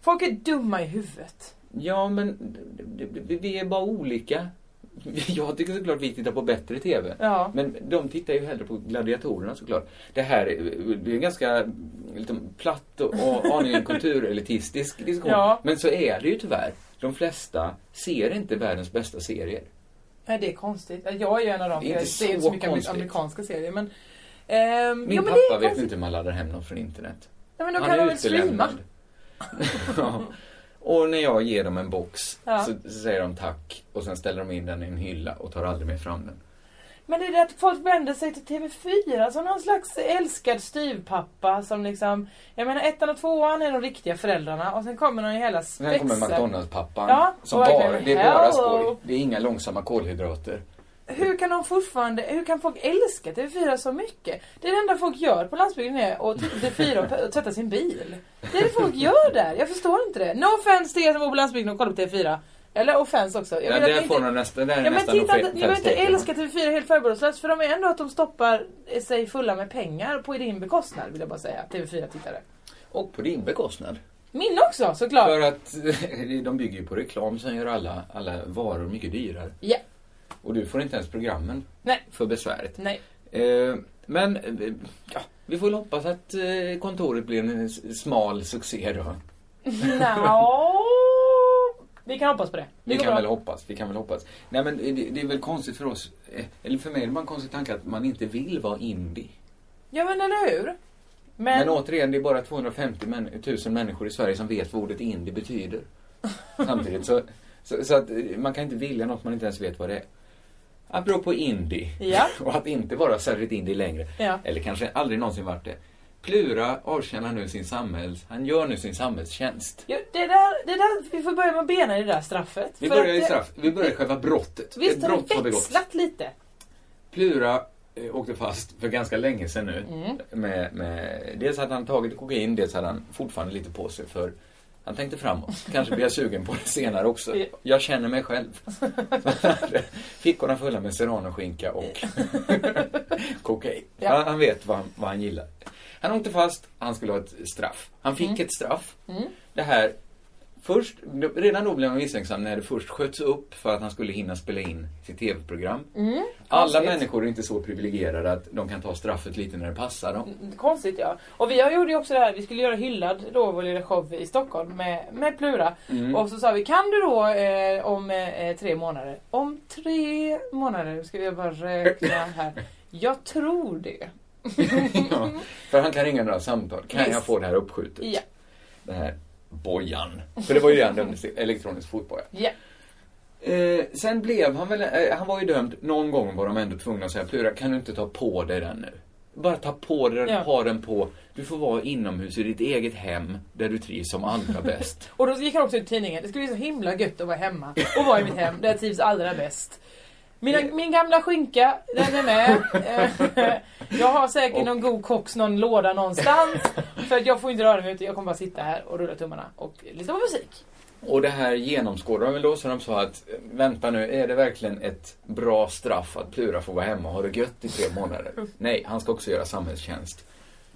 Folk är dumma i huvudet.
Ja, men d- d- d- vi är bara olika. Jag tycker såklart vi tittar på bättre TV.
Ja.
Men de tittar ju hellre på gladiatorerna såklart. Det här är- det är en ganska lite platt och och aningen kulturelitistisk diskussion.
Ja.
Men så är det ju tyvärr. De flesta ser inte världens bästa serier.
Nej, det är konstigt. Jag är ju en av dem. för
Det är
Jag
inte
ser inte
så
så mycket
konstigt.
amerikanska serier. Men, ehm,
Min
jo, men det
pappa
är
vet
konstigt.
inte hur man laddar hem något från internet.
Ja, men då kan de väl streama.
Ja. och när jag ger dem en box
Ja.
så, så säger de tack och sen ställer de in den i en hylla och tar aldrig mer fram den.
Men det är det att folk vänder sig till TV4 som någon slags älskad styvpappa som liksom... Jag menar ettan och tvåan är de riktiga föräldrarna och sen kommer någon i hela
Sen
spexet.
kommer McDonalds-pappan.
Ja,
som
och verkligen,
bara, det är bara
hello.
skoj. Det är inga långsamma kolhydrater.
Hur kan de fortfarande... Hur kan folk älska TV4 så mycket? Det är det enda folk gör på landsbygden är att titta på TV4 och p- och tvätta sin bil. Det är det folk gör där. Jag förstår inte det. No offense till er som bor på landsbygden och kollar på TV4. Eller offense också. Jag
Ja,
menar att
där
ni
får de nästan, där
Ja,
är
men
nästan
titta,
offens-
ni behöver inte
offenstecken.
älska TV4 helt förbehållslöst för de är ändå att de stoppar sig fulla med pengar på din bekostnad vill jag bara säga, TV4-tittare.
Och på din bekostnad.
Min också såklart!
För att de bygger ju på reklam som gör alla, alla varor mycket dyrare.
Ja,
Och du får inte ens programmen
nej,
för besväret.
nej.
Eh, men eh, ja, vi får väl hoppas att eh, kontoret blir en s- smal succé då.
Nå. Vi kan hoppas på det. Det
Vi
går
kan
bra.
väl hoppas, vi kan väl hoppas. Nej men eh, det, det är väl konstigt för oss, eh, eller för mig är det bara en konstig tanke att man inte vill vara indie.
Ja men eller hur? Men,
Men, återigen, det är bara 250 män, 000 människor i Sverige som vet vad ordet indie betyder. Samtidigt så, så, så att eh, man kan inte vilja något man inte ens vet vad det är. Apropå indie,
Ja.
och att inte vara särskilt indie längre,
Ja.
eller kanske aldrig någonsin varit det. Plura avtjänar nu sin samhälls... Han gör nu sin samhällstjänst.
ja, det, där, det där, vi får börja med benen i det där straffet.
Vi
För
börjar
att
i
det-
straff. Vi börjar i själva brottet.
Visst
Ett
har
brott
det
har begåtts.
växlat lite?
Plura eh, åkte fast för ganska länge sedan nu.
Mm.
Med, med, dels hade han tagit kokain, dels hade han fortfarande lite på sig för han tänkte framåt. Kanske blir jag sugen på det senare också.
Ja.
Jag känner mig själv. Fickorna fulla med serranoskinka och kokain.
Ja.
Han, han vet vad han, vad han gillar. Han åkte fast, han skulle ha ett straff. Han fick
Mm.
ett straff. Det här Först, redan då blev man misstänksam när det först sköts upp för att han skulle hinna spela in sitt tv-program.
Mm.
Alla människor är inte så privilegierade att de kan ta straffet lite när det passar dem.
Konstigt ja. Och vi har- gjorde ju också det här, vi skulle göra hyllad då vår lilla show i Stockholm med, med Plura.
Mm.
Och så sa vi, kan du då eh, om eh, tre månader? Om tre månader, nu ska vi bara räkna här. Jag tror det.
ja. För han kan ringa några samtal. Kan
Mm. Visst.
jag få det här uppskjutet?
Ja.
Den här bojan. För det var ju det han dömdes till, elektronisk fotboja.
Ja.
Eh, sen blev han väl, eh, han var ju dömd, någon gång var de ändå tvungna att säga Plura, kan du inte ta på dig den nu? Bara ta på dig den,
Ja.
ha den på. Du får vara inomhus i ditt eget hem där du trivs som allra bäst.
Och då gick han också ut i tidningen, det skulle bli så himla gött att vara hemma. Och vara i mitt hem, där jag trivs allra bäst. Mina, min gamla skinka, den är med. Eh, Jag har säkert någon god koks, någon låda någonstans. För att jag får inte röra mig ute, jag kommer bara sitta här och rulla tummarna och lyssna på musik.
Och det här genomskådade de väl då, så de sa att eh, vänta nu, är det verkligen ett bra straff att Plura får vara hemma och ha det gött i tre månader? Nej, han ska också göra samhällstjänst.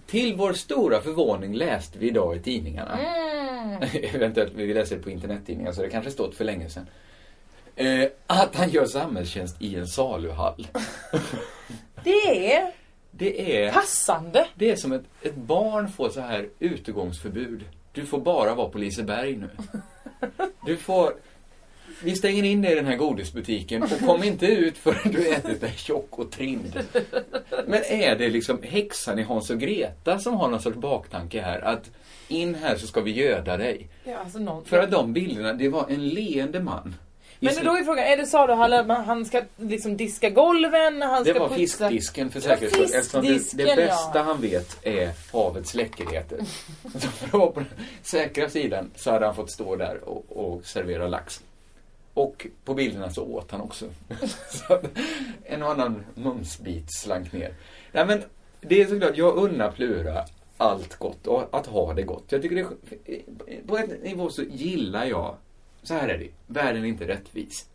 Till vår stora förvåning läste vi idag i tidningarna.
Mm.
Eventuellt, vi läser det på internettidningar så det kanske stått för länge sedan. Eh, att han gör samhällstjänst i en saluhall.
Det är
Det är...
passande.
Det är som ett, ett barn får så här utegångsförbud. Du får bara vara på Liseberg nu. Du får... Vi stänger in dig i den här godisbutiken och kom inte ut förrän du ätit dig tjock och trind. Men är det liksom häxan i Hans och Greta som har någon sorts baktanke här? Att in här så ska vi göda dig.
Ja, alltså någon...
För att de bilderna, det var en leende man.
Men då är frågan, är det saluhallen men han ska liksom diska golven, han
Det
ska
var
putsa...
fiskdisken för säkerhets skull. Eftersom det, det
fiskdisken,
bästa
ja.
han vet är havets läckerheter. Så för att vara på den säkra sidan så hade han fått stå där och, och servera lax. Och på bilderna så åt han också. Så att en och annan mumsbit slank ner. Nej men, det är såklart, jag unnar Plura allt gott och att ha det gott. Jag tycker det, är- på ett nivå så gillar jag, så här är det, världen är inte rättvis.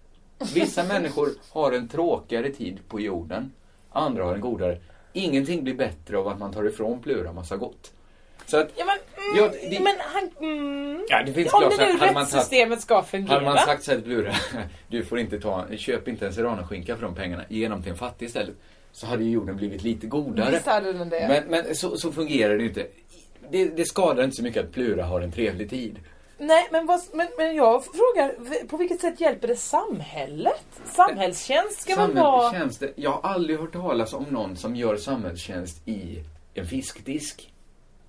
Vissa människor har en tråkigare tid på jorden. Andra har en godare. Ingenting blir bättre av att man tar ifrån Plura massa gott. Så att,
Ja, men, mm,
Ja, det-
men han... Mm.
Ja, det finns
Om
klart
det
så här,
nu
hade man tagit-
rättssystemet ska
hade man
fungera.
sagt så här till Plura, du får inte ta, köp inte en serranoskinka för de pengarna, ge dem till en fattig istället. Så hade ju jorden blivit lite godare.
Visst hade den det.
Men, men så, så fungerar det ju inte. Det, det skadar inte så mycket att Plura har en trevlig tid.
Nej, men, vad, men, men jag frågar, v- på vilket sätt hjälper det samhället? Samhällstjänst ska väl vara...
Samhällstjänst, det- jag har aldrig hört talas om någon som gör samhällstjänst i en fiskdisk.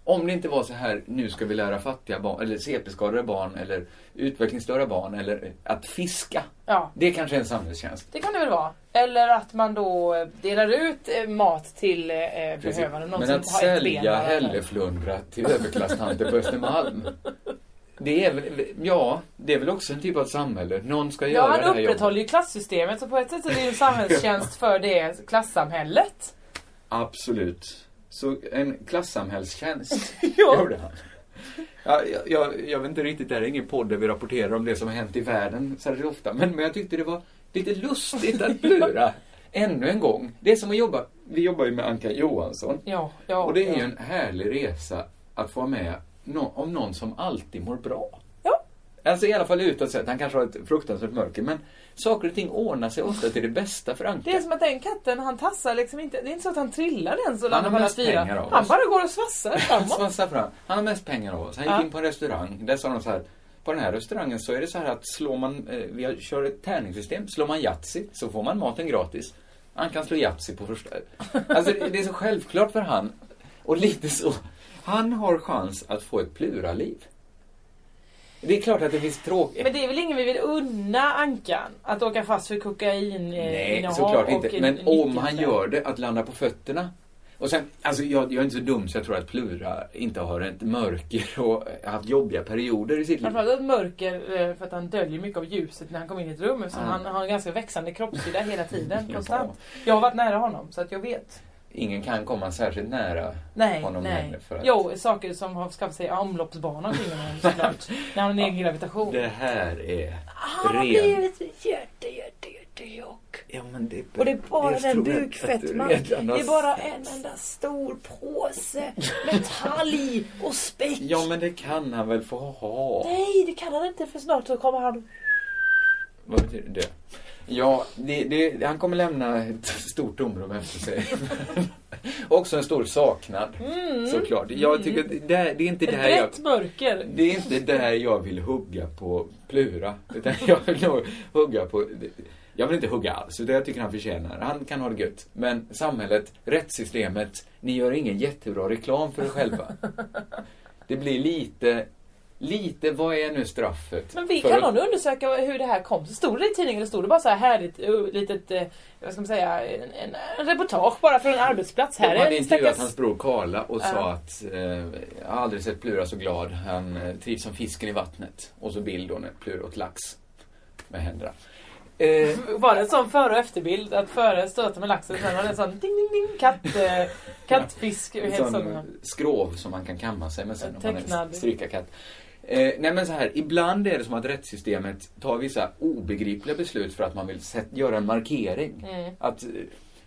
Om det inte var så här, nu ska vi lära fattiga barn, eller CP-skadade barn, eller utvecklingsstörda barn, eller att fiska.
Ja.
Det kanske är en samhällstjänst.
Det kan det väl vara. Eller att man då eh, delar ut eh, mat till eh, behövande. Någon
Men
som
att
har ett ben
sälja
bara.
hälleflundra till överklasstanter på Östermalm. Det är väl, ja, det är väl också en typ av samhälle. Någon ska
Ja,
göra det
han
här jobbet.
upprätthåller ju klassystemet så på ett sätt så är det ju en samhällstjänst för det klassamhället.
Absolut. Så en klassamhällstjänst
Ja.
gjorde han. Ja, jag- jag, jag vet inte riktigt, det här är ingen podd där vi rapporterar om det som har hänt i världen särskilt ofta. Men, men jag tyckte det var lite lustigt att lura ännu en gång. Det är som att jobba, vi jobbar ju med Anka Johansson.
Ja, ja,
och det är
ja.
ju en härlig resa att få vara med nå- om någon som alltid mår bra.
Ja.
Alltså i alla fall utåt sett, han kanske har ett fruktansvärt mörker men saker och ting ordnar sig ofta till det bästa för Anka.
Det är som att den katten, han tassar liksom inte. Det är inte så att han trillar den så
Han
landar
har
bara
mest
fyra.
pengar av
Han
oss.
bara går och svassar
Han
framåt.
svassar fram. Han har mest pengar av oss. Han gick
Ja.
in på en restaurang. Där sa de så här. På den här restaurangen så är det så här att slår man, eh, vi har, kör ett tärningssystem. Slår man Yatzy så får man maten gratis. Han kan slå Yatzy på första. Alltså det det är så självklart för han. Och lite så. Han har chans att få ett pluraliv. Det är klart att det finns tråkigt.
Men det är väl ingen vi vill unna Ankan? Att åka fast för kokain eh,
Nej,
innehav
såklart
och
inte.
en-
Men
en
om
nyckel-
han gör det, att landa på fötterna. Och sen, alltså jag, jag är inte så dum så jag tror att Plura inte har ett mörker och haft jobbiga perioder i sitt liv.
Framförallt ett mörker eh, för att han döljer mycket av ljuset när han kommer in i ett rum eftersom
Ah.
han har en ganska växande kroppshydda hela tiden.
Ja.
konstant. Jag har varit nära honom så att jag vet.
Ingen kan komma särskilt nära
Nej,
honom
nej.
längre. För att
Jo, saker som har skaffat sig omloppsbana kring honom såklart. när han har en egen gravitation.
Det här är
Han har
ren...
blivit jätte, jätte, jätte tjock.
Ja, men det är...
Och det är bara
jag
den
tror att-
bukfettman.
att du
Det
redan har
är bara
sett.
en enda stor påse med talg och späck.
Ja, men det kan han väl få ha.
Nej, det kan han inte för snart så kommer han...
Vad betyder det? Ja, det, det, han kommer lämna ett stort tomrum efter sig. Också en stor saknad,
Mm.
såklart. Jag tycker att det, det är inte
Ett
där jag...
brett mörker.
Det är inte där jag vill hugga på Plura. Utan jag vill nog hugga på... Jag vill inte hugga alls, utan jag tycker han förtjänar. Han kan ha det gött. Men samhället, rättssystemet, ni gör ingen jättebra reklam för er själva. Det blir lite... Lite, vad är nu straffet?
Men vi
för
kan
att-
nog undersöka hur det här kom. Så stod det i tidningen, eller stod det bara så här härligt, ö, litet, eh, vad ska man säga, en, en, en reportage bara från en arbetsplats. Här
De hade
är en
intervjuat
stackars...
hans bror Karla och sa att eh, jag har aldrig sett Plura så glad. Han eh, trivs som fisken i vattnet. Och så bild då när Plura åt lax med händerna. Eh,
Var det en sån före och efterbild? Att före stöter med laxen, sen var det en sån ding ding ding katt, eh, kattfisk.
en
helt
sån
sån,
eh, skrov som man kan kamma sig med sen om man är
Tecknad.
en strykarkatt. Eh, nej men så här, ibland är det som att rättssystemet tar vissa obegripliga beslut för att man vill sätt, göra en markering. Att eh,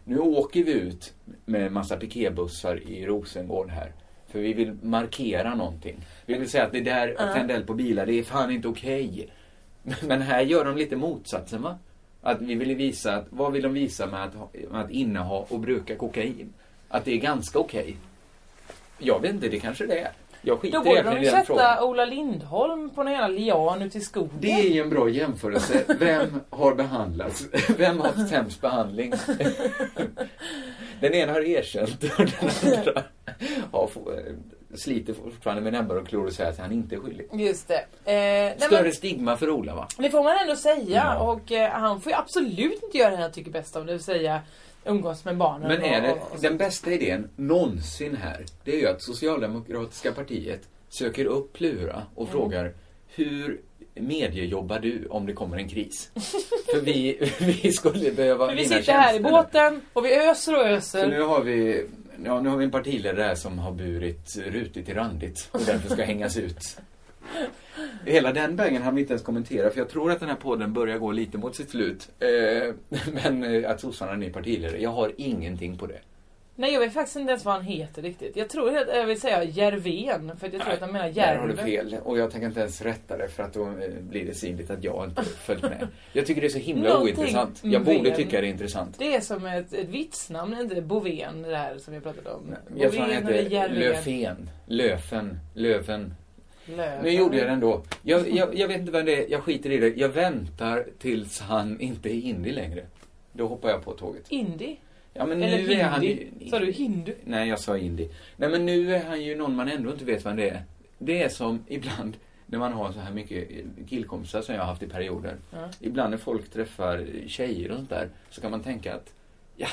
nu åker vi ut med massa piketbussar i Rosengård här. För vi vill markera någonting. Vi vill säga att det där
Ja.
Attendell på bilar, det är fan inte okej. Men här gör de lite motsatsen va? Att vi ville visa, att, vad vill de visa med att, ha- med att inneha och bruka kokain? Att det är ganska okej. Jag vet inte, det kanske det är. Jag skiter
Då borde
egentligen
de
i
ju
den
sätta
frågan.
Ola Lindholm på någon jävla lian ute i skogen.
Det är ju en bra jämförelse. Vem har behandlats? Vem har haft sämst behandling? Den ena har erkänt och den andra har, få- sliter fortfarande med näbbar och klor och säger att han inte är skyldig.
Just det. Eh, nej,
Större
men,
stigma för Ola va?
det får man ändå säga.
Ja.
Och eh, han får ju absolut inte göra det han tycker bäst om. Det vill säga umgås med barnen.
Men är
och,
det,
och, och,
den bästa idén någonsin här, det är ju att Socialdemokratiska partiet söker upp Plura och
Mm.
frågar hur mediejobbar du om det kommer en kris? För vi, vi skulle behöva
Men vi
dina
sitter här i
tjänster.
båten och vi öser och
Så nu
öser.
har vi, ja, nu har vi en partiledare här som har burit rutigt till randigt och därför ska hängas ut. Hela den vägen hann vi inte ens kommentera för jag tror att den här podden börjar gå lite mot sitt slut. Eh, men eh, att sossarna är ny partiledare, jag har ingenting på det.
Nej jag vet faktiskt inte ens vad han heter riktigt. Jag tror att jag vill säga Järven. För att jag tror att han menar
Där har du
Järv.
fel och jag tänker inte ens rätta det för att då eh, blir det synligt att jag inte följt med. Jag tycker det är så himla
Någonting
ointressant. Jag borde
med-
tycka det är intressant.
Det är som ett, ett vitsnamn, inte Bovén det här som vi pratade om.
Jag tror han
Bovén eller
heter
Järven.
Löfven. Löfen. Löfen.
Löven.
Nu gjorde jag det ändå. Jag, jag, jag vet inte vem det är, jag skiter i det. Jag väntar tills han inte är indie längre. Då hoppar jag på tåget.
Indi?
Ja, men
Eller
nu
hindi?
är han ju-
Sa du hindu?
Nej, jag sa indie. Nej, men nu är han ju någon man ändå inte vet vem det är. Det är som ibland när man har så här mycket killkompisar som jag har haft i perioder.
Ja.
Ibland när folk träffar tjejer och sånt där så kan man tänka att ja,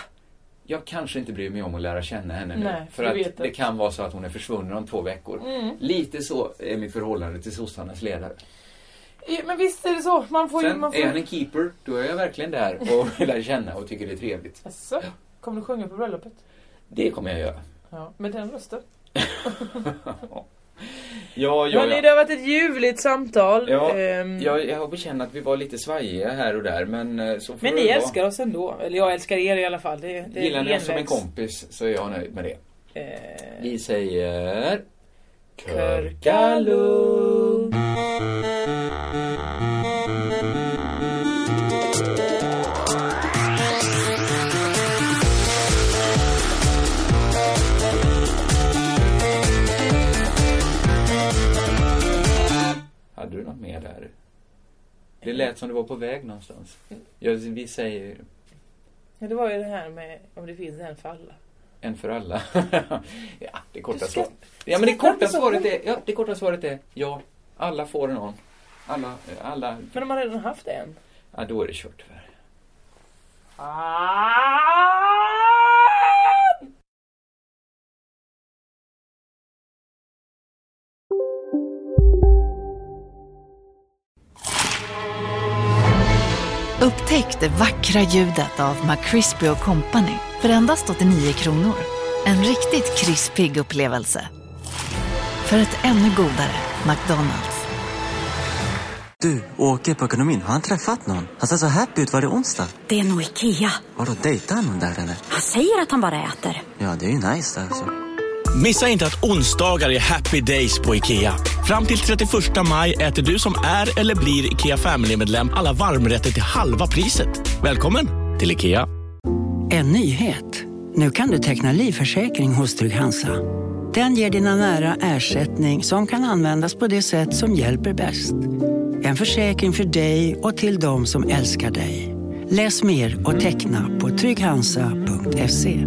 jag kanske inte bryr mig om att lära känna henne nu.
Nej,
för
jag
att
vet
det
att-
kan vara så att hon är försvunnen om två veckor.
Mm.
Lite så är mitt förhållande till sossarnas ledare.
Ja, Eh, Men visst är det så. Man får ju...
Sen
Man får...
är han en keeper, då är jag verkligen där och lär känna och tycker det är trevligt.
Jaså? Kommer du sjunga på bröllopet?
Det kommer jag göra.
Ja, med den rösten.
Ja, ja,
Hörni,
ja.
det har varit ett ljuvligt samtal.
Ja,
Ehm,
jag, jag har på känn att vi var lite svajiga här och där men eh, så får
Men
det
ni
vara.
älskar oss ändå. Eller jag älskar er i alla fall. Det, det är
Gillar ni oss som en
genvägs.
kompis så är jag nöjd med det.
Eh,
Vi säger...
Körkalund.
Hade du något mer där? Det lät som du var på väg någonstans. Ja, vi säger
Ja, det var ju det här med om det finns en för alla.
en för alla. ja, det korta
Du ska-
svaret. Ja, men det korta
inte så
svaret är, ja, det korta svaret är ja. Alla får någon. Alla, alla,
Men de har redan haft en.
ja då är det kört tyvärr.
Ah!
Upptäck det vackra ljudet av McCrispy Company för endast 89 kronor. En riktigt krispig upplevelse. För ett ännu godare McDonalds.
Du, åker på ekonomin. Har han träffat någon? Han ser så happy ut. Var det onsdag?
Det är nog Ikea.
Har du dejtar han någon där eller?
Han säger att han bara äter.
Ja, det är ju nice alltså.
Missa inte att onsdagar är happy days på IKEA. Fram till 31 maj äter du som är eller blir IKEA Family-medlem alla varmrätter till halva priset. Välkommen till IKEA.
En nyhet. Nu kan du teckna livförsäkring hos Trygg-Hansa. Den ger dina nära ersättning som kan användas på det sätt som hjälper bäst. En försäkring för dig och till de som älskar dig. Läs mer och teckna på trygghansa.se.